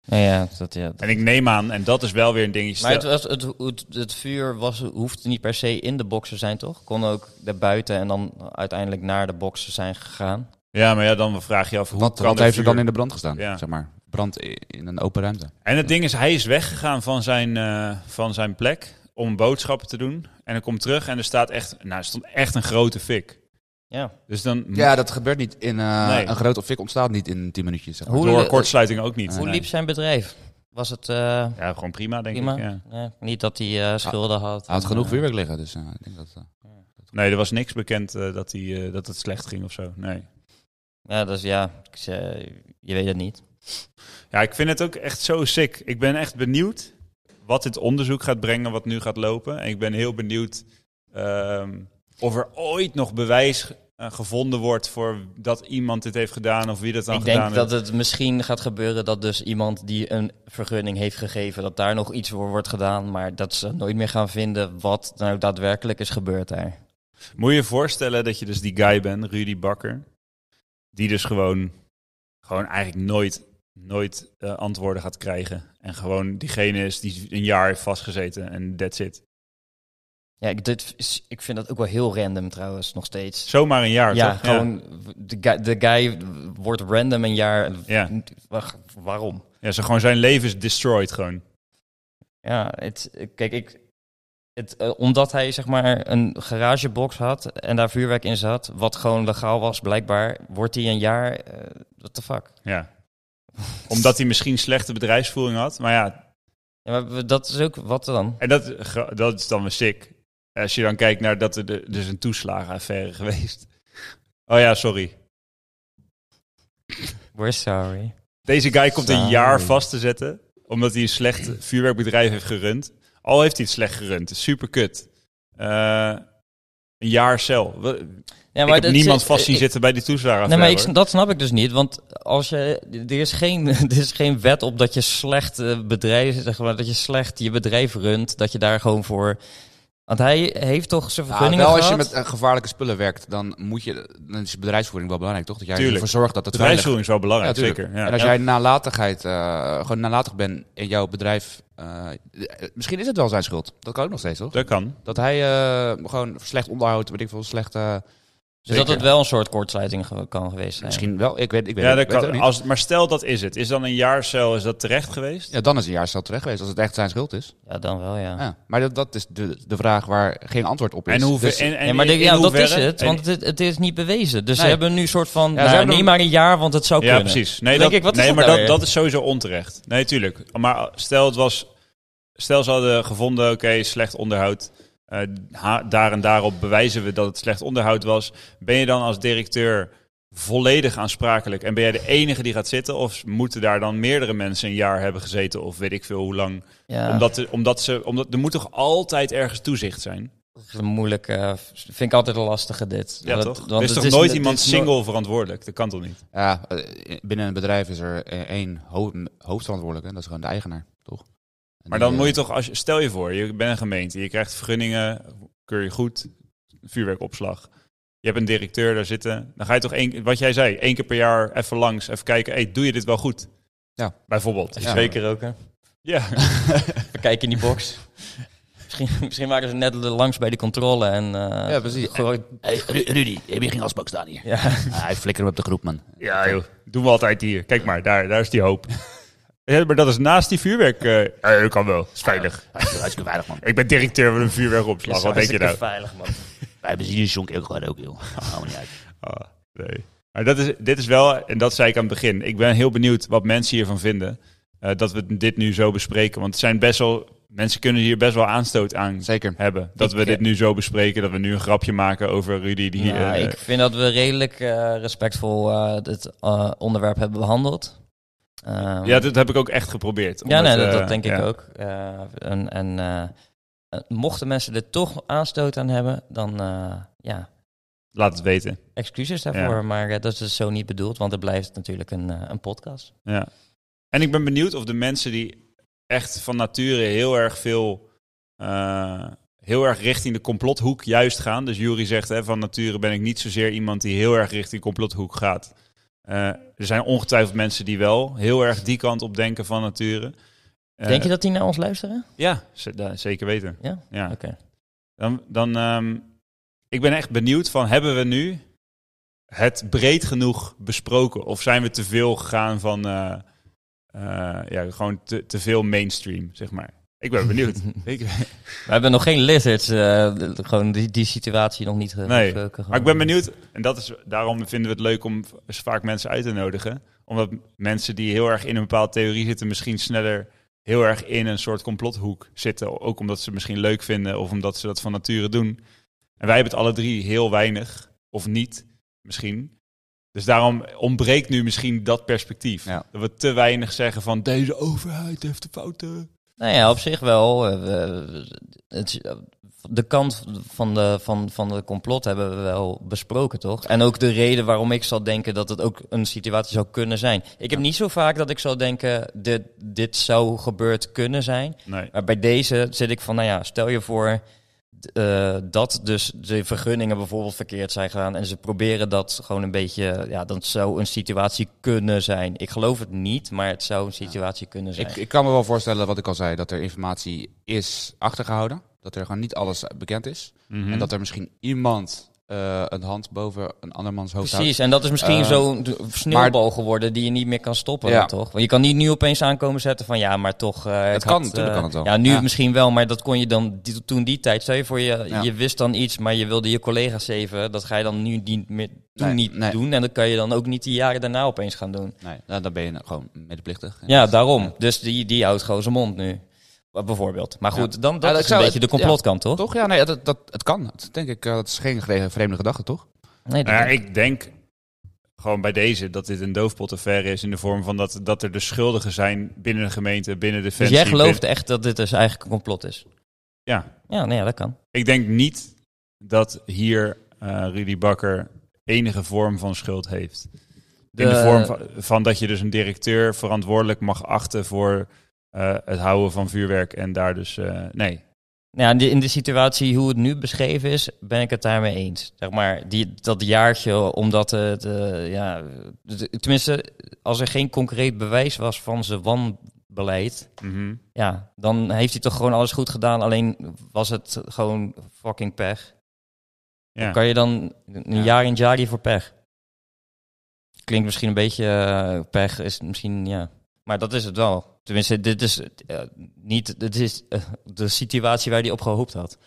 Ja, ja, dat, ja, dat- En ik neem aan, en dat is wel weer een dingetje. Maar het, stel- was, het, het, het vuur was, hoeft niet per se in de box te zijn, toch? Kon ook daarbuiten en dan uiteindelijk naar de boxen zijn gegaan. ja, maar ja, dan vraag je je af, hoe Wat, kan wat er heeft er vuur- dan in de brand gestaan? Ja. Zeg maar, brand i- in een open ruimte. En het ding is, hij is weggegaan van zijn, eh, van zijn plek om boodschappen te doen. En hij komt terug en er staat echt, nou, er stond echt een grote fik. Ja. Dus dan Ja, dat gebeurt niet in eh, Nee. een groot fik ontstaat niet in 10 minuutjes. Zeg maar. Hoe- door eh, kortsluiting ook niet. Hoe Ah, Nee. liep zijn bedrijf? Was het eh, Ja, gewoon prima, denk prima? ik. Ja. Nee, niet dat hij eh, schulden had. Hij had En, genoeg eh, vuurwerk liggen, dus eh, ik denk dat. eh, Nee, er was niks bekend eh, dat, hij, eh, dat het slecht ging of zo. Nee. Ja, dus ja, ik zei, je weet het niet. Ja, ik vind het ook echt zo sick. Ik ben echt benieuwd wat dit onderzoek gaat brengen, wat nu gaat lopen. En ik ben heel benieuwd ehm, of er ooit nog bewijs eh, gevonden wordt voor dat iemand dit heeft gedaan of wie dat dan ik gedaan denk dat heeft. het misschien gaat gebeuren dat dus iemand die een vergunning heeft gegeven, dat daar nog iets voor wordt gedaan, maar dat ze nooit meer gaan vinden wat nou daadwerkelijk is gebeurd daar. Moet je je voorstellen dat je dus die guy bent, Rudy Bakker, die dus gewoon, gewoon eigenlijk nooit, nooit eh, antwoorden gaat krijgen. En gewoon diegene is die een jaar heeft vastgezeten en that's it. Ja, ik, dit is- ik vind dat ook wel heel random trouwens, nog steeds. Zomaar een jaar, Ja, toch? gewoon, De, guy, de guy wordt random een jaar. Ja. Wa- Waarom? Ja, zo gewoon zijn leven is destroyed gewoon. Ja, het, kijk, ik, het, eh, omdat hij zeg maar een garagebox had en daar vuurwerk in zat, wat gewoon legaal was blijkbaar, wordt hij een jaar, eh what the fuck? Ja. Omdat hij misschien slechte bedrijfsvoering had. Maar ja, Ja, maar we- dat is ook, wat dan? en dat, ge- dat is dan weer sick. Als je dan kijkt naar dat er de- dus een toeslagenaffaire geweest. Oh ja, sorry. We're sorry. Deze guy komt een Saai. jaar vast te zetten. Omdat hij een slecht vuurwerkbedrijf heeft gerund. Al heeft hij het slecht gerund. Super kut. Eh, Een jaar cel. We- Ja, ik heb dat- niemand eh, vast zien eh, zitten bij die toeslagen. Nee, maar ik, dat snap ik dus niet. Want als je, er, is geen, er is geen wet op dat je slecht eh, bedrijf, zeg maar, dat je slecht je bedrijf runt. Dat je daar gewoon voor. Want hij heeft toch zijn Ja, vergunningen wel als je gehad? met eh, gevaarlijke spullen werkt, dan, moet je, dan is bedrijfsvoering wel belangrijk, toch? Dat jij Tuurlijk. ervoor zorgt dat het veilig Bedrijfsvoering is wel belangrijk, Ja, tuurlijk. zeker. Ja. en als Ja. jij nalatigheid, eh, gewoon nalatig bent in jouw bedrijf, eh, eh, misschien is het wel zijn schuld. Dat kan ook nog steeds, toch? Dat kan. Dat hij eh, gewoon slecht onderhoud, weet ik veel, slecht... eh, dus zeker. dat het wel een soort kortsluiting ge- kan geweest zijn. Misschien wel, ik weet, ik weet, Ja, ik dat weet het ook kan. niet. Als, maar stel dat is het. Is dan een jaar cel, is dat terecht geweest? Ja, dan is een jaarstel terecht geweest, als het echt zijn schuld is. Ja, dan wel, ja. Ja. Maar dat, dat is de, de vraag waar geen antwoord op is. En hoeveel... Dus- en, en ja, maar in- de- in ja, dat hoeverre? is het, En- want het, het is niet bewezen. Dus Nee. ze hebben nu een soort van, ze nou, hebben neem hem- maar een jaar, want het zou Ja, kunnen. precies. Nee, Dan dat, denk ik, wat is nee dat maar nou dat, weer? dat is sowieso onterecht. Nee, tuurlijk. Maar stel het was... Stel ze hadden gevonden, oké, slecht onderhoud. eh, ha- daar en daarop bewijzen we dat het slecht onderhoud was. Ben je dan als directeur volledig aansprakelijk? En ben jij de enige die gaat zitten? Of moeten daar dan meerdere mensen een jaar hebben gezeten? Of weet ik veel hoe lang? Ja, Omdat, er- omdat ze... Omdat, er moet toch altijd ergens toezicht zijn? dat is een moeilijke, vind ik altijd een lastige dit. Ja, Want het- toch? want er is het toch nooit het iemand is no- single verantwoordelijk? Dat kan toch niet? ja, eh, binnen een bedrijf is er eh, één ho- hoofdverantwoordelijke, en dat is gewoon de eigenaar, toch? En Maar die, dan moet je eh, toch, als je, stel je voor, je bent een gemeente, je krijgt vergunningen, keur je goed, vuurwerkopslag. Je hebt een directeur daar zitten. Dan ga je toch, één, wat jij zei, één keer per jaar even langs, even kijken, hey, doe je dit wel goed? Ja. Bijvoorbeeld. Ja. Zeker ook, hè? Ja. We kijken in die box. misschien, misschien waren ze net langs bij de controle en... eh, Ja, precies. gewoon- Hey, Ru- Rudy, heb je geen asbak staan hier? ja. Ah, hij flikker hem op de groep, man. ja, joh. Doen we altijd hier. Kijk maar, daar, daar is die hoop. Ja, maar dat is naast die vuurwerk. eh, eh, kan wel, is veilig. Hartstikke hartstikke veilig, man. Ik ben directeur van een vuurwerkopslag, wat denk je nou? veilig, man. Wij hebben hier zonk ook gewoon ook, joh. Hou me niet uit. Ah, nee. Maar dat is, dit is wel, en dat zei ik aan het begin. Ik ben heel benieuwd wat mensen hiervan vinden. eh, dat we dit nu zo bespreken. Want het zijn best wel, mensen kunnen hier best wel aanstoot aan Zeker. hebben. Dat Ik, we eh, dit nu zo bespreken. Dat we nu een grapje maken over Rudy. Die, Nou, eh, ik vind dat we redelijk eh, respectvol eh, het eh, onderwerp hebben behandeld. Ehm, ja, dat heb ik ook echt geprobeerd. ja, nee, omdat, dat, eh, dat denk ik ja. ook. Eh, en en eh, eh, mochten mensen er toch aanstoot aan hebben, dan eh, ja, Laat het weten. excuses daarvoor. Ja. Maar eh, dat is dus zo niet bedoeld, want het blijft natuurlijk een, eh, een podcast. Ja. En ik ben benieuwd of de mensen die echt van nature heel erg veel. eh, heel erg richting de complothoek juist gaan. Dus Jury zegt hè, van nature ben ik niet zozeer iemand die heel erg richting complothoek gaat. Eh, er zijn ongetwijfeld mensen die wel heel erg die kant op denken van nature. Eh, Denk je dat die naar ons luisteren? Ja, z- da- zeker weten. Ja? ja. Oké. Dan, dan ehm, ik ben echt benieuwd van hebben we nu het breed genoeg besproken of zijn we te veel gegaan van eh, eh, ja, gewoon te, te veel mainstream zeg maar. Ik ben benieuwd. ik, We hebben nog geen lizards, eh, d- gewoon die, die situatie nog eh, niet ge- Nee, ge- ge- maar ik ben benieuwd en dat is daarom vinden we het leuk om v- vaak mensen uit te nodigen, omdat mensen die heel erg in een bepaalde theorie zitten misschien sneller heel erg in een soort complothoek zitten, ook omdat ze het misschien leuk vinden of omdat ze dat van nature doen. En wij hebben het alle drie heel weinig, of niet, misschien. Dus daarom ontbreekt nu misschien dat perspectief. Ja. Dat we te weinig zeggen van deze overheid heeft de fouten. Nou ja, op zich wel. Eh, we- het is- eh, de kant van de, van, van de complot hebben we wel besproken, toch? En ook de reden waarom ik zal denken dat het ook een situatie zou kunnen zijn. Ik heb niet zo vaak dat ik zou denken, dit, dit zou gebeurd kunnen zijn. Nee. Maar bij deze zit ik van, nou ja, stel je voor d- eh, dat dus de vergunningen bijvoorbeeld verkeerd zijn gedaan en ze proberen dat gewoon een beetje, ja, dat zou een situatie kunnen zijn. Ik geloof het niet, maar het zou een situatie kunnen zijn. Ik, ik kan me wel voorstellen, wat ik al zei, dat er informatie is achtergehouden. Dat er gewoon niet alles bekend is. Mhm. En dat er misschien iemand eh, een hand boven een andermans hoofd houdt. Precies, en dat is misschien Eh, zo'n d- sneeuwbal geworden die je niet meer kan stoppen, Ja. toch? Want je kan niet nu opeens aankomen zetten van ja, maar toch... eh, het kan, had, natuurlijk eh, kan het wel. Ja, nu Ja. misschien wel, maar dat kon je dan die- toen die tijd. Stel je voor, je, Ja. je wist dan iets, maar je wilde je collega's zeven. Dat ga je dan nu niet meer, toen Nee, niet nee. doen en dat kan je dan ook niet die jaren daarna opeens gaan doen. Nee, nou, dan ben je gewoon medeplichtig. Ja, daarom. Dus die, die houdt gewoon zijn mond nu, B- bijvoorbeeld. Maar goed, dan, dat Ja, dat is een zou- beetje de ja. complotkant, toch? Toch? Ja, nee, dat, dat, het kan. Het, denk ik, eh, dat is geen gre- vreemde gedachte, toch? Nee, dat- Nou ja, ik denk gewoon bij deze dat dit een doofpotaffaire is in de vorm van dat, dat er de schuldigen zijn binnen de gemeente, binnen de dus jij gelooft echt dat dit dus eigenlijk een complot is? Ja. Ja, nee, ja, dat kan. Ik denk niet dat hier eh Rudy Bakker enige vorm van schuld heeft. De- In de vorm van, van dat je dus een directeur verantwoordelijk mag achten voor eh, het houden van vuurwerk en daar dus... eh, nee, Nou, ja, in de- in de situatie hoe het nu beschreven is, ben ik het daarmee eens. Zeg maar, die, dat jaartje, omdat het, eh, ja, het- tenminste, als er geen concreet bewijs was van zijn wanbeleid, Mhm. ja, dan heeft hij toch gewoon alles goed gedaan. Alleen was het gewoon fucking pech. ja. Kan je dan een Ja. jaar in Jari voor pech? Klinkt misschien een beetje eh, pech, is misschien ja. Maar dat is het wel. Tenminste, dit is eh, niet dit is, eh, de situatie waar hij op gehoopt had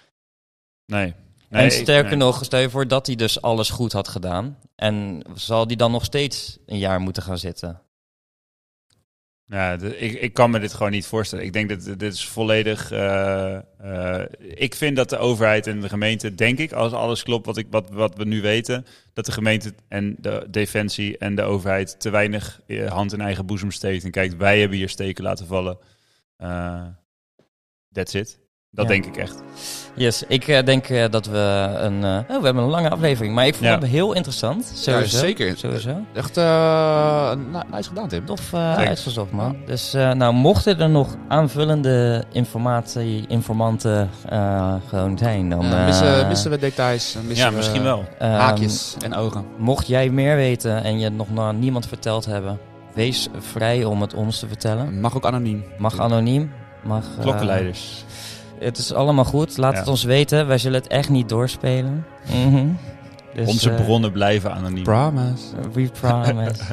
nee. en Nee, sterker nee. nog, stel je voor dat hij dus alles goed had gedaan. En zal die dan nog steeds een jaar moeten gaan zitten? Ja, de- ik, ik kan me dit gewoon niet voorstellen. Ik denk dat dit- dit is volledig. eh, eh, ik vind dat de overheid en de gemeente, denk ik, als alles klopt wat, ik, wat, wat we nu weten, dat de gemeente en de defensie en de overheid te weinig eh, hand in eigen boezem steekt. En kijkt, wij hebben hier steken laten vallen. Eh that's it. Dat Ja. denk ik echt. Yes, ik eh, denk eh, dat we een... eh, oh, we hebben een lange aflevering, maar ik vond Ja. hem heel interessant. Sowieso. zeker. Sowieso. Echt eh, nou, nice gedaan, Tim. Tof eh, Zeker. uitgezocht, man. Dus eh, nou, mochten er nog aanvullende informatie, informanten eh, gewoon zijn, dan... Eh, missen, eh, missen we details? Missen Ja, we misschien wel. ehm, Haakjes en ogen. Mocht jij meer weten en je het nog naar niemand verteld hebben, wees vrij om het ons te vertellen. eh, Mag ook anoniem. Mag anoniem. Mag, eh, Klokkenleiders. het is allemaal goed. Laat Ja. het ons weten. Wij zullen het echt niet doorspelen. Mhm. Dus, Onze eh, bronnen blijven anoniem. Promise. we promise.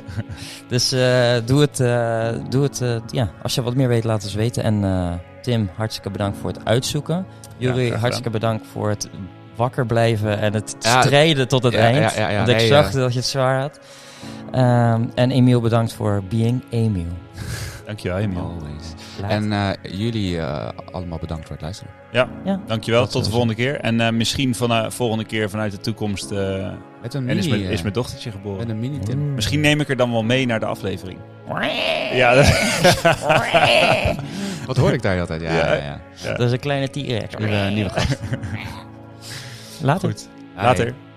dus eh, doe het. eh, doe het eh, ja. Als je wat meer weet, laat ons weten. En eh, Tim, hartstikke bedankt voor het uitzoeken. graag Jullie, gedaan. hartstikke bedankt voor het wakker blijven en het Ja, strijden tot het ja, eind. ja, ja, ja. Want ik Nee, zag eh. dat je het zwaar had. Ehm, en Emiel, bedankt voor being Emiel. Dankjewel, Emiel. Always. Later. En eh, jullie eh, allemaal bedankt voor het luisteren. ja. Dankjewel, Dat tot sowieso. de volgende keer. En eh, misschien van de volgende keer vanuit de toekomst. eh, Met een en mini. is mijn, is eh, mijn dochtertje geboren. met een mini, Tim. Misschien neem ik er dan wel mee naar de aflevering. Ja, dat- Wat hoor ik daar altijd? Ja, Ja. ja. ja, Dat is een kleine T-Rex. Nieuwe, nieuwe gast. Later. goed. Later. Hey.